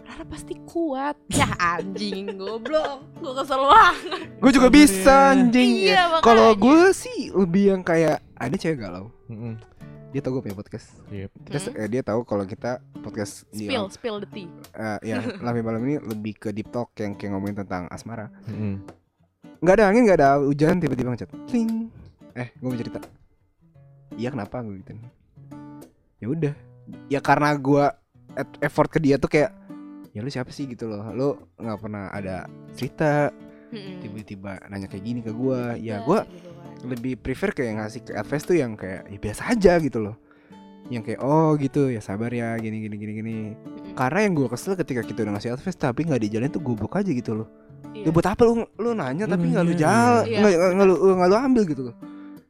C: Rara pasti kuat Ya anjing goblok Gue kesel banget
B: Gua juga
A: Sabar ya.
B: bisa anjing.
C: Iya makanya
B: Kalau gue sih lebih yang kayak ada cewek galau.
A: Mm-mm. iya.
B: Dia tau gue punya podcast.
A: Yep.
B: Terus
C: Hmm.
B: eh, dia tahu kalau kita podcast di
C: Spill, spill the tea
B: eh, ya lami malam ini lebih ke deep talk yang kayak ngomongin tentang asmara.
A: Mm-mm.
B: Nggak ada angin, nggak ada hujan, tiba-tiba ngechat. Ting. Eh, gue mau cerita. Iya kenapa gue gitu? Ya udah. Ya karena gue et- effort ke dia tuh kayak ya lu siapa sih gitu loh lu nggak pernah ada cerita
C: Mm-mm.
B: tiba-tiba nanya kayak gini ke gue ya
C: Tiba-tiba
B: gue
C: Hmm. gitu kan.
B: lebih prefer kayak ngasih ke advice tuh yang kayak ya biasa aja gitu loh yang kayak oh gitu ya sabar ya gini gini gini gini
C: Mm-mm.
B: karena yang gue kesel ketika kita udah ngasih advice tapi nggak dijalin tuh goblok aja gitu loh ya
C: Iya.
B: buat apa lu lu nanya
A: Lu
B: tapi nggak lu
A: nanya,
B: jal
C: iya.
B: nggak nggak- nggak lu nggak lu ambil gitu loh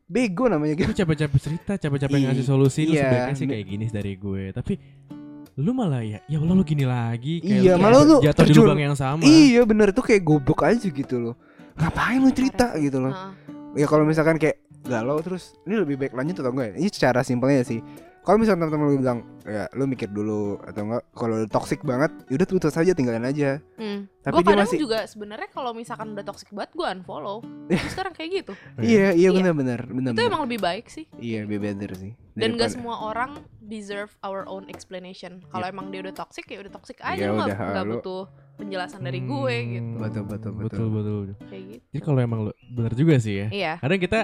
B: bego namanya gitu
A: Lu capek-capek cerita, capek-capek
B: Iya.
A: ngasih solusi, lu
B: Iya.
A: sebaiknya sih kayak gini dari gue. Tapi lu malah ya, ya Allah lu gini lagi. Kayak
B: Iya, malah lu
A: jatuh di
B: terjun.
A: lubang yang sama.
B: iya bener tuh kayak goblok aja gitu loh ngapain lu cerita gitu loh ya
C: Heeh.
B: kalau misalkan kayak galau terus ini lebih baik lanjut atau enggak ya? ini secara simpelnya sih kalau misalnya teman-teman lu bilang ya lu mikir dulu atau enggak kalau lu toxic banget yaudah putus aja tinggalin aja
C: Hmm.
B: Tapi
C: gue
B: dia
C: kadang
B: masih-
C: juga sebenarnya kalau misalkan udah toxic banget gue unfollow. Terus sekarang kayak gitu.
B: iya iya
C: Iya.
B: benar-benar benar
C: Itu emang lebih baik sih.
B: iya lebih better sih
C: Dan
B: Daripada-
C: gak semua orang deserve our own explanation. Kalau emang dia udah toxic ya udah toxic aja
B: Ya
C: lu
B: udah,
C: nggak nggak
B: lu-
C: butuh penjelasan dari gue
A: Hmm,
C: gitu.
B: Betul, betul, betul.
A: betul, betul.
C: Kayak gitu.
A: Jadi kalau emang lu bener juga sih ya.
C: Iya.
A: Kadang kita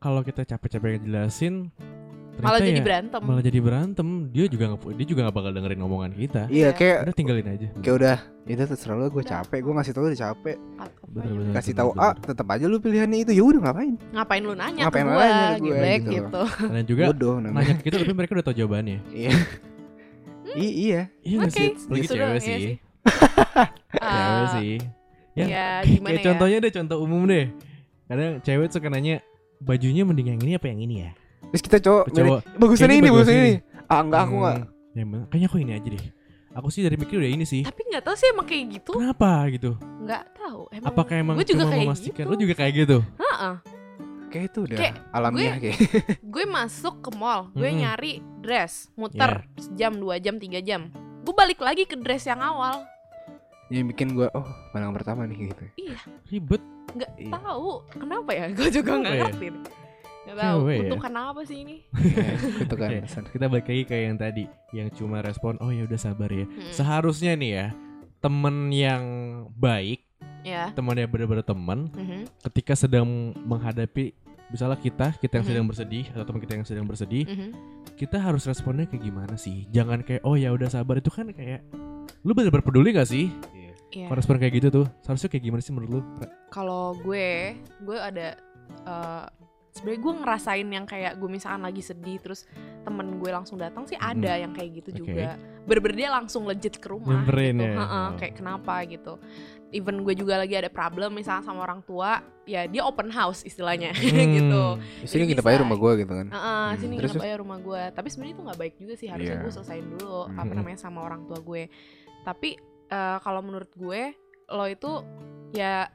A: kalau kita capek-capek ngejelasin ternyata
C: Malah jadi
A: ya,
C: berantem.
A: malah jadi berantem. Dia juga nggak pu- dia juga nggak bakal dengerin omongan kita.
C: ya.
B: iya kayak
A: Udah tinggalin aja.
B: kayak udah itu terserah lu gue
C: Udah.
B: capek gue ngasih tau udah capek
C: Cut off
A: Bener,
C: aja.
A: Iya, bener.
B: kasih tahu
A: benar.
B: ah tetap aja lu pilihannya itu ya udah ngapain
C: Ngapain lu nanya
B: Ngapain
C: ke
B: lu
C: gue
B: nanya ke gue,
C: Giblek,
B: gitu.
C: gitu.
A: Dan juga
B: bodoh namanya
A: nanya ke kita tapi mereka udah tau jawabannya.
B: iya
C: Hmm?
B: I- iya
A: Iya nggak
C: Oke.
A: sih? Lagi
C: Gitu
A: cewek
C: doang, iya
A: sih.
C: sih.
A: Cewek
C: Ah,
A: sih. Ya,
C: Ya,
A: Kayak-
C: gimana
A: kayak
C: ya?
A: contohnya deh contoh umum deh kadang cewek suka nanya bajunya mending yang ini apa yang ini ya
B: terus kita cowok
A: Ke
B: milih,
A: cowok
B: bagusan
A: Kayaknya
B: ini bagusan
A: bagusan
B: ini ah enggak aku enggak
A: "Hmm, ya bener. kayaknya aku ini aja deh aku sih dari mikir udah ini sih
C: Tapi nggak tahu sih emang kayak gitu.
A: kenapa gitu
C: Nggak tahu. Emang
A: apakah emang
C: gue juga
A: cuma
C: kayak
A: memastikan
C: gitu.
A: lu juga kayak gitu
C: Heeh.
B: kayak itu udah
C: Kayak
B: alamiah kayak
C: gue masuk ke mall, gue
A: Mm-mm.
C: nyari dress, muter sejam, dua jam, tiga jam. Gue balik lagi ke dress yang awal,
B: yang bikin gue oh pandangan pertama nih gitu
A: ribet
C: nggak
B: Iya.
C: tahu kenapa ya, gue juga
A: Kenapa
C: nggak
A: ya?
C: ngerti. nih. Nggak tahu,
A: Cewek ya?
C: untuk kenapa sih ini?
B: Iya, gitu kan
A: Oke.
B: pesan.
A: kita balik lagi kayak yang tadi yang cuma respon oh ya udah sabar ya
C: Mm,
A: seharusnya nih ya temen yang baik
C: ya.
A: temen yang bener-bener temen
C: Mhm.
A: ketika sedang menghadapi misalnya kita kita yang
C: Mhm.
A: sedang bersedih atau teman kita yang sedang bersedih
C: Mhm.
A: kita harus responnya kayak gimana sih? Jangan kayak oh ya udah sabar itu kan kayak lu bener-bener peduli gak sih?
C: Iya.
A: Kalau respon kayak gitu tuh, seharusnya kayak gimana sih menurut lu?
C: Kalau gue, gue ada eh, sebenarnya gue ngerasain yang kayak gue misalkan lagi sedih terus temen gue langsung datang sih ada yang kayak gitu
A: Hmm. Oke.
C: juga berber dia langsung legit ke rumah
A: Nyamperin
C: gitu.
A: ya.
C: Heeh,
A: Oh.
C: kayak kenapa gitu even gue juga lagi ada problem misalnya sama orang tua ya dia open house istilahnya gitu
B: Di sini
C: Jadi
B: nginep
C: bisa.
B: aja rumah gue gitu kan.
C: Heeh,
A: Hmm,
C: Ah, sini
B: terus,
C: nginep aja rumah gue. Tapi sebenarnya itu nggak baik juga sih. Harusnya
B: Iya. hmm.
C: gue selesain dulu apa
A: Mhm.
C: namanya sama orang tua gue. Tapi eh, kalau menurut gue lo itu ya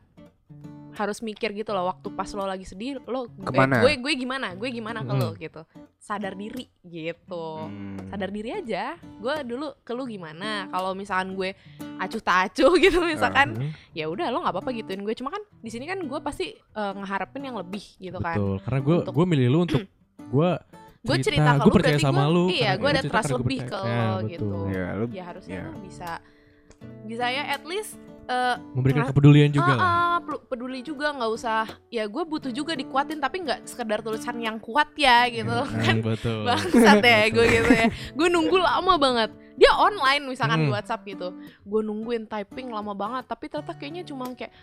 C: harus mikir gitu loh waktu pas lo lagi sedih lo eh,
B: Kemana?
C: gue gue gimana gue gimana ke lo
A: Mhm.
C: gitu sadar diri gitu
B: Hmm.
C: sadar diri aja gue dulu ke lu gimana kalau misalkan gue acuh tak acuh gitu misalkan
B: Ah.
A: Hmm,
C: ya udah lo nggak apa-apa gituin gue cuma kan di sini kan gue pasti eh, ngeharapin yang lebih gitu kan
A: betul karena gue
C: Untuk-
A: gue milih lu untuk gue
C: gue cerita
A: gue
C: ke lu
A: percaya
C: berarti
A: sama
C: gua-
A: lu
C: iya
A: karena lu
C: gue ada
A: cerita
C: trust
A: karena gua
C: lebih ke
A: percaya.
C: lo
A: Nah,
C: gitu
A: betul.
B: Ya, lu
C: ya harusnya
B: ya.
C: lu bisa bisa ya at least eh,
A: memberikan
C: Nah,
A: kepedulian juga
C: ah,
A: lah
C: ah, pelu- peduli juga nggak usah ya gue butuh juga dikuatin tapi nggak sekedar tulisan yang kuat ya gitu
A: Hmm, betul
C: bangsat ya gue gitu ya gue nunggu lama banget dia online misalkan di
A: Hmm.
C: WhatsApp gitu gue nungguin typing lama banget tapi ternyata kayaknya cuma kayak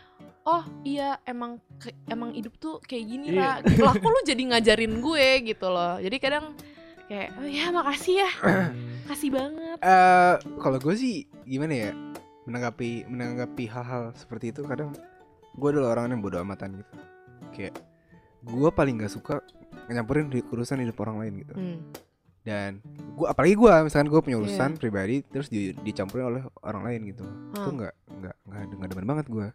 C: oh iya emang ke- emang hidup tuh kayak gini
B: Iya.
C: lah lah kok lu jadi ngajarin gue gitu loh jadi kadang kayak oh ya makasih ya kasih banget
B: Eh, kalau gue sih gimana ya menanggapi menanggapi hal-hal seperti itu kadang gue adalah orang yang bodoh amatan gitu. Kayak gue paling gak suka nyampurin di urusan hidup orang lain gitu.
C: hmm.
B: Dan gue apalagi gue misalkan gue
C: Iya.
B: punya urusan pribadi terus di- dicampurin oleh orang lain gitu. Itu
C: Hmm.
B: nggak nggak nggak nggak demen banget gue.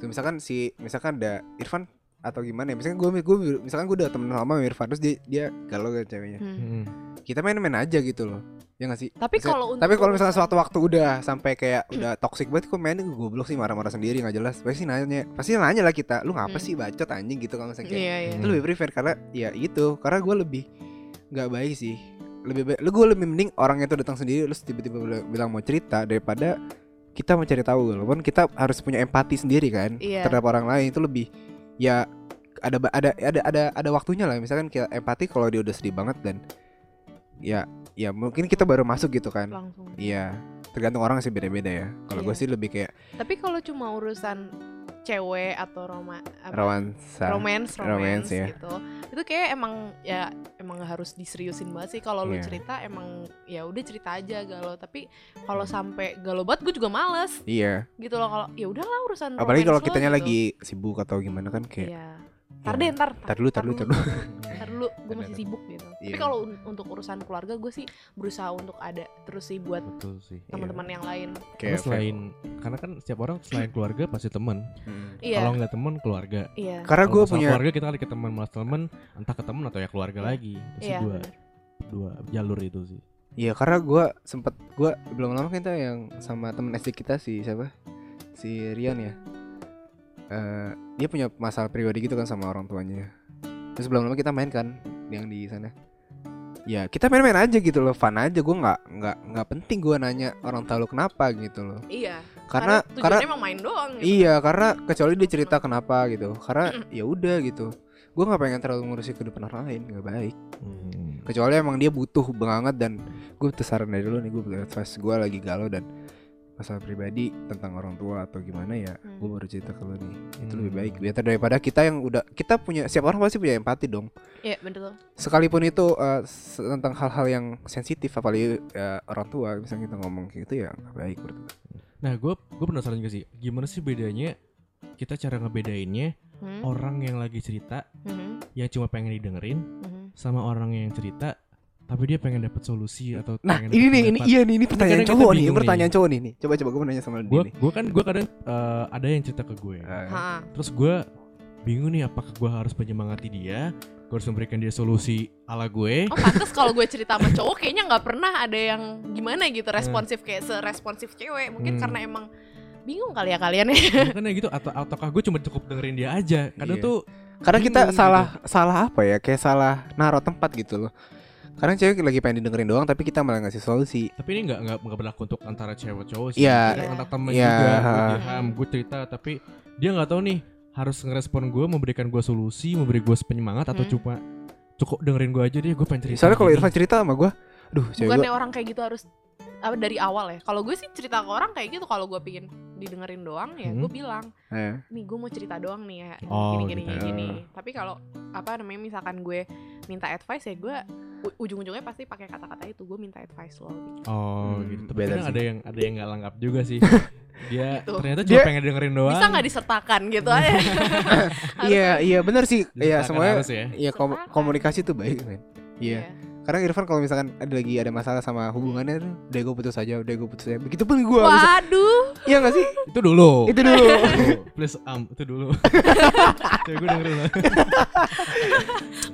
B: So, misalkan si misalkan ada Irfan atau gimana ya misalkan gue gue misalkan gue udah temen lama sama Irfan terus dia dia galau kan ceweknya
C: Hmm.
A: Hmm.
B: kita main-main aja gitu loh ya nggak sih
C: tapi
B: Maksudnya-
C: kalau untuk
B: tapi kalau misalnya
C: urusan-
B: suatu waktu udah sampai kayak udah toxic banget kok mainnya goblok sih marah-marah sendiri nggak jelas pasti nanya pasti nanya lah kita lu ngapa
C: Hmm.
B: sih bacot anjing gitu kalau misalnya kayak
C: iya iya
B: itu lebih prefer karena ya itu karena gue lebih nggak baik sih lebih baik lu gue lebih mending orangnya itu datang sendiri terus tiba-tiba bila- bilang mau cerita daripada kita mencari tahu walaupun kita harus punya empati sendiri kan
C: Iya.
B: terhadap orang lain itu lebih ya ada ba- ada ada ada ada waktunya lah misalkan kita empati kalau dia udah sedih banget dan ya ya mungkin kita baru masuk gitu kan
C: langsung
B: Iya, tergantung orang sih beda-beda ya. Kalau gue
C: Iya.
B: sih lebih kayak
C: tapi kalau cuma urusan cewek atau roma apa,
B: romansa.
C: romance
B: Romance,
C: romance,
B: ya.
C: gitu itu kayak emang ya emang harus diseriusin banget sih kalau lu
B: Iya.
C: cerita emang ya udah cerita aja galau tapi kalau sampai galau banget gue juga males
B: iya,
C: gitu loh kalau ya udahlah urusan
B: apalagi
C: romance
B: kalau
C: lo
B: kitanya
C: gitu.
B: lagi sibuk atau gimana kan kayak
C: iya tar deh ntar
B: Tar dulu, tar dulu, tar dulu.
C: ntar dulu gue
B: Bener.
C: masih sibuk gitu tapi
B: Iya.
C: kalau un- untuk urusan keluarga gue sih berusaha untuk ada terus sih buat
A: betul sih
B: Iya.
C: teman-teman yang lain
A: Karena
B: kayak
A: selain karena kan setiap orang selain keluarga pasti teman.
B: Hmm.
C: iya
A: Kalau nggak teman keluarga.
C: iya
B: Karena
A: Kalau
B: gue
A: sama
B: punya
A: keluarga kita lari ke teman, malah teman entah ke teman atau ya keluarga
C: Iya.
A: lagi. Itu sih
C: iya
A: dua
C: bener.
A: dua jalur itu sih.
B: Iya, karena gue sempet gue belum lama kita yang sama temen SD kita si siapa? Si Rian ya. Eh, dia punya masalah pribadi gitu kan sama orang tuanya. Terus belum lama kita main kan yang di sana. Ya kita main-main aja gitu loh, fun aja. Gue nggak nggak nggak penting gue nanya orang tahu lu kenapa gitu loh.
C: iya
B: Karena
C: tujuannya
B: karena
C: emang main doang gitu.
B: Iya, karena kecuali dia cerita kenapa gitu. Karena ya udah gitu. Gue nggak pengen terlalu ngurusin kehidupan orang lain, nggak baik.
A: Hmm.
B: Kecuali emang dia butuh banget dan gue butuh saran dari lu nih gue butuh advice gue lagi galau dan masalah pribadi tentang orang tua atau gimana ya
C: Hmm.
B: gue baru cerita ke lu nih itu
A: Hmm.
B: lebih baik biar daripada kita yang udah kita punya siap orang pasti punya empati dong
C: iya betul
B: sekalipun itu eh, se- tentang hal-hal yang sensitif apalagi eh, orang tua misalnya kita ngomong kayak gitu ya nggak baik menurut gue.
A: Nah, gue gue penasaran juga sih, gimana sih bedanya kita cara ngebedainnya
C: Hmm,
A: orang yang lagi cerita
C: mhm,
A: yang cuma pengen didengerin
C: mhm.
A: sama orang yang cerita tapi dia pengen dapat solusi atau
B: nah
A: pengen dapet
B: ini nih ini
A: pendapat.
B: iya nih ini pertanyaan
A: kadang kita
B: cowok nih ini
A: bingung
B: pertanyaan
A: nih.
B: cowok nih nih coba coba gue mau nanya sama lu
A: Gue
B: nih
A: gue kan gue kadang eh, ada yang cerita ke gue.
B: Eh,
C: Ha.
A: Terus gue bingung nih apakah gue harus menyemangati dia, gue harus memberikan dia solusi ala gue.
C: Oh pantes kalau gue cerita sama cowok kayaknya nggak pernah ada yang gimana gitu responsif kayak seresponsif cewek
A: Hmm.
C: mungkin karena emang bingung kali ya kalian ya
A: Bukannya gitu atau ataukah gue cuma cukup dengerin dia aja? Kadang
B: Iya.
A: tuh
B: Karena kita
A: Bingung
B: salah salah apa ya? Kayak salah naruh tempat gitu loh. Karena cewek lagi pengen didengerin doang tapi kita malah ngasih solusi.
A: tapi ini nggak nggak nggak berlaku untuk antara cewek cowok sih.
B: Iya.
A: Ini Antar temen
B: Iya.
A: juga. Gue paham, gue cerita tapi dia nggak tahu nih harus ngerespon gue, memberikan gue solusi, memberi gue penyemangat atau
C: Hmm.
A: cuma cukup dengerin gue aja deh gue pengen cerita. gitu.
B: Soalnya kalau
A: gini.
B: Irfan cerita sama gua, duh cewek gua
C: bukannya
B: eh."
C: orang kayak gitu harus apa dari awal ya kalau gue sih cerita ke orang kayak gitu kalau gue pingin didengerin doang ya
A: Hmm.
C: gue bilang
B: Eh,
C: nih gue mau cerita doang nih ya gini
A: Oh,
C: gini gini,
A: gitu.
C: gini, gini. tapi kalau apa namanya misalkan gue minta advice ya gue u- ujung-ujungnya pasti pakai kata-kata itu gue minta advice lo gitu.
A: Oh
B: Hmm,
A: gitu. Tapi
B: beda
A: kadang
B: sih.
A: ada yang ada yang nggak lengkap juga sih. Dia
C: Gitu.
A: ternyata cuma
B: Dia-
A: pengen dengerin doang.
C: bisa nggak disertakan gitu aja
B: Iya, iya benar sih.
A: Disertakan
B: Iya, semuanya
A: harus ya.
B: iya kom-
C: Sertakan.
B: komunikasi tuh baik, men. Iya. Karena Irfan kalau misalkan ada lagi ada masalah sama hubungannya tuh, udah gue putus aja, udah gue putus aja. Begitupun gue. bisa-
C: waduh
B: Iya gak sih?
A: Itu dulu.
B: Itu dulu.
A: Tuh, Please am itu dulu. Tuh, gue dengerin lah.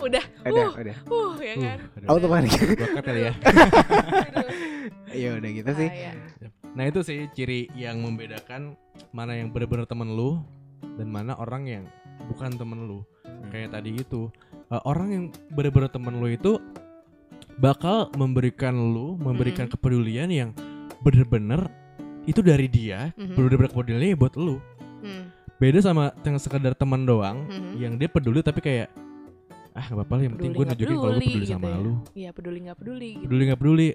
C: udah
B: Ada, ada.
C: uh ya kan
A: Uh,
B: Auto panik.
A: Bakat kali ya.
C: Aduh.
B: Iya udah gitu sih.
C: Ah, iya.
A: Nah itu sih ciri yang membedakan mana yang bener-bener temen lu dan mana orang yang bukan temen lu. Kayak tadi gitu. Eh, orang yang bener-bener temen lu itu bakal memberikan lu memberikan
C: Mm-mm.
A: kepedulian yang bener-bener itu dari dia,
C: Mhm.
A: bener-bener kepeduliannya ya buat lu.
C: Hmm,
A: Beda sama yang sekedar teman doang
C: Mhm.
A: yang dia peduli tapi kayak ah gak apa-apa lah, Iya, yang penting
C: Peduli
A: gue
C: nggak
A: nunjukin kalau gue
C: peduli
A: peduli
C: gitu
A: sama
C: ya.
A: lu.
C: iya peduli nggak peduli gitu
A: Peduli gak peduli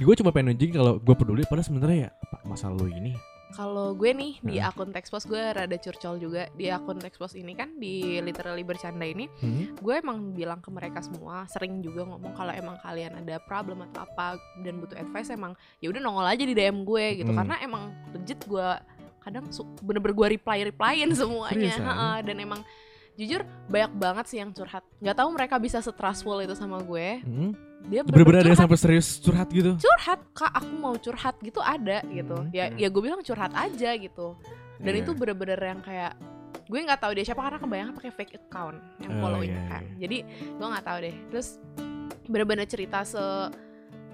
A: gue cuma pengen nunjukin kalau gue peduli padahal sebenarnya ya apa masalah lu ini
C: kalau gue nih di
A: Heeh.
C: akun Textpost gue rada curcol juga di akun Textpost ini kan di literally bercanda ini
A: Hmm.
C: gue emang bilang ke mereka semua sering juga ngomong kalau emang kalian ada problem atau apa dan butuh advice emang ya udah nongol aja di DM gue gitu
A: Hmm.
C: karena emang legit gue kadang su- bener-bener gue reply replyin semuanya
A: Seriusan?
C: Ha-ha, dan emang jujur banyak banget sih yang curhat nggak tahu mereka bisa setrustful itu sama gue
A: Hmm.
C: dia
A: Bener-bener ada yang
C: curhat,
A: sampai serius curhat gitu.
C: curhat kak aku mau curhat gitu ada gitu
A: Hmm.
C: ya ya gue bilang curhat aja gitu dan
B: Iya.
C: itu bener-bener yang kayak gue nggak tahu dia siapa karena kebanyakan pakai fake account yang
A: Oh,
C: following
A: iya,
C: kan
A: iya.
C: jadi gue nggak tahu deh terus bener-bener cerita se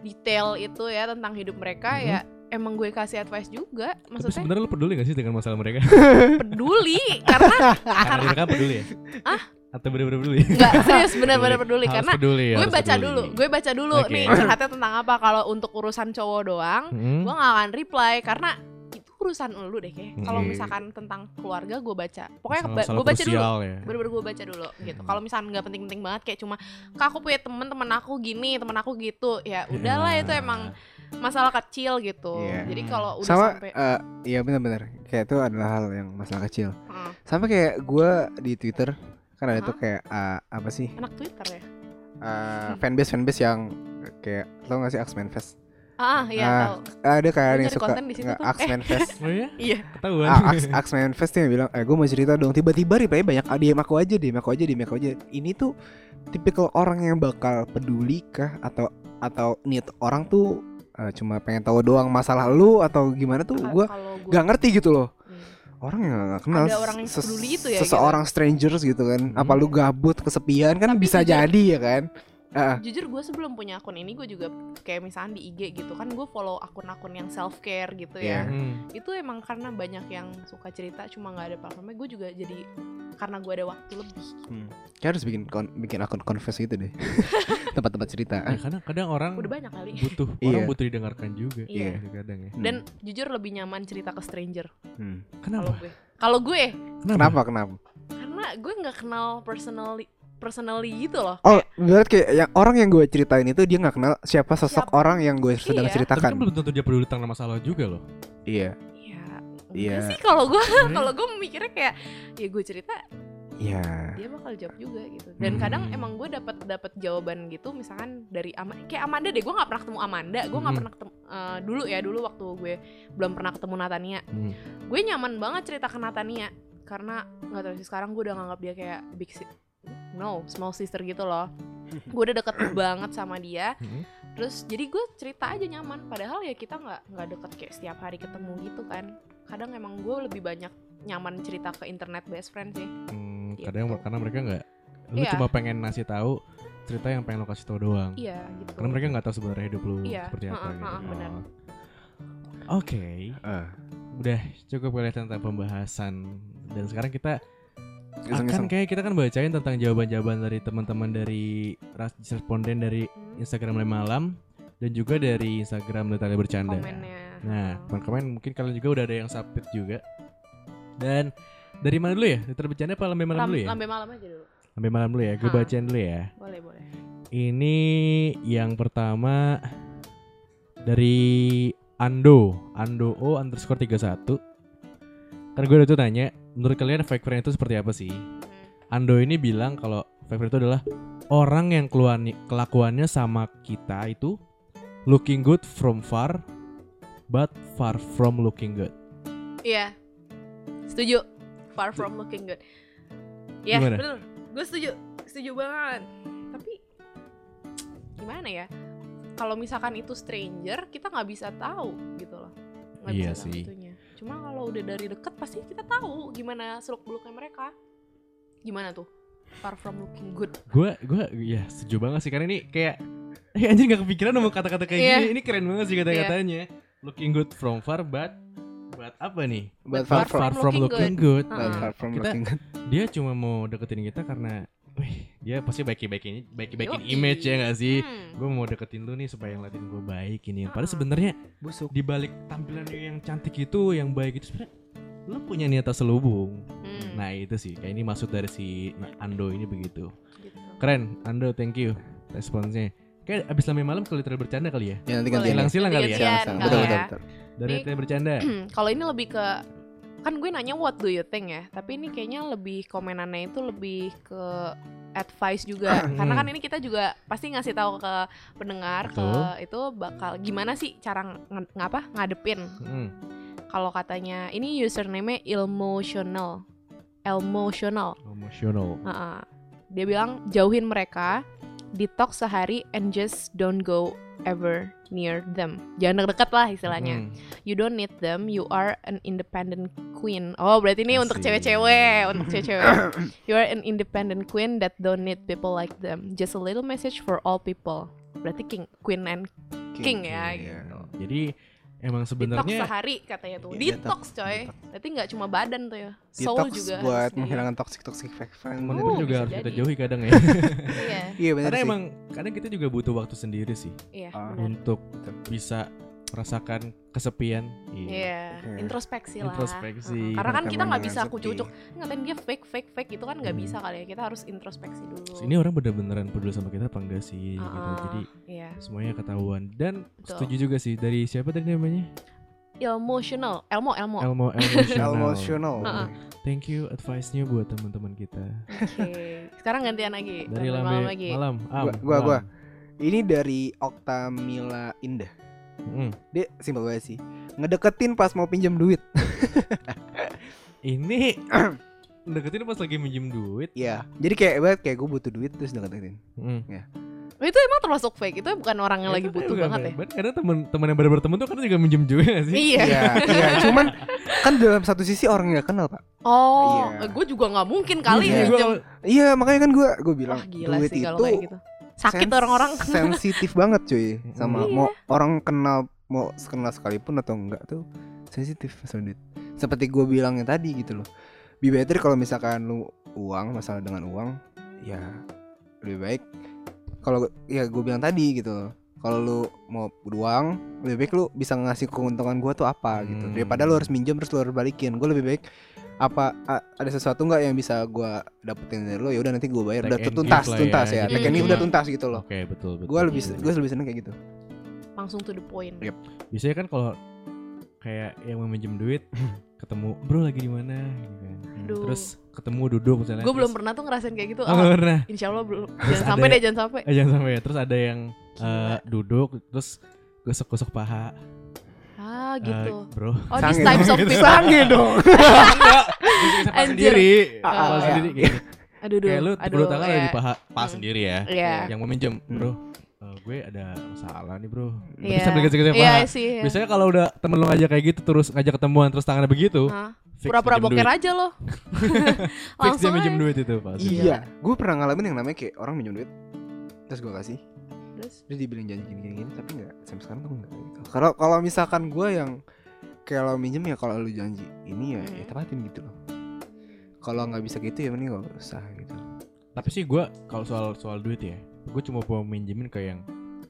C: detail itu ya tentang hidup mereka
A: Mhm.
C: ya emang gue kasih advice juga
A: Tapi
C: maksudnya
A: sebenarnya lu peduli gak sih dengan masalah mereka?
C: peduli karena
A: Karena mereka peduli ya?
C: Ah?
A: Atau bener-bener peduli?
C: nggak serius bener-bener peduli
A: Harus
C: karena
A: peduli,
C: gue
A: harus
C: baca
A: peduli.
C: dulu gue baca dulu
A: Oke.
C: nih curhatnya tentang apa kalau untuk urusan cowok doang
A: Hmm.
C: gue gak akan reply karena itu urusan lu deh kayak kalau
A: Hmm.
C: misalkan tentang keluarga gue baca pokoknya
A: Masalah-
C: ba-
A: masalah
C: gue baca dulu
A: krusial ya.
C: bener-bener gue baca dulu gitu
A: Hmm.
C: kalau misalkan nggak penting-penting banget kayak cuma kak aku punya temen temen aku gini temen aku gitu ya udahlah itu emang masalah kecil gitu
B: Iya.
C: jadi kalau udah
B: Sama
C: sampai
B: eh, iya benar-benar. Kayak itu adalah hal yang masalah kecil.
C: Heeh.
B: Sama kayak gue di Twitter kan ada
C: Hah?
B: tuh kayak eh, apa sih?
C: enak twitter ya
B: eh,
C: Hmm.
B: fanbase fanbase yang kayak lo gak sih Axeman Fest?
C: ah iya
B: Ah,
C: tahu
B: Ada kayak
C: Lu
B: yang
C: nyari
B: suka
C: konten di situ
B: nggak,
C: tuh.
B: Axeman Fest.
A: Oh iya?
C: iya
A: Ketahuan.
B: Ah, Ax, Axeman Fest tuh yang bilang, eh gue mau cerita dong. Tiba-tiba reply banyak, ah, DM aku aja, DM aku aja, DM aku aja. Ini tuh tipikal orang yang bakal peduli kah atau atau niat orang tuh eh, cuma pengen tahu doang masalah lu atau gimana tuh
C: Ka-
B: gue
C: kalau gue
B: gak ngerti gitu loh
C: Hmm.
B: orang yang gak kenal
C: Ada orang yang
B: ses-
C: peduli itu ya,
B: seseorang strangers gitu kan
A: Hmm.
B: apa lu gabut kesepian kan
C: Tapi
B: bisa
C: jujur-
B: jadi ya kan Ah,
C: jujur gue sebelum punya akun ini gue juga kayak misalnya di IG gitu kan gue follow akun-akun yang self care gitu
B: Iya.
C: ya
A: Hmm.
C: itu emang karena banyak yang suka cerita cuma nggak ada platformnya gue juga jadi karena gue ada waktu lebih
A: Hmm.
B: kayak harus bikin kon- bikin akun confess gitu deh tempat-tempat cerita
A: Ya, karena kadang orang
B: Hmm.
C: udah banyak kali
A: butuh orang
B: Iya.
A: butuh didengarkan juga.
C: Iya.
A: Kadang ya.
C: dan jujur lebih nyaman cerita ke stranger
B: Hmm.
C: kalau
A: Kenapa?
C: gue kalau gue
B: kenapa kenapa
C: karena gue nggak kenal personally personally gitu loh
B: oh berarti kayak yang orang yang gue ceritain itu dia nggak kenal siapa sosok
C: Siapa?
B: orang yang gue
A: Tapi
B: sedang
C: Iya.
A: kan
B: ceritakan
A: belum tentu dia peduli tentang masalah juga loh.
B: iya
C: iya
B: Iya.
C: enggak sih kalau gue kalau gue mikirnya kayak ya gue cerita
B: iya
C: dia bakal jawab juga gitu dan
A: Hmm.
C: kadang emang gue dapat dapat jawaban gitu misalkan dari Ama kayak Amanda deh gue nggak pernah ketemu Amanda gue
B: Hmm.
C: nggak
A: Mhm.
C: pernah ketemu eh, dulu ya dulu waktu gue belum pernah ketemu Natania
A: Hmm.
C: gue nyaman banget cerita ke Natania karena nggak tahu sih sekarang gue udah nganggap dia kayak big si- no small sister gitu loh gue udah deket banget sama dia
A: Hmm.
C: terus jadi gue cerita aja nyaman padahal ya kita nggak nggak deket kayak setiap hari ketemu gitu kan kadang emang gue lebih banyak nyaman cerita ke internet best friend sih
A: Hmm,
C: Gitu.
A: Kadang karena mereka nggak. Lu
C: Iya.
A: cuma pengen ngasih tahu cerita yang pengen lo kasih tahu doang.
C: iya gitu
A: Karena mereka nggak tahu sebenarnya hidup lu
C: Iya,
A: seperti apa
C: ha-ha,
A: gitu.
C: ha-ha, benar.
A: Oh. Oke, Ah,
B: Eh,
A: udah cukup kali tentang pembahasan dan sekarang kita akan
B: iseng-iseng.
A: kayak kita kan bacain tentang jawaban-jawaban dari teman-teman dari ras- responden dari
C: Hmm.
A: Instagram Lem Malam dan juga dari Instagram Detali Bercanda.
C: komennya Hmm.
A: Nah, kemarin mungkin kalian juga udah ada yang submit juga. Dan dari mana dulu ya? Detali Bercanda apa Lambe Malam
C: Lam-
A: dulu ya?
C: lambe malam aja dulu
A: Lambe Malam dulu ya. Gue
C: Ha.
A: bacain dulu ya.
C: boleh boleh
A: Ini yang pertama dari Ando, Ando O underscore 31. Kan gue waktu itu nanya, menurut kalian fake friend itu seperti apa sih?
C: Hmm.
A: Ando ini bilang kalau fake friend itu adalah orang yang keluani- kelakuannya sama kita itu looking good from far but far from looking good.
C: Iya. Setuju. Far from looking good. Ya,
A: Gimana?
C: bener. Gue setuju. Setuju banget. Tapi gimana ya? Kalau misalkan itu stranger, kita nggak bisa tahu gitu loh. Nggak
A: Iya
C: bisa tahu
A: sih.
C: itunya. Cuma kalau udah dari deket pasti kita tahu gimana seluk beluknya mereka. Gimana tuh? Far from looking good.
A: Gue gue ya setuju banget sih karena ini kayak eh anjir gak kepikiran sama kata-kata kayak
C: Iya.
A: gini. Ini keren banget sih kata-katanya. Looking good from far but but apa nih?
B: But far
C: Far from-
A: Far
B: from,
A: from looking good.
C: Heeh.
B: but
A: Iya.
B: far from
A: Kita-
B: looking good.
A: Dia cuma mau deketin kita karena wih, dia pasti baik-baikin baik-baikin
C: Yoi.
A: image ya gak sih?
C: Hmm.
A: gue mau deketin lu nih supaya ngeliatin gue baik ini padahal
C: Ah.
A: sebenarnya
B: Busuk.
A: di balik tampilan lu yang cantik itu yang baik itu sebenarnya lu punya niat terselubung
C: Hmm.
A: nah itu sih kayak ini maksud dari si Ando ini begitu
C: Gitu.
A: keren Ando thank you responsnya kayak abis lama malam kalau terlalu bercanda kali ya
B: Ya nanti
C: Boleh.
B: gantian. ya.
A: silang-silang kali ya
C: Gantian
B: Silang-silang.
C: kali
B: Betul
C: ya.
B: betul betul.
A: dari
C: Ini-
A: terlalu bercanda
C: kalau ini lebih ke kan gue nanya what do you think ya tapi ini kayaknya lebih komenannya itu lebih ke advice juga karena kan ini kita juga pasti ngasih tahu ke pendengar ke
A: Hmm. Betul.
C: itu bakal gimana sih cara ng- ngapa ngadepin
A: Hmm.
C: kalau katanya ini username-nya emotional emotional
A: emosional
C: Heeh. dia bilang jauhin mereka detox sehari and just don't go ever near them jangan deket-deket lah
A: Hmm.
C: istilahnya You don't need them, you are an independent queen. Oh, berarti ini untuk
A: Asik.
C: cewek-cewek, untuk cewek-cewek. you are an independent queen that don't need people like them. Just a little message for all people. Berarti king, queen and king,
B: Iya.
C: ya. gitu.
A: Hmm. jadi emang
C: Detox
A: sebenarnya
C: sehari katanya tuh.
B: Iya,
C: detox,
B: detox,
C: coy.
B: detox.
C: Berarti nggak cuma badan tuh ya. Soul
B: Detox
C: juga. Iya,
B: buat
C: harus di-
B: menghilangkan toxic toxic fake friend.
A: teman-teman
C: Oh,
A: juga
C: bisa
A: harus kita
C: jadi.
A: jauhi kadang ya
C: Iya,
B: Iya benar
A: karena
B: sih.
A: emang kadang kita juga butuh waktu sendiri sih
C: iya.
B: Ah.
C: benar.
A: untuk
B: Betul.
A: bisa merasakan kesepian iya
C: Iya,
B: Oke.
C: introspeksi lah.
A: Introspeksi.
C: Heeh. Karena kan
B: Kita
C: kita nggak bisa
B: mengenang sepi.
C: kucucuk ngatain dia fake, fake, fake gitu kan nggak
A: Hmm.
C: bisa kali ya. Kita harus introspeksi dulu.
A: ini orang bener-beneran peduli sama kita apa enggak sih gitu.
C: Heeh.
A: jadi
C: Iya.
A: semuanya ketahuan dan
C: Betul.
A: setuju juga sih dari siapa tadi namanya
C: emotional elmo elmo oke
A: Elmo Emotional,
B: Emotional.
C: Ah,
A: Heeh. thank you advice-nya buat teman-teman kita
C: sekarang gantian lagi
A: dari
C: Sampai
A: lambe
C: malam
A: malam, Ah,
C: lagi
A: Am, Am.
B: Gua- gua- gua. Ini dari Oktamila Indah.
A: Mm.
B: Dia simpel banget sih. Ngedeketin pas mau pinjam duit.
A: ini deketin pas lagi minjem duit
B: Iya. Jadi kayak banget kayak gue butuh duit terus deketin.
A: Mm.
C: itu emang termasuk fake itu bukan orang yang
A: Itu
C: lagi
A: kan
C: butuh
A: juga
C: banget ya
A: bener. Kadang teman-teman yang baru berteman tuh kadang juga minjem duit gak sih
C: iya
B: Iya, iya. Cuman kan dalam satu sisi orang nggak kenal pak.
C: oh
B: Iya.
C: gue juga nggak mungkin kali
B: Iya,
A: gua-
C: minjem
B: Iya makanya kan gue gue bilang
C: wah gila
B: duit
C: sih
B: itu
C: kalau kayak gitu sakit
B: sens-
C: orang-orang
B: sensitif banget cuy sama
C: Iya.
B: mau orang kenal mau kenal sekalipun atau enggak tuh sensitif masalah duit seperti gue bilangnya tadi gitu loh lebih better kalau misalkan lu uang masalah dengan uang ya lebih baik kalau ya gue bilang tadi gitu loh kalau lu mau uang lebih baik lu bisa ngasih keuntungan gua tuh apa gitu
A: Hmm.
B: daripada lu harus minjem terus lu harus balikin gue lebih baik apa a- ada sesuatu nggak yang bisa gua dapetin dari lo ya udah nanti gue bayar
A: Take
B: udah
A: and
B: tuntas
A: give lah
B: tuntas
A: ya,
B: ya,
A: jadi
B: take and give
C: cuma-
B: udah tuntas gitu loh
A: Oke betul betul.
B: gue lebih
A: betul.
B: gue lebih seneng kayak gitu
C: langsung to the point
B: Iya.
A: biasanya kan kalau kayak yang mau minjem duit ketemu bro lagi di mana gitu kan.
C: Aduh.
A: terus ketemu duduk misalnya
C: gue belum
A: terus-
C: pernah tuh ngerasain kayak gitu
A: Oh, nggak
C: ah,
A: pernah
C: insya allah belum
A: Terus
C: jangan sampai
A: ada-
C: deh jangan sampai
A: eh, jangan sampai ya terus ada yang eh,
C: Gila.
A: duduk terus gosok-gosok paha
C: ah
A: Eh,
C: gitu
A: bro
C: oh these
B: sange
C: types of
A: dong.
C: people
B: sange dong
A: Enggak, gosok-gosok paha
C: Anjir.
A: sendiri
B: Ah,
A: Paha
B: ah,
A: sendiri kayak, gitu.
C: aduh aduh
A: kayak lu
C: aduh,
A: bulu tangan ada
C: ya.
A: di paha paha
C: Hmm.
A: sendiri ya
C: Iya.
A: yang mau minjem
B: Hmm.
A: bro eh, gue ada masalah nih bro
C: Iya.
A: terus sambil gesek-gesek
C: Iya
A: paha
C: sih iya.
A: biasanya kalau udah temen lu ngajak kayak gitu terus ngajak ketemuan terus tangannya begitu
C: Ah,
A: fix
C: pura-pura
A: minjem
C: boker
A: duit.
C: aja loh
A: fix dia
C: langsung
A: minjem
C: aja
A: duit itu pasti
B: iya gue pernah ngalamin yang namanya kayak orang minjem duit terus gue kasih
C: Terus,
B: terus dibilang janji gini gini, gini, tapi nggak sampai sekarang tuh nggak gitu kalau kalau misalkan gue yang kayak lo minjem ya kalau lu janji ini ya ya
C: Hmm.
B: tepatin gitu loh kalau nggak bisa gitu ya mending gak usah gitu
A: Tapi sih gue kalau soal soal duit ya, gue cuma mau minjemin ke yang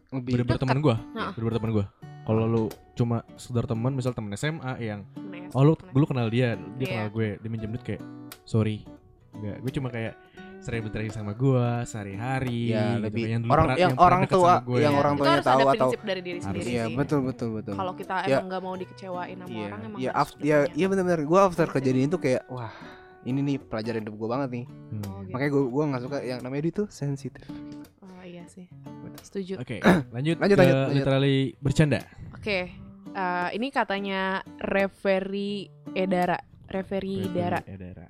B: lebih
A: bener-bener temen gue,
C: Heeh.
A: bener-bener temen gue. Kalau lu cuma sekedar teman, misal temen SMA yang,
C: nes,
A: oh lu
C: nes.
A: lu kenal dia, dia
C: Iya.
A: kenal gue, dia minjem duit kayak, sorry, nggak, gue cuma kayak
B: ya
A: gitu.
B: lebih
A: Yang dulu
B: orang
A: pernah-
B: yang,
A: pernah
B: orang
A: deket
B: tua
A: sama gua
B: yang
A: ya.
B: orang
C: Itu
B: tuanya
C: harus ada
B: tahu atau
C: prinsip dari diri
A: Harus.
C: sendiri
B: iya
C: sih.
B: betul betul betul
C: Kalau kita
B: Ya.
C: emang nggak mau dikecewain sama
B: Iya,
C: orang emang
B: ya,
C: harus
B: af-
C: gitu
B: ya,
C: udah punya.
B: iya benar-benar. Gue after
C: Prinsip.
B: kejadian itu kayak, wah, ini nih pelajaran hidup gue banget nih.
A: Hmm.
C: Oh, gitu.
B: Makanya gue gua nggak suka yang namanya itu sensitif.
C: Oh, iya sih. Setuju.
A: Oke, lanjut,
B: Lanjut,
A: ke
B: lanjut, lanjut.
A: literally bercanda.
C: Oke, eh, ini katanya Referi Edara. Referi Edara.
A: Ya, Dara.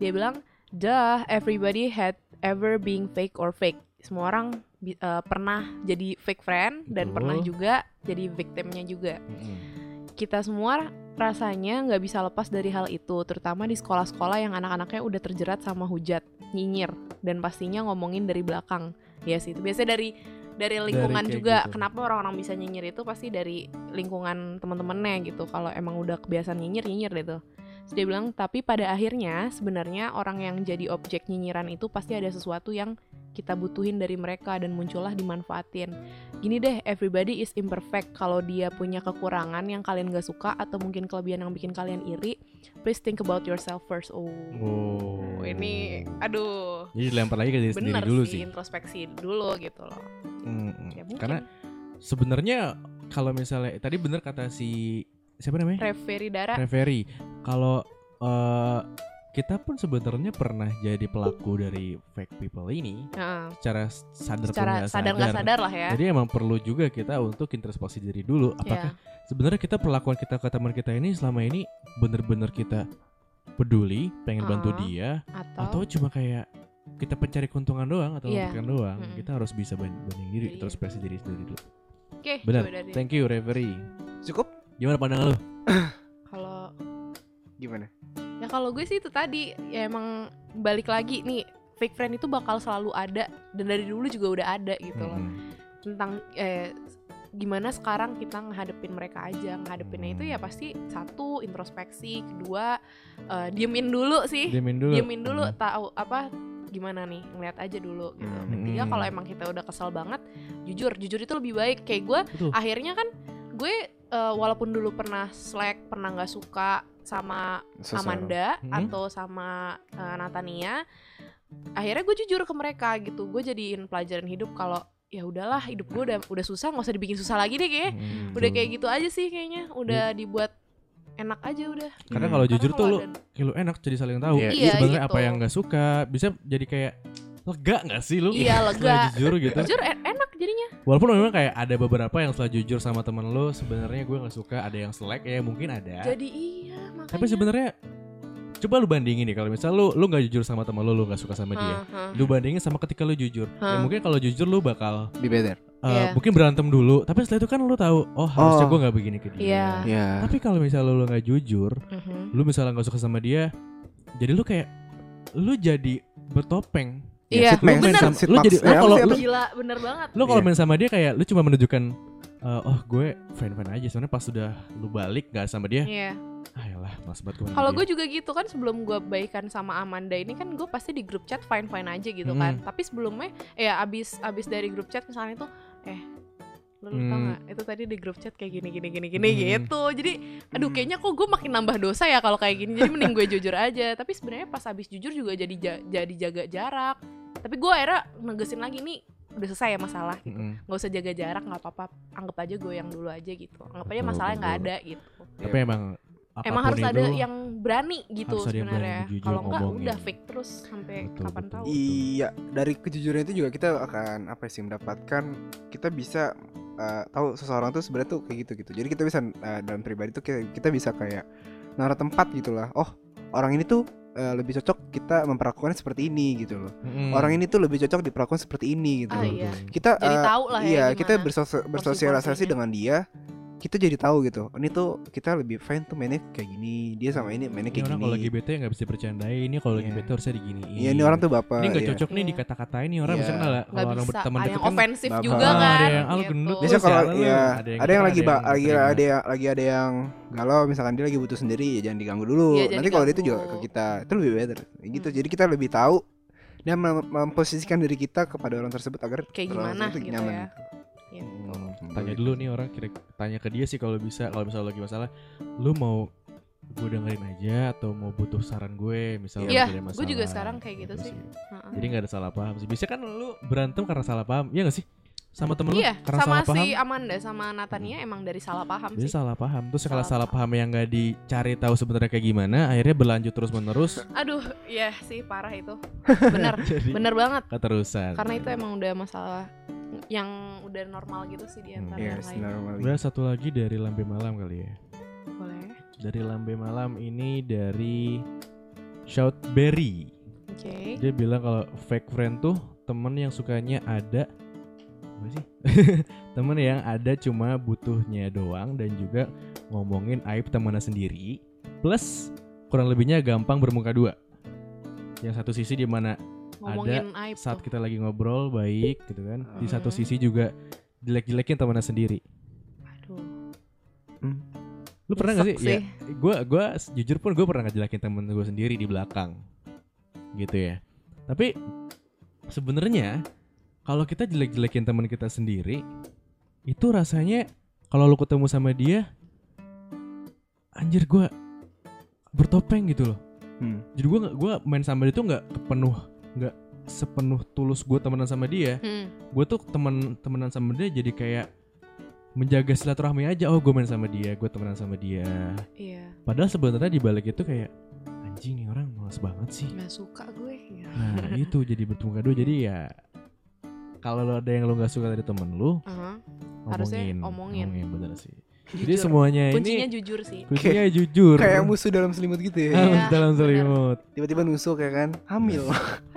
C: Dia bilang, dah everybody had ever being fake or fake. Semua orang bi- eh, pernah jadi fake friend dan
A: Betul.
C: pernah juga jadi victimnya juga.
A: Mm-mm.
C: Kita semua rasanya nggak bisa lepas dari hal itu, terutama di sekolah-sekolah yang anak-anaknya udah terjerat sama hujat, nyinyir, dan pastinya ngomongin dari belakang. Ya sih, itu biasanya dari dari lingkungan
A: kayak
C: juga.
A: gitu.
C: Kenapa orang-orang bisa nyinyir itu pasti dari lingkungan teman-temannya gitu. Kalau emang udah kebiasaan nyinyir, nyinyir deh tuh. Terus dia bilang, tapi pada akhirnya sebenarnya orang yang jadi objek nyinyiran itu pasti ada sesuatu yang kita butuhin dari mereka dan muncullah dimanfaatin. Gini deh, everybody is imperfect. Kalau dia punya kekurangan yang kalian gak suka atau mungkin kelebihan yang bikin kalian iri, please think about yourself first. Oh, Hmm.
A: Oh.
C: ini aduh.
A: Jadi dilempar lagi ke diri sendiri
C: Bener
A: dulu sih.
C: sih, introspeksi dulu gitu loh.
B: Mm-mm.
C: Ya mungkin.
A: Karena sebenarnya kalau misalnya tadi bener kata si siapa namanya?
C: Referi Dara,
A: Referee. Kalau eh, kita pun sebenarnya pernah jadi pelaku dari fake people ini
C: Heeh.
A: secara sadar
C: secara
A: pun nggak
C: sadar
A: sadar.
C: nggak sadar lah ya. Iya.
A: Jadi emang perlu juga kita untuk introspeksi diri dulu. Apakah sebenarnya kita perlakuan kita ke teman kita ini selama ini bener-bener kita peduli, pengen bantu
C: Uh-uh.
A: dia,
C: Ya,
A: atau
C: atau,
A: cuma kayak kita pencari keuntungan doang atau
C: Iya.
A: memikirkan doang?
C: Mm-mm.
A: Kita harus bisa ban- banding diri,
C: Iya.
A: introspeksi diri sendiri dulu.
C: oke,
A: Benar.
C: coba dari-
A: Thank you referee.
B: Cukup?
A: Gimana pandangan lu?
C: kalau
B: Gimana?
C: Ya kalau gue sih itu tadi ya emang balik lagi nih fake friend itu bakal selalu ada dan dari dulu juga udah ada gitu loh
A: Mm-mm.
C: tentang eh, gimana sekarang kita ngehadepin mereka aja ngehadepinnya itu ya pasti satu introspeksi kedua eh, diemin dulu sih
A: Diamin dulu.
C: diemin dulu
A: Mm.
C: tahu apa gimana nih ngeliat aja dulu gitu
B: Hmm.
C: ketiga
A: Hmm.
C: kalau emang kita udah kesel banget jujur jujur itu lebih baik kayak gue
A: Betul.
C: akhirnya kan gue eh, walaupun dulu pernah slack pernah nggak suka sama
B: Seseorang.
C: Amanda
A: Hmm.
C: atau sama uh, Natania akhirnya gue jujur ke mereka gitu gue jadiin pelajaran hidup kalau ya udahlah hidup gue udah udah susah nggak usah dibikin susah lagi deh kayaknya
A: Mm-mm.
C: Eh, udah kayak gitu aja sih kayaknya udah dibuat enak aja udah
A: Karena
B: Hmm.
A: Iya. kalau jujur
C: Karena
A: tuh
C: kalau
A: lu
C: ada-
A: kayak Ya lu enak jadi saling tahu.
B: Iya.
A: Iya,
C: Iya,
A: sebenarnya
C: gitu.
A: apa yang nggak suka bisa jadi kayak lega nggak sih lu?
C: Iya,
A: Setelah
C: lega.
A: jujur gitu.
C: jujur en- enak jadinya
A: Walaupun memang kayak ada beberapa yang setelah jujur sama temen lu sebenarnya gue nggak suka, ada yang selek ya mungkin ada.
C: jadi iya makanya
A: Tapi sebenarnya coba lu bandingin deh kalau misal lu lu nggak jujur sama temen lu, lu nggak suka sama dia.
C: Heeh.
A: Lu bandingin sama ketika lu jujur. Ya
C: Hah.
A: mungkin kalau jujur lu bakal
B: Be better.
A: uh,
C: Iya.
A: mungkin berantem dulu, tapi setelah itu kan lu tahu, oh harusnya
B: Oh.
A: gue nggak begini ke dia.
C: Iya.
B: Ya.
A: Tapi kalau misalnya lu nggak jujur,
C: Mhm.
A: lu misalnya nggak suka sama dia jadi lu kayak lu jadi bertopeng
C: Iya,
A: Lu main
C: bener.
A: sama-
B: Sit
A: lu
B: max.
A: jadi
B: Eh,
A: lu
B: apa
A: kalau
B: sih, apa
A: lu,
B: sih?
C: gila bener banget
A: lu kalau
B: Iya.
A: main sama dia kayak lu cuma menunjukkan eh, oh gue fan fan aja sebenarnya pas sudah lu balik gak sama dia
C: Iya.
A: ayolah mas banget gue
C: Kalau gue juga gitu kan sebelum gue baikan sama Amanda ini kan gue pasti di grup chat fine fine aja gitu kan. Tapi sebelumnya ya abis abis dari grup chat misalnya itu eh lu lu tau
A: Hmm.
C: gak itu tadi di grup chat kayak gini gini gini gini
A: Hmm.
C: gitu. Jadi aduh
B: Hmm.
C: kayaknya kok gue makin nambah dosa ya kalau kayak gini. Jadi mending gue jujur aja. Tapi sebenarnya pas abis jujur juga jadi ja- jadi jaga jarak. Tapi gue akhirnya negesin lagi nih udah selesai ya masalah gitu.
A: Mm-mm.
C: nggak usah jaga jarak nggak apa-apa anggak aja gue yang dulu aja gitu anggap aja
A: Betul,
C: masalahnya nggak
A: betul.
C: ada gitu
B: Iya.
A: tapi emang apapun
C: Emang harus
A: itu,
C: ada yang berani gitu
A: harus ada yang berani
C: sebenarnya.
A: jujur
C: Kalau enggak
A: ngomongin.
C: udah fake terus sampai
A: Betul,
C: kapan
A: betul.
C: tahu.
B: Iya, dari kejujuran itu juga kita akan apa ya sih mendapatkan kita bisa eh, tahu seseorang tuh sebenarnya tuh kayak gitu gitu. Jadi kita bisa eh, dalam pribadi tuh kita, kita bisa kayak naruh tempat gitulah. Oh, orang ini tuh eh, lebih cocok kita memperlakukannya seperti ini gitu loh.
A: Mm-mm.
B: Orang ini tuh lebih cocok diperlakukan seperti ini gitu.
C: Ah,
B: loh.
C: iya.
B: Kita
C: Jadi
B: eh,
C: tahu lah ya.
B: iya
C: gimana.
B: kita bersos- bersosialisasi
C: porsi-porsinya.
B: dengan dia kita jadi tahu gitu ini tuh kita lebih fine tuh mainnya kayak gini dia sama ini
A: ini
B: mainnya kayak
A: orang kalau lagi
B: gini
A: bete nggak bisa bercandain ini kalau lagi
B: Iya.
A: bete harusnya diginiin
B: Iya ini orang tuh bapak
A: ini nggak
B: iya.
A: cocok nih
C: Iya.
A: dikata-katain nih orang
B: Iya.
A: misalnya kalau-
C: Nggak
A: kalau orang
C: bisa.
A: berteman
C: Ada
A: deket
C: yang
A: kan
C: ofensif
B: baper.
C: juga
B: Ah,
C: kan.
A: ada yang, "Ah, lu gendut,
B: Biasanya kalau
A: Sialan lu,
B: ya
A: ada
B: ada
A: yang kita,
B: yang, lagi
A: ada yang
B: ba- lagi
A: terima.
B: ada yang lagi ada yang galau misalkan dia lagi butuh sendiri ya jangan diganggu dulu.
C: Iya, jangan
B: Nanti kalau dia itu juga
C: diganggu.
B: ke kita itu lebih better Ya gitu.
C: Hmm.
B: Jadi kita lebih tahu dan mem- memposisikan diri kita kepada orang tersebut agar
C: Kayak
B: orang
C: gimana
B: tersebut
C: gitu
B: nyaman.
C: ya. Iya.
B: Gitu.
A: Hmm, tanya dulu nih orang kira tanya ke dia sih kalau bisa kalau misalnya lagi masalah lu mau gue dengerin aja atau mau butuh saran gue misalnya
C: Iya,
A: kalau ada
C: gue juga
A: masalah,
C: sekarang kayak gitu sih. Heeh.
A: jadi nggak ada salah paham sih biasanya kan lu berantem karena salah paham iya gak sih sama temen
C: Iya,
A: lu karena
C: sama
A: salah paham Hmm.
C: si Amanda sama Natania emang dari salah paham
A: Jadi
C: sih.
A: salah paham terus
C: Salah
A: kalau salah
C: paham.
A: paham yang gak dicari tahu sebenarnya kayak gimana akhirnya berlanjut terus menerus
C: Aduh, iya sih parah itu. Bener,
A: jadi
C: bener banget.
A: keterusan
C: Karena itu emang udah masalah yang udah normal gitu sih di
A: Hmm.
C: antara yang
B: Yes,
C: lain.
B: normally.
A: Udah satu lagi dari lambe malam kali ya
C: Boleh.
A: dari lambe malam ini dari Shoutberry
C: Oke.
A: dia bilang kalau fake friend tuh temen yang sukanya ada apa sih temen yang ada cuma butuhnya doang dan juga ngomongin aib temannya sendiri plus kurang lebihnya gampang bermuka dua yang satu sisi di mana
C: Ngomongin aib
A: saat
C: tuh.
A: kita lagi ngobrol baik gitu kan di satu
C: Mhm.
A: sisi juga jelek-jelekin temannya sendiri
C: Aduh.
A: lu pernah gak sih,
C: nyesek
A: Ya, gue gua s- jujur pun gue pernah ngejelekin temen gue sendiri di belakang gitu ya tapi sebenarnya kalau kita jelek-jelekin teman kita sendiri itu rasanya kalau lu ketemu sama dia anjir gue bertopeng gitu loh
B: Hmm.
A: jadi gue gua main sama dia tuh nggak penuh nggak sepenuh tulus gue temenan sama dia
C: Hmm.
A: gue tuh temen temenan sama dia jadi kayak menjaga silaturahmi aja oh gue main sama dia gue temenan sama dia
C: Iya,
A: Padahal sebenarnya di balik itu kayak anjing nih orang males banget sih.
C: nggak suka gue. Ya.
A: Nah itu jadi bertemu kado jadi ya kalau lo ada yang lo nggak suka dari temen lo
C: Aha.
A: omongin,
C: Harusnya omongin.
A: bener sih. Jadi
C: Jujur.
A: semuanya Nah,
C: Kuncinya
A: ini
C: jujur sih.
A: kuncinya jujur.
B: Kayak musuh dalam selimut gitu ya.
A: Ah,
C: Iya,
A: dalam
C: bener.
A: selimut.
B: Tiba-tiba nusuk ya kan. Hamil.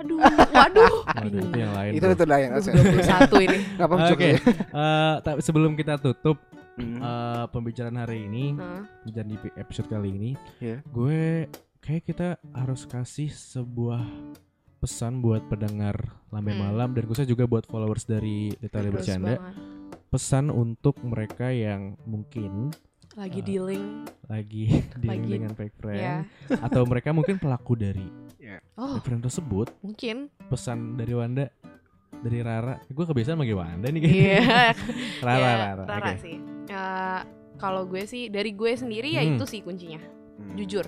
C: Aduh, waduh.
A: Waduh, itu yang lain.
B: itu
A: bro.
B: itu lah yang asal.
C: Satu ini.
B: Enggak apa-apa
A: Oke,
B: Cok, ya.
A: eh, tapi sebelum kita tutup
B: Hmm.
A: eh, pembicaraan hari ini,
C: Heeh.
A: dan di episode kali ini,
B: Iya.
A: gue kayak kita harus kasih sebuah pesan buat pendengar lambe
C: Hmm.
A: malam dan khususnya juga buat followers dari Detail
C: Terus
A: Bercanda.
C: banget.
A: Pesan untuk mereka yang mungkin
C: Lagi
A: Eh,
C: dealing
A: lagi dealing
C: Lagi.
A: dengan fake friend
C: ya.
A: atau mereka mungkin pelaku dari
C: Oh,
A: fake friend tersebut.
C: mungkin.
A: Pesan dari Wanda dari Rara, gue kebiasaan manggil Wanda nih kayaknya.
C: Iya.
A: Rara,
C: Ya,
A: Rara, oke.
C: sih. Ya, kalau gue sih dari gue sendiri ya
A: Hmm.
C: itu sih kuncinya.
B: Hmm.
C: Jujur.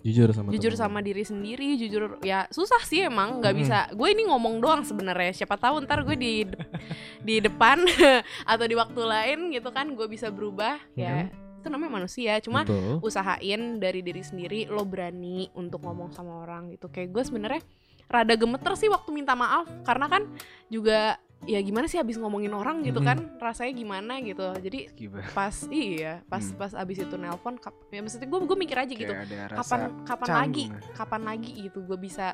A: Jujur sama
C: jujur
A: temen.
C: sama diri sendiri, jujur ya susah sih emang nggak
A: Mm-mm.
C: bisa. Gue ini ngomong doang sebenarnya. Siapa tahu ntar gue di de- di depan atau di waktu lain gitu kan gue bisa berubah ya.
A: Hmm.
C: Itu namanya manusia. Cuma
A: Betul.
C: usahain dari diri sendiri lo berani untuk ngomong sama orang gitu kayak gue sebenarnya rada gemeter sih waktu minta maaf karena kan juga ya gimana sih habis ngomongin orang gitu
A: Mhm.
C: kan rasanya gimana gitu jadi
B: Gimana?
C: pas iya pas
B: Hmm.
C: pas abis itu nelpon kap- ya maksudnya gue gue mikir aja gitu
B: Kayak ada rasa
C: kapan kapan
B: canggung
C: lagi
B: lah.
C: kapan lagi gitu gue bisa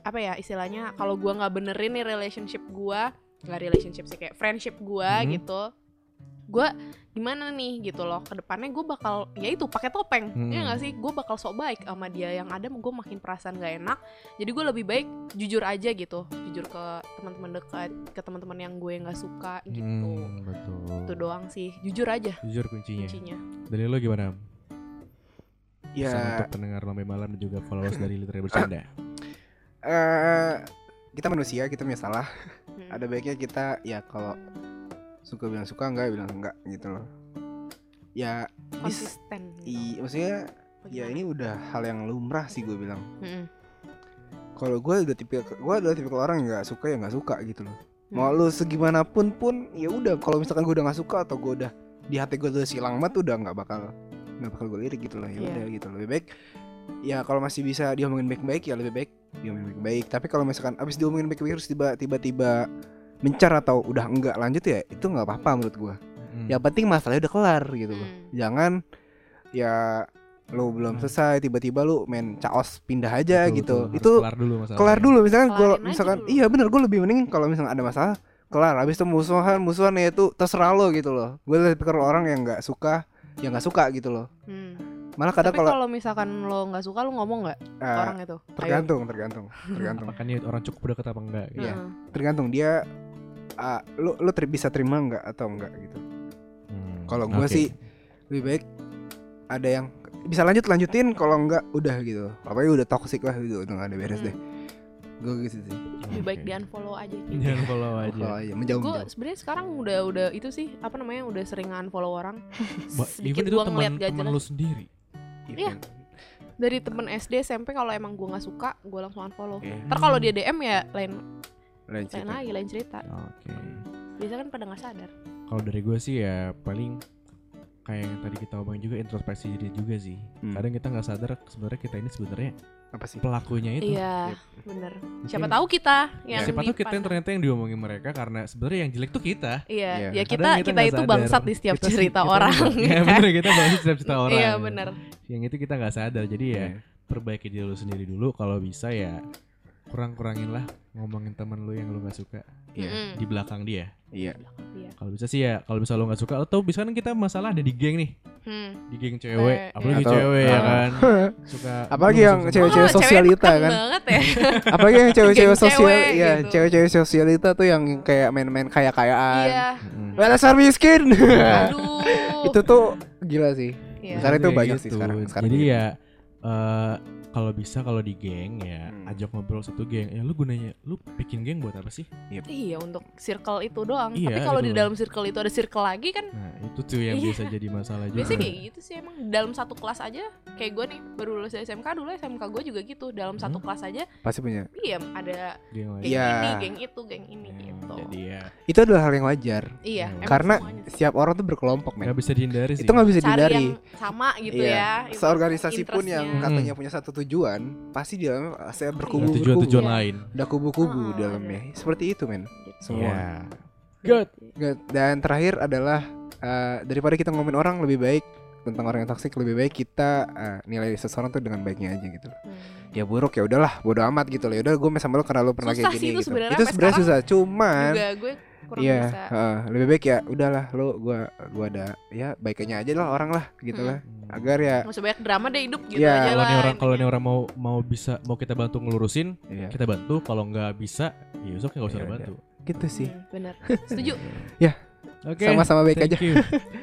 C: apa ya istilahnya kalau gue nggak benerin nih relationship gue nggak relationship sih kayak friendship gue
A: Mhm.
C: gitu gue gimana nih gitu loh kedepannya gue bakal ya itu pakai topeng
A: Mhm.
C: ya nggak sih gue bakal sok baik sama dia yang ada gue makin perasaan nggak enak jadi gue lebih baik jujur aja gitu jujur ke teman-teman dekat ke teman-teman yang gue nggak suka gitu
A: Hmm, betul.
C: itu doang sih jujur aja
A: Jujur kuncinya.
C: kuncinya
A: Dari lo gimana?
B: Ya,
A: Pesan untuk pendengar Lambe Malam dan juga followers dari Literary
B: Ah.
A: Bercanda.
B: eh, kita manusia, kita punya salah.
C: Hmm.
B: Ada baiknya kita ya kalau suka bilang suka, enggak bilang enggak gitu loh. Ya, is-
C: konsisten gitu.
B: i, maksudnya ya
C: Bagaimana?
B: ini udah hal yang lumrah sih gue bilang.
C: Mhm.
B: Kalau gue udah tipe gue adalah tipe orang yang nggak suka ya nggak suka gitu loh. Mau
C: Hmm.
B: lu segimanapun pun ya udah kalau misalkan gue udah nggak suka atau gue udah di hati gue udah silang banget udah nggak bakal nggak bakal gue lirik gitu loh ya
C: Iya.
B: udah gitu loh. lebih baik ya kalau masih bisa diomongin baik-baik ya lebih baik diomongin baik-baik tapi kalau misalkan abis diomongin baik-baik terus tiba- tiba-tiba mencar atau udah enggak lanjut ya itu nggak apa-apa menurut gue
A: Hmm.
B: yang penting masalahnya udah kelar gitu loh
C: Hmm.
B: jangan ya lu belum selesai tiba-tiba lu main caos pindah aja
A: Hmm. Betul,
B: gitu
A: betul. Harus
B: itu
A: kelar dulu masalahnya.
B: kelar dulu misalkan gue
C: Kelarin aja
B: misalkan
C: dulu.
B: iya bener gue lebih mending kalau misalkan ada masalah kelar habis itu musuhan musuhan ya itu terserah lo gitu loh gue lebih pikir orang yang nggak suka yang nggak suka gitu loh
C: Hmm.
B: malah kadang
C: Tapi
B: kalau
C: kalau misalkan lo nggak suka lo ngomong nggak
B: eh,
C: orang itu? Ayo.
B: tergantung tergantung tergantung
A: Apakah ini orang cukup dekat apa enggak? gitu.
B: Iya.
C: Heeh.
B: tergantung dia eh, lu lu ter- bisa terima nggak atau enggak gitu
A: Hmm,
B: kalau gue
A: oke.
B: sih lebih baik ada yang bisa lanjut lanjutin kalau enggak udah gitu apalagi udah toxic lah gitu udah nggak ada beres
C: Hmm.
B: deh gue gitu sih
C: Lebih baik
A: Oke.
C: di unfollow aja. Gitu.
A: Jangan follow aja.
B: kalau aja menjauh
C: gue
B: menjauh
C: sebenarnya sekarang udah udah itu sih apa namanya udah sering unfollow orang.
A: Ba- even
C: Sedikit
A: itu
C: gue
A: teman
C: ngeliat gak
A: teman
C: jelas.
A: lu sendiri.
C: Iya.
B: Iya.
C: dari temen SD SMP kalau emang gue nggak suka gue langsung
A: Iya.
C: unfollow ntar kalau dia DM ya lain
B: Lain
C: lain
B: cerita.
C: lagi lain cerita
A: Oke.
C: biasanya kan pada nggak sadar
A: Kalau dari gue sih ya paling kayak yang tadi kita omongin juga introspeksi diri juga sih.
B: Hmm.
A: Kadang kita nggak sadar sebenarnya kita ini sebenarnya
B: Apa sih?
A: pelakunya itu.
C: iya bener
A: Gitu. Mungkin- Ya,
C: siapa tahu kita yang
A: Siapa tahu kita yang
C: dipan-
A: ternyata yang diomongin mereka karena sebenarnya yang jelek tuh kita.
C: iya
B: Iya.
A: Kadang
C: ya kita kita,
A: nggak
C: itu
A: sadar.
C: bangsat di setiap
A: Kita sih-
C: cerita
A: kita
C: orang ya kan?
A: nggak- Iya bener kita bangsat di setiap cerita orang.
C: iya bener Iya.
A: Yang itu kita nggak sadar. Jadi
B: Iya.
A: ya perbaiki diri lu sendiri dulu. Kalau bisa ya kurang-kurangin lah ngomongin temen lu yang lu nggak suka Ya,
B: Iya.
C: Mm-mm.
A: di belakang dia.
B: Iya.
C: Iya.
A: Kalau bisa sih ya kalau bisa lu nggak suka atau bisa kan kita masalah ada di geng nih
C: Hmm.
A: di geng cewek
C: Eh,
A: apalagi
B: Atau-
A: cewek ya
B: ah.
A: kan suka
B: Apalagi
A: lu
B: yang
A: suka-
B: Cewek-cewek
C: Oh,
B: sosialita
C: keren
B: kan?
C: banget ya.
B: Apalagi yang cewek-cewek
C: Geng cewek
B: sosial, ya
C: gitu.
B: cewek-cewek sosialita tuh yang kayak main-main kaya-kayaan.
C: Iya.
A: Mm-mm.
B: Well, dasar miskin.
C: Aduh.
B: itu tuh gila sih.
C: Iya.
B: Sekarang itu
A: Kayak
B: banyak sih sekarang. Sekarang
A: jadi
B: gitu.
A: ya eh, kalau bisa kalau di geng ya
B: Hmm.
A: ajak ngobrol satu geng ya lu gunanya lu bikin geng buat apa sih
C: Iya untuk circle itu doang.
A: Iya,
C: Tapi kalau
A: gitu
C: di
A: loh.
C: dalam circle itu ada circle lagi kan
A: nah itu tuh yang
C: Iya.
A: bisa jadi masalah juga
C: biasanya kayak gitu sih emang dalam satu kelas aja kayak gue nih baru lulus dari SMK dulu SMK gue juga gitu dalam satu
A: Hmm.
C: kelas aja
B: Pasti punya.
C: iya ada
A: geng lain
C: geng
B: Iya.
C: ini geng itu geng ini
A: Ya,
C: gitu.
A: jadi ya
B: Itu adalah hal yang wajar.
C: iya.
A: Iya.
C: emang
B: Karena
C: semuanya.
B: setiap orang tuh berkelompok, men.
A: nggak bisa dihindari sih
B: Itu nggak bisa
C: cari
B: dihindari.
C: yang sama gitu
B: Iya.
C: ya.
B: Seorganisasi pun yang kan
C: interestnya.
B: katanya punya satu tujuan, pasti di dalamnya saya
A: Ada
B: berkubu-kubu.
A: tujuan-tujuan
C: Iya.
A: lain
B: Ada kubu-kubu
C: Ah,
B: di dalamnya. Seperti itu, men.
C: Gitu.
B: Semua.
A: Iya. Good.
B: Good. Dan terakhir adalah eh, daripada kita ngomongin orang lebih baik tentang orang yang toksik lebih baik kita eh, nilai seseorang tuh dengan baiknya aja gitu. loh.
C: Hmm.
B: Ya buruk ya udahlah, bodo amat gitu loh. Ya udah gue sama lo karena lo pernah
C: Susah
B: kayak
C: sih
B: gini
C: itu
B: gitu.
C: sebenarnya,
B: Itu
C: sampai
B: sebenarnya susah,
C: sekarang
B: cuman
C: juga gue kurang
B: Kan? Iya,
C: bisa
B: heeh, lebih baik ya udahlah lo gua gua ada ya baiknya aja lah orang lah gitu lah.
C: Hmm.
B: Agar ya
C: Nggak usah banyak drama deh hidup gitu
B: Iya.
C: aja
A: kalau
C: lah
A: nih orang kalau nih
C: intinya.
A: orang mau mau bisa mau kita bantu ngelurusin
B: ya,
A: kita bantu kalau nggak bisa ya besok nggak usah
B: Iya,
A: bantu
B: gitu sih.
C: Hmm, bener setuju
A: oke
B: Sama-sama baik
A: Thank
B: aja.
A: you.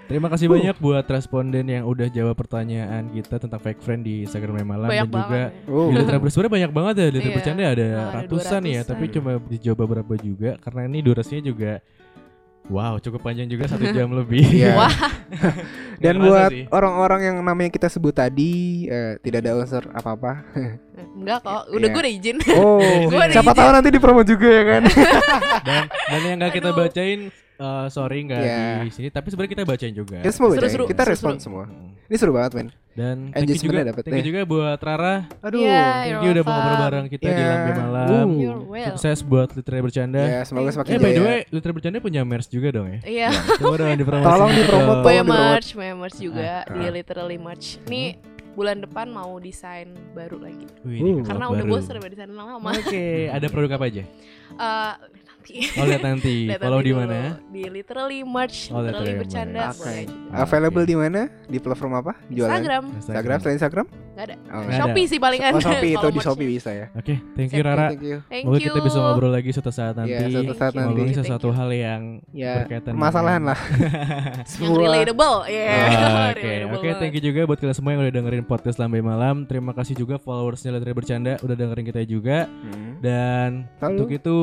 A: Terima kasih banyak buat responden yang udah jawab pertanyaan kita tentang fake friend di Instagram malam dan
C: banyak
A: juga
C: banget ya.
B: Oh,
A: di Litera Beres. sebenarnya banyak banget ya di Litera
C: Iya.
A: bercanda ada
C: Oh, ada
A: ratusan ya,
C: 200-an.
A: tapi cuma dijawab beberapa juga karena ini durasinya juga wow cukup panjang juga satu jam lebih.
B: Iya.
C: Wah.
A: Nggak
B: Dan buat
A: terasa sih.
B: orang-orang yang namanya kita sebut tadi eh, tidak ada unsur apa-apa.
C: Hmm, enggak kok udah
B: Iya.
C: gue udah izin
B: Oh,
C: Gua ada
B: siapa
C: izin.
B: tahu nanti dipromo juga ya kan.
A: dan dan yang nggak kita
C: Aduh.
A: bacain eh, sorry nggak
B: Iya.
A: di sini tapi sebenarnya kita bacain juga.
B: Kita semua
C: Seru,
B: bacain.
C: seru,
B: Ya, kita
C: seru,
B: respon
C: seru.
B: semua.
A: Mm.
B: Ini seru banget men.
A: Dan thank you juga,
B: Engagement-nya dapet
A: thank you
B: ya.
A: juga buat Rara,
B: Aduh.
C: Iya,
A: thank
C: you're
A: you udah mau
C: welcome.
A: ngobrol bareng kita di
B: Iya.
A: Lambe Malam.
B: Uh.
C: You're well.
A: Hmm, Sukses buat Litera Bercanda.
B: Ya, semoga
C: Thank
B: semakin
A: Eh
C: you.
A: by the
B: jaya.
A: way, Litera Bercanda punya merch juga dong ya?
C: Iya,
A: Coba dong dipromosi.
B: Tolong dipromo, tolong.
C: punya
B: di rumah.
C: merch, punya merch juga
B: Ah,
C: di
B: ah.
C: literally merch.
A: Hmm.
C: Nih bulan depan mau desain baru lagi.
A: Wih,
B: Uh.
A: ini
C: Karena
A: kelab
C: udah
A: baru.
C: bosan sama desain lama.
A: Oke, ada produk apa aja?
C: Eh, nanti.
A: Oh, lihat nanti.
C: Lihat
A: Follow
C: nanti
A: di
C: dulu.
A: mana?
C: Di literally merch,
A: Oh,
C: literally
A: Literally
C: bercanda
B: Merch.
C: boleh
B: Oke.
C: juga.
A: Ah,
B: Available
A: oke.
B: di mana? Di platform apa? Jualan.
C: Instagram,
B: Instagram selain Instagram?
C: nggak ada.
B: Oh,
A: Nggak ada.
C: Shopee sih palingan.
B: Oh, Shopee itu
C: kalau
B: di
C: merch.
B: Shopee bisa ya.
A: Oke, thank you Rara.
B: Thank you.
C: Thank
A: Semoga
C: you.
A: kita bisa ngobrol lagi suatu saat nanti.
B: Iya, suatu saat
C: Thank you,
B: nanti.
A: Ngomongin
C: thank you,
A: sesuatu hal yang
B: Ya,
A: berkaitan
B: permasalahan lah.
C: yang
B: Semua.
C: relatable. Ya.
A: Ah, Oke,
C: Relatable
A: oke,
C: banget.
A: thank you juga buat kalian semua yang udah dengerin podcast Lambe Malam. Terima kasih juga followersnya Literally Bercanda udah dengerin kita juga.
B: Hmm.
A: Dan
B: Lalu.
A: untuk itu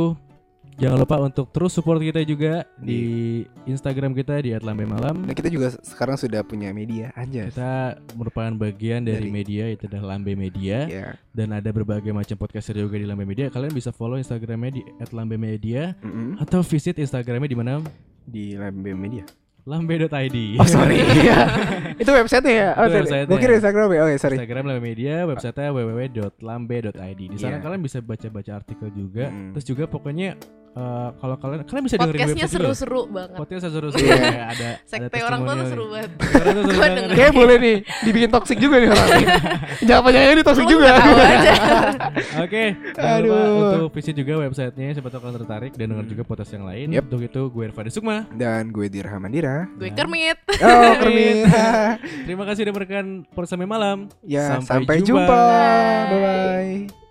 A: jangan lupa untuk terus support kita juga di Instagram kita di @lambemalam.
B: Nah, kita juga sekarang sudah punya media aja.
A: Kita merupakan bagian dari,
B: Dari-
A: media itu adalah Lambe Media
B: Ya.
A: dan ada berbagai macam podcaster juga di Lambe Media. Kalian bisa follow Instagramnya di @lambemedia
B: Mm-mm.
A: atau visit Instagramnya di mana
B: Di Lambe Media.
A: lambe.id.
B: Oh, sorry. itu website ya? Oh,
A: Itu
B: sorry.
A: website-nya.
B: Gue kira Instagram ya. Oke, sorry.
A: Instagram Lambe Media, website-nya www.lambe.id. Di sana
B: Iya.
A: kalian bisa baca-baca artikel juga.
B: Mm.
A: Terus juga pokoknya eh, kalau kalian kalian bisa dengerin
C: Podcastnya
A: website juga.
C: seru-seru banget.
A: Podcast seru-seru
B: Iya.
A: ya, ada ya?
C: Sekte orang tua tuh
A: testimonialnya.
C: seru banget.
A: Orang tuh seru
C: Gua
A: banget.
C: denger.
B: Kayaknya boleh nih dibikin toxic juga nih orang. Jangan-jangan ini toxic
C: Lu
B: juga.
C: nggak tahu aja.
A: Oke, jangan lupa
B: Aduh.
A: untuk visit juga websitenya siapa tahu kalian tertarik dan denger
B: Hmm.
A: juga podcast yang lain.
B: Yep.
A: Untuk itu gue Irfan Sukma.
B: Dan gue Dirham Andira.
C: Gue Kermit.
B: Oh, Kermit.
A: Terima kasih udah merekan podcast sampai malam.
B: ya, sampai,
A: Sampai
B: jumpa.
A: jumpa.
B: Bye-bye.